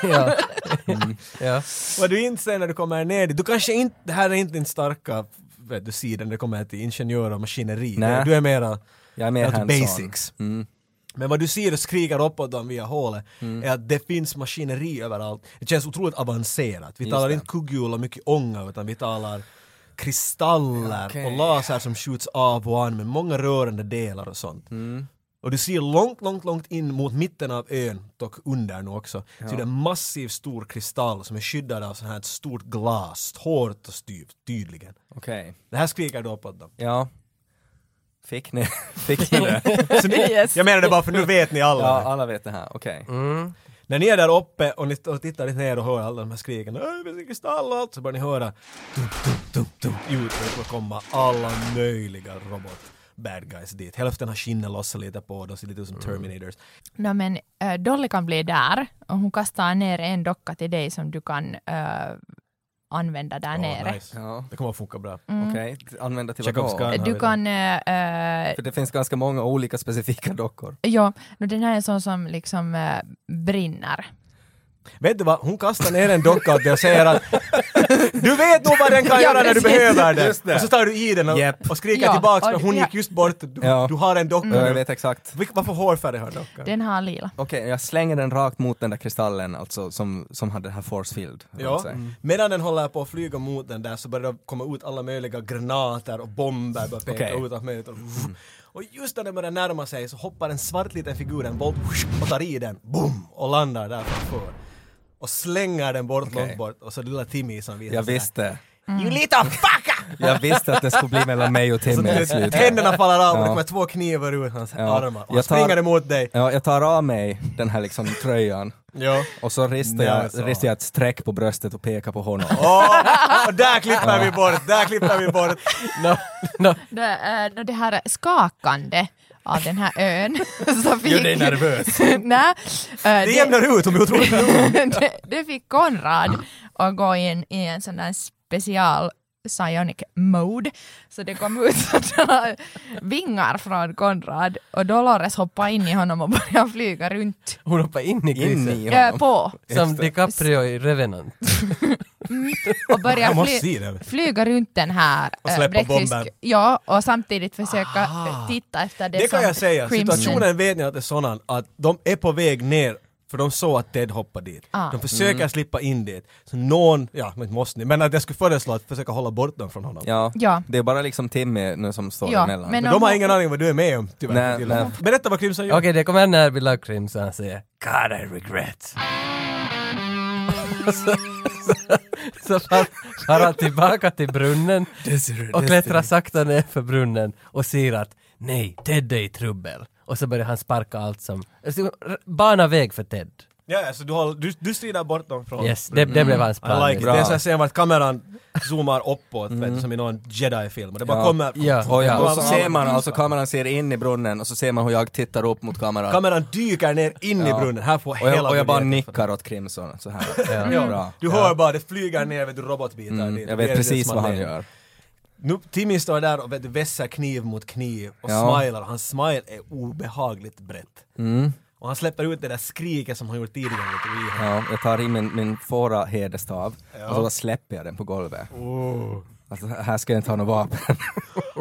Speaker 1: ja. ja.
Speaker 2: Vad du inser när du kommer ner dit, du kanske inte, det här är inte din starka vet du, sida när det kommer till ingenjörer och maskineri.
Speaker 3: Nej.
Speaker 2: Du är mera
Speaker 3: Jag är mer
Speaker 2: Alltså
Speaker 3: hands-on.
Speaker 2: basics.
Speaker 3: Mm.
Speaker 2: Men vad du ser och skriker uppåt dem via hålet är att det finns maskineri överallt. Det känns otroligt avancerat. Vi
Speaker 3: Just
Speaker 2: talar
Speaker 3: det.
Speaker 2: inte kugghjul och mycket ånga utan vi talar kristaller
Speaker 3: Okej.
Speaker 2: och laser som skjuts av och an med många rörande delar och sånt.
Speaker 3: Mm.
Speaker 2: Och du ser långt, långt, långt in mot mitten av ön, dock under nu också, så är det en massiv stor kristall som är skyddad av sånt här ett stort glas, hårt och styvt, tydligen.
Speaker 3: Okej,
Speaker 2: Det här skriker du uppåt dem.
Speaker 3: ja. Fick ni, fick ni det?
Speaker 2: Så nu,
Speaker 4: Yes.
Speaker 2: Jag menar det bara för nu vet ni alla.
Speaker 3: Ja, alla vet det här, okej.
Speaker 1: Mm.
Speaker 2: När ni är där uppe och ni t- och tittar lite ner och hör alla de här skriken "Äh, "Åh, det finns en kristall och allt så börjar ni höra dum, dum, dum, dum, ljud och det kommer komma alla möjliga robot bad guys dit. Hälften har skinnet lossa lite på, de ser lite ut
Speaker 3: Mm.
Speaker 2: som Terminators.
Speaker 4: No, men äh, Dolly kan bli där och hon kastar ner en docka till dig som du kan äh, använda där
Speaker 2: Åh,
Speaker 4: nere.
Speaker 2: nice.
Speaker 3: Ja,
Speaker 2: Det kommer att funka bra.
Speaker 3: okej. Använda till
Speaker 2: Check up
Speaker 3: vad då?
Speaker 2: scan.
Speaker 4: Du kan... Äh, äh,
Speaker 3: För det finns ganska många olika specifika dockor.
Speaker 4: ja, no, den här är en sån som liksom äh, brinner.
Speaker 2: Vet du vad, hon kastar ner en docka åt dig och säger att du vet nog vad den kan
Speaker 4: Ja,
Speaker 2: göra när du
Speaker 4: precis.
Speaker 2: behöver den.
Speaker 3: Just det.
Speaker 2: Och så tar du i den och,
Speaker 3: Japp.
Speaker 2: och skriker
Speaker 4: Ja,
Speaker 2: tillbaks men
Speaker 4: och-
Speaker 2: hon
Speaker 4: ja.
Speaker 2: gick just bort. Du,
Speaker 3: Ja.
Speaker 2: du har en docka.
Speaker 3: Ja, jag
Speaker 2: nu.
Speaker 3: vet exakt.
Speaker 2: Vilk- Vad för hårfärg har dockan?
Speaker 4: Den har lila.
Speaker 3: Okej, jag slänger den rakt mot den där kristallen alltså som, som hade det här force field. runt
Speaker 2: Ja,
Speaker 3: sig.
Speaker 2: medan den håller på att flyga mot den där så börjar det komma ut alla möjliga granater och bomber börjar peka
Speaker 3: Okej. Mm.
Speaker 2: ut allt möjligt. Och, och just när den börjar närma sig så hoppar en svart liten figur, en bolt, och tar i den, boom, och landar där framför. Och slänger den bort,
Speaker 3: Okej.
Speaker 2: långt bort, och så lilla Timmy som visar
Speaker 3: Jag
Speaker 2: sig.
Speaker 3: visste.
Speaker 2: You little fucker!
Speaker 3: Jag visste att det skulle bli mellan mig och
Speaker 2: Så
Speaker 3: Timmy i
Speaker 2: det-
Speaker 3: slutet.
Speaker 2: Händerna faller av och det
Speaker 3: Ja.
Speaker 2: kommer två knivar ur hans
Speaker 3: Ja.
Speaker 2: armar. Och han
Speaker 3: Jag tar-
Speaker 2: springer emot dig.
Speaker 3: Ja, jag tar av mig den här liksom tröjan
Speaker 2: Ja.
Speaker 3: och så ristar
Speaker 2: Nej, så.
Speaker 3: jag, ristar jag ett streck på bröstet och pekar på honom.
Speaker 2: Åh, och där klipper vi bort, där klipper vi bort.
Speaker 1: No, no.
Speaker 4: Det, äh, no, det här skakande av den här ön. så fick,
Speaker 3: nervös.
Speaker 4: Nej, äh,
Speaker 2: Det jämnar ut, de är otroligt
Speaker 4: det, det fick Konrad att gå in i en sån där special psionic mode. Så det kom ut sådana vingar från Konrad och Dolores hoppade in i honom och började flyga runt
Speaker 1: Hon hoppar in i
Speaker 3: In
Speaker 1: grisen.
Speaker 3: i
Speaker 4: äh,
Speaker 3: honom.
Speaker 4: på
Speaker 1: Som
Speaker 3: Just det.
Speaker 1: DiCaprio i Revenant.
Speaker 4: och började
Speaker 2: Jag måste
Speaker 4: fly-
Speaker 2: se det.
Speaker 4: flyga runt den här
Speaker 2: Och
Speaker 4: äh,
Speaker 2: släppa
Speaker 4: bläckfisk-
Speaker 2: bomben.
Speaker 4: Ja, och samtidigt försöka
Speaker 2: Ah.
Speaker 4: titta efter det,
Speaker 2: Det
Speaker 4: som
Speaker 2: kan jag säga,
Speaker 4: Crimson-
Speaker 2: situationen vet ni att det är sådan att de är på väg ner för de såg att Ted hoppade dit.
Speaker 4: Ah.
Speaker 2: De försöker
Speaker 3: Mm.
Speaker 2: slippa in dit. Så någon, ja men måste ni, men att jag skulle föreslå att försöka hålla bort dem från honom.
Speaker 3: Ja.
Speaker 4: Ja.
Speaker 3: det är bara liksom Timmy nu som står
Speaker 4: Ja,
Speaker 3: emellan.
Speaker 4: men-
Speaker 2: Men de har ingen aning vad du är med om tyvärr.
Speaker 3: Nej,
Speaker 2: Dilla.
Speaker 3: nej.
Speaker 2: Berätta vad Crimson
Speaker 1: Okej,
Speaker 2: gör.
Speaker 1: det kommer en närbild av Crimson och säger God I regret. så så far, far han tillbaka till brunnen och klättrar sakta ner för brunnen och ser att nej, Ted är i trubbel. Och så börjar han sparka allt som, alltså, r- bana väg för Ted.
Speaker 2: Ja, ja, så du, har, du, du strider bort dem från...
Speaker 1: Yes, det, det blev hans
Speaker 2: I
Speaker 1: plan.
Speaker 2: like it. Det är en sån här scen vart kameran zoomar uppåt, vet du, som i någon jedi-film. Och det bara
Speaker 3: Mm. Ja.
Speaker 2: kommer...
Speaker 1: Ja.
Speaker 3: Och, ja, och så
Speaker 2: Ja.
Speaker 3: ser man, alltså kameran ser in i brunnen och så ser man hur jag tittar upp mot kameran.
Speaker 2: Kameran dyker ner in i
Speaker 3: Ja.
Speaker 2: brunnen, här får
Speaker 3: och,
Speaker 2: hela
Speaker 3: jag, och jag bara
Speaker 2: budgeten för det.
Speaker 3: nickar åt Crimson så här.
Speaker 2: Ja.
Speaker 3: Bra.
Speaker 2: Du hör bara, det flyger ner vet du, robotbitar
Speaker 3: Mm,
Speaker 2: dit.
Speaker 3: jag
Speaker 2: Det
Speaker 3: vet
Speaker 2: är det
Speaker 3: precis
Speaker 2: som
Speaker 3: vad han
Speaker 2: vet.
Speaker 3: gör.
Speaker 2: Nu, Timmy står där och vet du, vässar kniv mot kniv och
Speaker 3: Ja. Mm.
Speaker 2: smilar. Hans smile är obehagligt brett. Och Och han släpper ut det där skriket som han gjort tidigare. vet du, i henne.
Speaker 3: Ja, jag tar in min, min fåra hederstav
Speaker 2: Ja.
Speaker 3: och så bara släpper jag den på golvet.
Speaker 2: Oh.
Speaker 3: Alltså, här ska jag inte ha något vapen.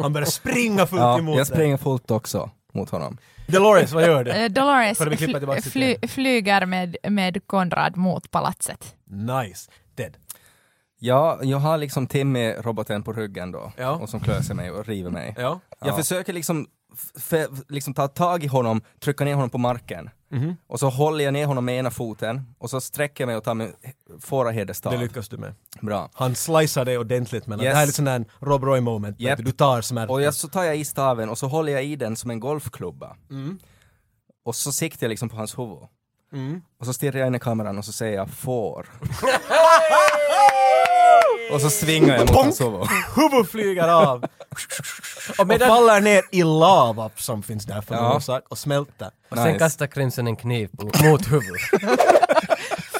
Speaker 2: Han börjar springa fullt
Speaker 3: Ja,
Speaker 2: emot
Speaker 3: jag springer fullt också mot honom.
Speaker 2: dig. Dolores, vad gör du?
Speaker 4: Eh, Dolores
Speaker 2: Får vi klippa
Speaker 4: fly-
Speaker 2: tillbaka till
Speaker 4: fly- flyger med, med Konrad mot palatset.
Speaker 2: Nice. Ted.
Speaker 3: Ja, jag har liksom Timmy, roboten, på ryggen då.
Speaker 2: Ja.
Speaker 3: Och som klöser mig och river mig.
Speaker 2: Ja.
Speaker 3: Jag försöker liksom, f- f- liksom ta tag i honom, trycka ner honom på marken. Och så håller jag ner honom med ena foten och så sträcker jag mig och tar min fåra
Speaker 2: Det
Speaker 3: hederstav.
Speaker 2: lyckas du med.
Speaker 3: Bra.
Speaker 2: Han slicear dig ordentligt mellan.
Speaker 3: Yes.
Speaker 2: Det här är lite sån där Rob Roy moment.
Speaker 3: Japp.
Speaker 2: vet Du Du tar smärtan.
Speaker 3: Och jag, så tar jag i staven och så håller jag i den som en golfklubba.
Speaker 2: Mm.
Speaker 3: Och så siktar jag liksom på hans huvud.
Speaker 2: Mm.
Speaker 3: Och så stirrar jag in i kameran och så säger jag får. och så svingar jag mot hans huvud.
Speaker 2: Huvud flyger av! och, faller ner i lava som finns där för
Speaker 3: Ja.
Speaker 2: någon orsak och smälter.
Speaker 1: Och sen
Speaker 3: Nice.
Speaker 1: kastar Crimson en kniv mot mot huvudet.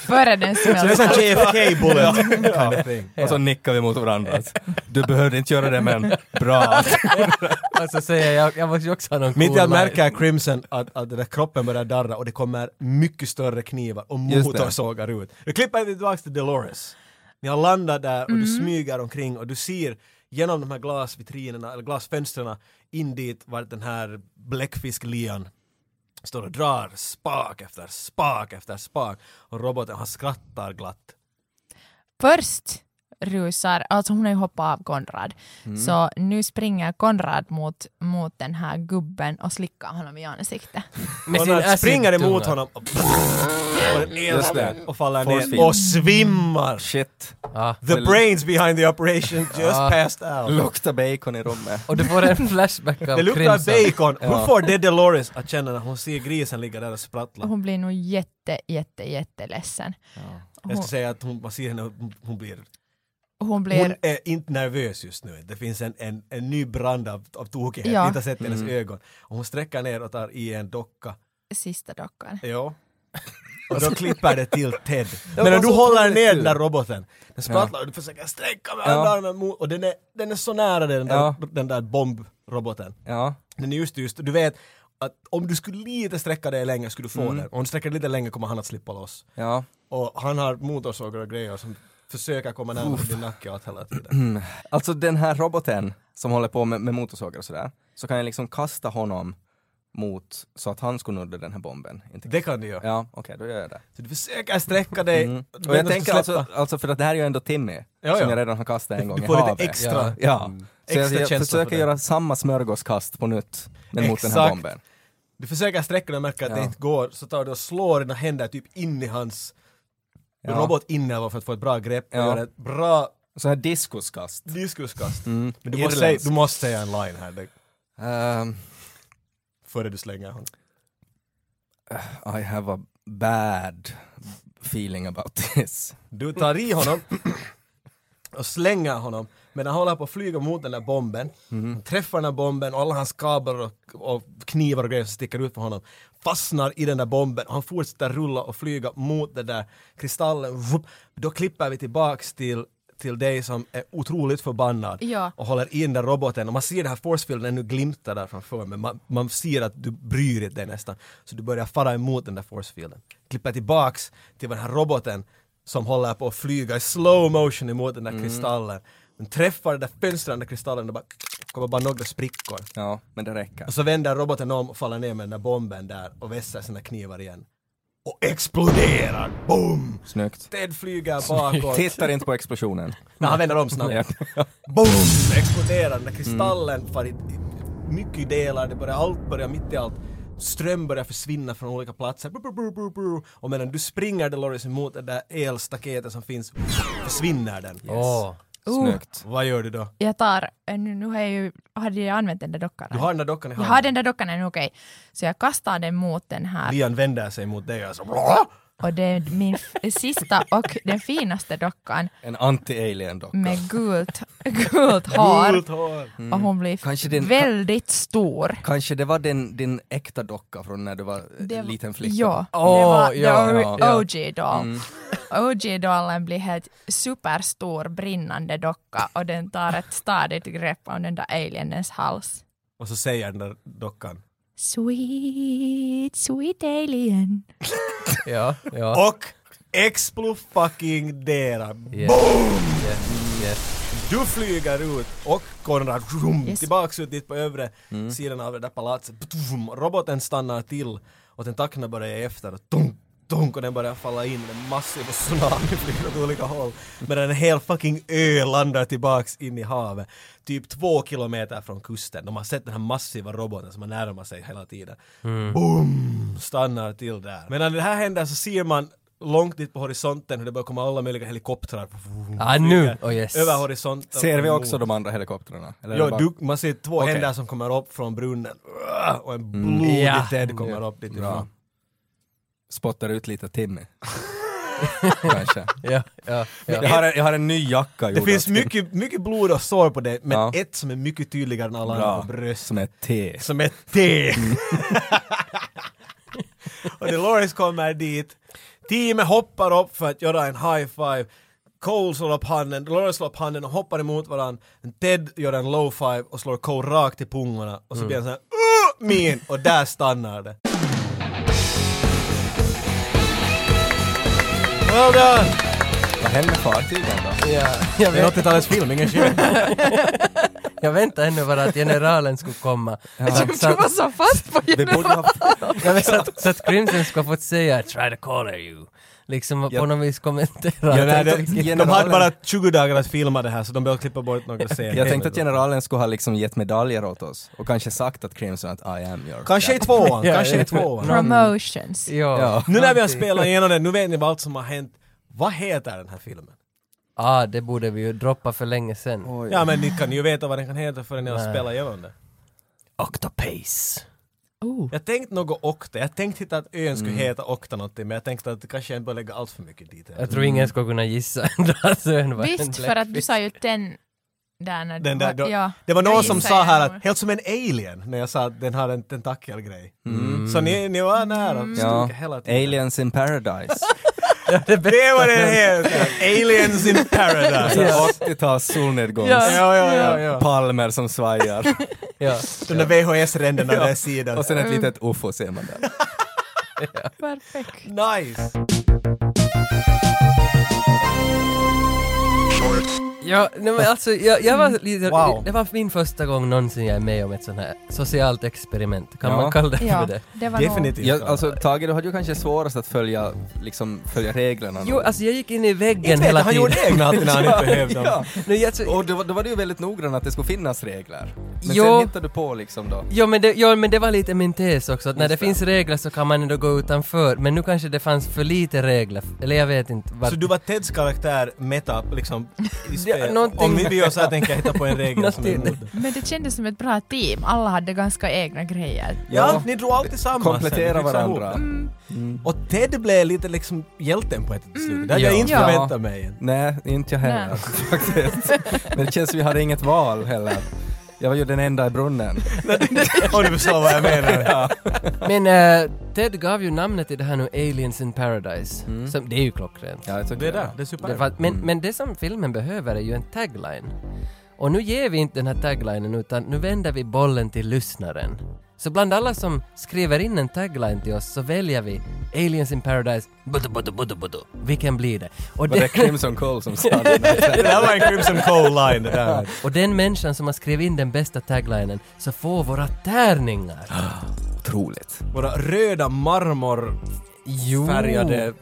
Speaker 4: Före den
Speaker 2: Så det är sån
Speaker 4: smälter.
Speaker 2: JFK bullet kind of thing.
Speaker 3: Alltså, Och så nickar vi mot varandra. Du behövde inte göra det men bra.
Speaker 1: och så Alltså, säger jag, jag måste ju också ha någon
Speaker 2: Mitt i
Speaker 1: cool
Speaker 2: att
Speaker 1: line.
Speaker 2: märka Crimson att, att den där kroppen börjar darra och det kommer mycket större knivar och
Speaker 3: Just det.
Speaker 2: motorsågar ut. Nu klipper vi tillbaka till Dolores. Ni har landat där och du smyger omkring och du ser genom de här glasvitrinerna, eller glasfönstren in dit vart den här bläckfisklian står och drar spak efter spak efter spak och roboten han skrattar glatt.
Speaker 4: Först rusar, alltså hon har ju hoppat av Konrad,
Speaker 2: Mm.
Speaker 4: så nu springer Konrad mot, mot den här gubben och slickar honom i ansiktet.
Speaker 1: Med
Speaker 2: och
Speaker 1: sin
Speaker 2: när springer
Speaker 1: acid-tunga.
Speaker 2: emot honom och, och, den
Speaker 3: Just det.
Speaker 2: ena- och faller
Speaker 3: Force
Speaker 2: ner
Speaker 3: field.
Speaker 2: och svimmar.
Speaker 3: Shit.
Speaker 1: Ja.
Speaker 2: The brains behind the operation just
Speaker 1: Ah.
Speaker 2: passed out.
Speaker 3: Luktar bacon i rummet.
Speaker 1: Och du får en flashback av
Speaker 2: Det luktar
Speaker 1: Crimson.
Speaker 2: bacon. Hur
Speaker 3: Ja.
Speaker 2: får det Dolores att känna när hon ser grisen ligga där och sprattla?
Speaker 4: Hon blir nog jätte, jätte, jätteledsen.
Speaker 2: Jag
Speaker 4: Hon,
Speaker 2: skulle säga att hon, man ser henne, hon- hon blir...
Speaker 4: hon
Speaker 2: Hon
Speaker 4: blir...
Speaker 2: är inte nervös just nu. Det finns en, en, en ny brand av, av tokighet.
Speaker 4: Ja.
Speaker 2: Ja. Inte har sett
Speaker 3: Mm.
Speaker 2: hennes ögon. Och hon sträcker ner och tar i en docka.
Speaker 4: sista dockan.
Speaker 2: Ja. Och då klipper det till Ted.
Speaker 3: Det
Speaker 2: Men
Speaker 3: var
Speaker 2: om du
Speaker 3: så
Speaker 2: håller
Speaker 3: otroligt
Speaker 2: ner
Speaker 3: kul.
Speaker 2: den där roboten, den sprattlar och du försöker sträcka med
Speaker 3: Ja.
Speaker 2: alla armen mot, och den är, den är så nära dig, den där,
Speaker 3: Ja.
Speaker 2: den där bombroboten.
Speaker 3: Ja.
Speaker 2: Den är just just, du vet att om du skulle lite sträcka dig längre skulle du få
Speaker 3: Mm.
Speaker 2: den. Om du sträcker dig lite längre kommer han att slippa loss.
Speaker 3: Ja.
Speaker 2: Och han har motorsågar och grejer som försöker komma närmare din nacke åt hela tiden.
Speaker 3: Alltså den här roboten som håller på med, med motorsågar och sådär, så kan jag liksom kasta honom mot, så att han skulle nudda den här bomben. Inte
Speaker 2: Det kan du göra.
Speaker 3: Ja, okej, då gör jag det.
Speaker 2: Så du försöker sträcka dig.
Speaker 3: Mm.
Speaker 2: men
Speaker 3: Och jag
Speaker 2: den
Speaker 3: tänker
Speaker 2: ska
Speaker 3: alltså,
Speaker 2: släppa.
Speaker 3: alltså, för att det här är ju ändå Timmy,
Speaker 2: Ja,
Speaker 3: som
Speaker 2: ja.
Speaker 3: jag redan har kastat en gång
Speaker 2: Du
Speaker 3: i
Speaker 2: får lite
Speaker 3: havet.
Speaker 2: extra. Mm.
Speaker 3: Ja. Så jag,
Speaker 2: Extra
Speaker 3: jag
Speaker 2: känsla för
Speaker 3: försöker
Speaker 2: det.
Speaker 3: göra samma smörgåskast på nytt, men mot den här
Speaker 2: Exakt.
Speaker 3: bomben.
Speaker 2: Du försöker sträcka dig och märker att det
Speaker 3: Ja.
Speaker 2: inte går, så tar du och slår dina händer typ in i hans
Speaker 3: Ja.
Speaker 2: robot inne för att få ett bra grepp och
Speaker 3: Ja.
Speaker 2: göra ett bra
Speaker 3: Så här diskuskast.
Speaker 2: diskuskast.
Speaker 3: Mm.
Speaker 2: Men du måste, säga,
Speaker 3: Irländsk.
Speaker 2: du måste säga en line här det,
Speaker 3: Ehm,
Speaker 2: före du slänger honom.
Speaker 3: I have a bad feeling about this.
Speaker 2: Du tar i honom och slänger honom medan han håller på att flyga mot den där bomben. Han träffar den där bomben och alla hans kablar och, och knivar och grejer som sticker ut på honom fastnar i den där bomben och han fortsätter rulla och flyga mot den där kristallen. Vup. Då klipper vi tillbaks till, till dig som är otroligt förbannad
Speaker 4: Ja.
Speaker 2: och håller i den där roboten och man ser den här forcefielden ännu glimta där framför men man, man ser att du bryr dig nästan så du börjar fara emot den där forcefielden. Klipper tillbaks till den här roboten som håller på att flyga i slow motion emot den där kristallen. Den träffar den där fönstren, den där kristallen och bara kommer bara några sprickor.
Speaker 3: Ja, men det räcker.
Speaker 2: Och så vänder roboten om och faller ner med den där bomben där och vässar sina knivar igen. Och exploderar! Boom!
Speaker 3: Snyggt.
Speaker 2: Ted flyger bakåt.
Speaker 3: Tittar inte på explosionen.
Speaker 2: Nej, han vänder om snabbt. Boom! Exploderar den där kristallen far i i mycket delar, det börjar allt börjar mitt i allt. Ström börjar försvinna från olika platser. Bru, bru, bru, bru, bru. Och medan du springer Dolores emot det där elstaketet som finns, försvinner den.
Speaker 1: Åh.
Speaker 4: Uh,
Speaker 3: Snyggt.
Speaker 2: Vad gör du då?
Speaker 4: jag tar... eh, Nu, nu har jag ju... Hade jag använt den där dockan?
Speaker 2: Du har den där dockan i
Speaker 4: Jag
Speaker 2: handen.
Speaker 4: har den där dockan ännu, okej. Så jag kastar den mot den här
Speaker 2: Lian vänder sig mot dig och så...
Speaker 4: och det är min f- sista och den finaste dockan
Speaker 3: En anti-alien dock.
Speaker 4: med gult, gult hår
Speaker 2: Gult hår.
Speaker 4: och hon blir
Speaker 3: Kanske den-
Speaker 4: väldigt stor.
Speaker 3: Kanske det var din, din äkta docka från när du var eh,
Speaker 4: Det-
Speaker 3: liten flicka?
Speaker 4: Ja, det
Speaker 1: Åh,
Speaker 4: var oh.
Speaker 1: ja,
Speaker 4: the
Speaker 1: ja, ja.
Speaker 4: OG-doll. OG-dollen blir helt superstor brinnande docka och den tar ett stadigt grepp om den där alienens hals.
Speaker 2: Och så säger den där dockan.
Speaker 4: Sweet, sweet alien.
Speaker 1: Ja, ja.
Speaker 2: Och explo fucking dera.
Speaker 1: Yes. Yes, yes.
Speaker 2: Du flyger ut och Konrad vroom,
Speaker 4: Yes.
Speaker 2: tillbaks ut dit på övre sidan av det där palatset. Ptum, roboten stannar till och tentaklerna börjar ge efter. Tunk, tunk, och den börjar falla in. En massiv tsunami flyger åt olika håll. Medan en hel fucking ö landar tillbaks in i havet. Typ två kilometer från kusten. De har sett den här massiva roboten som har närmat sig hela tiden. Boom! Stannar till där. Medan det här händer så ser man långt dit på horisonten hur det börjar komma alla möjliga helikoptrar.
Speaker 1: Ah, nu! Oh yes.
Speaker 2: Över horisonten. Oh.
Speaker 3: Ser vi också de andra helikoptrarna? Eller är det
Speaker 2: Ja,
Speaker 3: bara-
Speaker 2: du, man ser två
Speaker 3: Okej. Mm.
Speaker 2: händer som kommer upp från brunnen. Uah, Och en blodig
Speaker 1: Ja.
Speaker 2: Ted kommer upp dit
Speaker 3: Bra.
Speaker 2: ifrån.
Speaker 3: Spottar ut lite Timmy. Kanske.
Speaker 1: Ja, ja,
Speaker 3: Jag
Speaker 1: ja.
Speaker 3: har, en, jag har en ny jacka
Speaker 2: Det
Speaker 3: gjord
Speaker 2: finns
Speaker 3: av Timmy.
Speaker 2: mycket, mycket blod och sår på det, men
Speaker 3: Ja.
Speaker 2: ett som är mycket tydligare än alla andra
Speaker 3: Bra.
Speaker 2: på bröstet.
Speaker 3: Som är T.
Speaker 2: Som ett T. och Dolores kommer dit. Teamet hoppar upp för att göra en high five. Cole slår upp handen, Dolores slår upp handen och hoppar emot varandra. Ted gör en low five och slår Cole rakt i pungorna och så blir han såhär uh, min och där stannar det. Well done!
Speaker 3: Vad händer med fartygen då?
Speaker 1: ja. Jag,
Speaker 2: Det är
Speaker 1: vet,
Speaker 2: 80-talets film, ingen skit.
Speaker 1: jag väntar ännu bara att generalen skulle komma. Så att- så
Speaker 4: Du
Speaker 1: att-
Speaker 4: var så fast på
Speaker 3: Vi borde ha...
Speaker 1: Ja, men så, att, så att Crimson ska få säga “try to color you”. Liksom och på
Speaker 3: Ja.
Speaker 1: något vis kommentera.
Speaker 2: Ja, nej, det,
Speaker 3: Generalen-
Speaker 2: de hade bara 20 dagar att filma det här så de behöver klippa bort några scener.
Speaker 3: Jag tänkte att generalen skulle ha liksom gett medaljer åt oss och kanske sagt att Crimson att I am your...
Speaker 2: Kanske i tvåan,
Speaker 1: Ja,
Speaker 2: kanske
Speaker 1: ja.
Speaker 2: i tvåan.
Speaker 4: Promotions.
Speaker 1: ja.
Speaker 3: Ja.
Speaker 2: Nu när vi har spelat igenom det, nu vet ni vad allt som har hänt. Vad heter den här filmen?
Speaker 1: Ah, det borde vi ju droppa för länge sedan.
Speaker 2: Ja men ni kan ju veta vad den kan heta förrän ni har
Speaker 1: Nej.
Speaker 2: spelat igenom det.
Speaker 1: Octopace.
Speaker 4: Oh.
Speaker 2: Jag tänkte något Okta, jag tänkte hitta att ön
Speaker 3: Mm.
Speaker 2: skulle heta Okta någonting men jag tänkte att det kanske jag inte bör lägga allt för mycket dit.
Speaker 1: Jag tror
Speaker 2: Mm.
Speaker 1: ingen skulle kunna gissa ändå att Sön var en
Speaker 4: Visst, för att du sa ju den där när
Speaker 2: Den
Speaker 4: du
Speaker 2: där,
Speaker 4: var,
Speaker 2: då,
Speaker 4: ja.
Speaker 2: Det var någon
Speaker 4: Jag
Speaker 2: som
Speaker 4: gissar
Speaker 2: sa
Speaker 4: jag
Speaker 2: här
Speaker 4: nog.
Speaker 2: att helt som en alien när jag sa att den hade en tentakelgrej. Så ni, ni var nära.
Speaker 3: Mm. Ja.
Speaker 2: Stod hela tiden.
Speaker 3: Aliens in paradise.
Speaker 2: Det var den heter! Aliens in paradise!
Speaker 1: Ja.
Speaker 3: 80-tals Alltså, solnedgångs...
Speaker 2: Ja, ja, ja, ja.
Speaker 3: Palmer som svajar.
Speaker 1: Ja.
Speaker 2: De där VHS-ränderna där sidan.
Speaker 3: Och sen ett litet ufo ser man där.
Speaker 4: Perfekt.
Speaker 2: Nice!
Speaker 1: Ja, nej, men alltså, jag, jag var lite,
Speaker 2: Wow.
Speaker 1: det var min första gång någonsin jag är med om ett sånt här socialt experiment. Kan
Speaker 3: Ja.
Speaker 1: man kalla det för
Speaker 4: Ja,
Speaker 1: det?
Speaker 4: det var nog...
Speaker 2: Definitivt.
Speaker 3: Ja, alltså Tage, du hade ju kanske svårast att följa, liksom, följa reglerna.
Speaker 1: Jo, alltså jag gick in i
Speaker 2: Inte
Speaker 1: väggen
Speaker 2: vet jag,
Speaker 1: hela
Speaker 2: han
Speaker 1: tiden.
Speaker 2: gjorde egna alltid när han inte behövde dem.
Speaker 3: ja.
Speaker 1: Nej, alltså,
Speaker 3: Och då, då var du ju väldigt noggrann att det skulle finnas regler. Men
Speaker 1: Jo.
Speaker 3: sen hittade du på liksom då.
Speaker 1: Ja men, det, ja men det var lite min tes också, att när
Speaker 3: Just
Speaker 1: det
Speaker 3: det.
Speaker 1: finns regler så kan man ändå gå utanför, men nu kanske det fanns för lite regler, eller jag vet inte. Vart,
Speaker 2: Så du var Teds karaktär meta liksom i spel?
Speaker 1: någonting-
Speaker 2: Om vi gör så här tänker jag hitta på en regel som är
Speaker 1: Någonting.
Speaker 2: emot det.
Speaker 4: Men det kändes som ett bra team. Alla hade ganska egna grejer.
Speaker 2: Ja, ni drog allt tillsammans. sen,
Speaker 3: Komplettera
Speaker 2: ni fixade ihop
Speaker 3: varandra.
Speaker 2: det. Och Ted blev lite liksom hjälten på ett slut. Det hade jag
Speaker 1: Ja.
Speaker 2: inte
Speaker 4: Ja.
Speaker 2: förväntat mig. än.
Speaker 3: Nej, inte jag heller
Speaker 4: Nej.
Speaker 3: faktiskt. Men det känns som vi hade inget val heller. Jag var ju den enda i brunnen.
Speaker 2: Om du förstår vad jag menar.
Speaker 3: Ja.
Speaker 1: Men eh, Ted gav ju namnet till det här nu, Aliens in Paradise,
Speaker 2: Mm.
Speaker 1: som, det är ju klockrent.
Speaker 3: Ja, jag tycker
Speaker 2: Det där, det är super.
Speaker 1: Det var, men, men det som filmen behöver är ju en tagline. Och nu ger vi inte den här taglinen utan nu vänder vi bollen till lyssnaren. Så bland alla som skriver in en tagline till oss så väljer vi Aliens in Paradise, budu, budu, budu, budu. vilken blir det? Och
Speaker 3: Var det Crimson Cole som sa det? där?
Speaker 2: Det där var en Crimson Cole-line det där.
Speaker 1: Och den människan som har skrivit in den bästa taglinen så får våra tärningar.
Speaker 3: Otroligt.
Speaker 2: Våra röda marmorfärgade...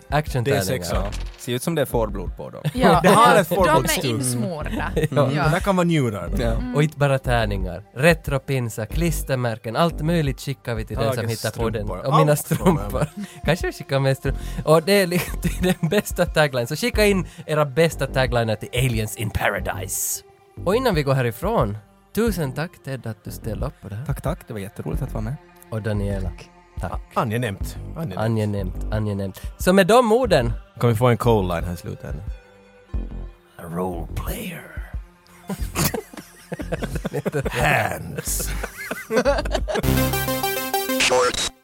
Speaker 1: Actiontärningar.
Speaker 2: D6.
Speaker 1: Ja.
Speaker 3: Ser ut som det är fårblod på dem.
Speaker 4: Ja,
Speaker 2: Det har ett
Speaker 4: de är
Speaker 2: folkbokstur.
Speaker 4: insmorda.
Speaker 2: Den
Speaker 4: Ja.
Speaker 2: där kan vara njurar.
Speaker 3: Ja.
Speaker 1: Mm. Och inte bara tärningar. Retropinsar, klistermärken, allt möjligt skickar vi till den
Speaker 2: Hagens
Speaker 1: som hittar på den.
Speaker 2: strumpor.
Speaker 1: Och mina
Speaker 2: Allt får
Speaker 1: strumpor.
Speaker 2: man
Speaker 1: Kanske jag skickar med strumpor. Och det är liksom den bästa taglinen. Så skicka in era bästa tagliner till Aliens in Paradise. Och innan vi går härifrån, tusen tack Ted att du ställde upp på det här.
Speaker 3: Tack, tack. Det var jätteroligt att vara med.
Speaker 1: Och Daniela. Tack.
Speaker 2: Angenämt. Angenämt.
Speaker 1: Angenämt, angenämt. Så med de orden
Speaker 2: Kan vi få en Cole-line här i slutet?
Speaker 1: A role player.
Speaker 2: Hands.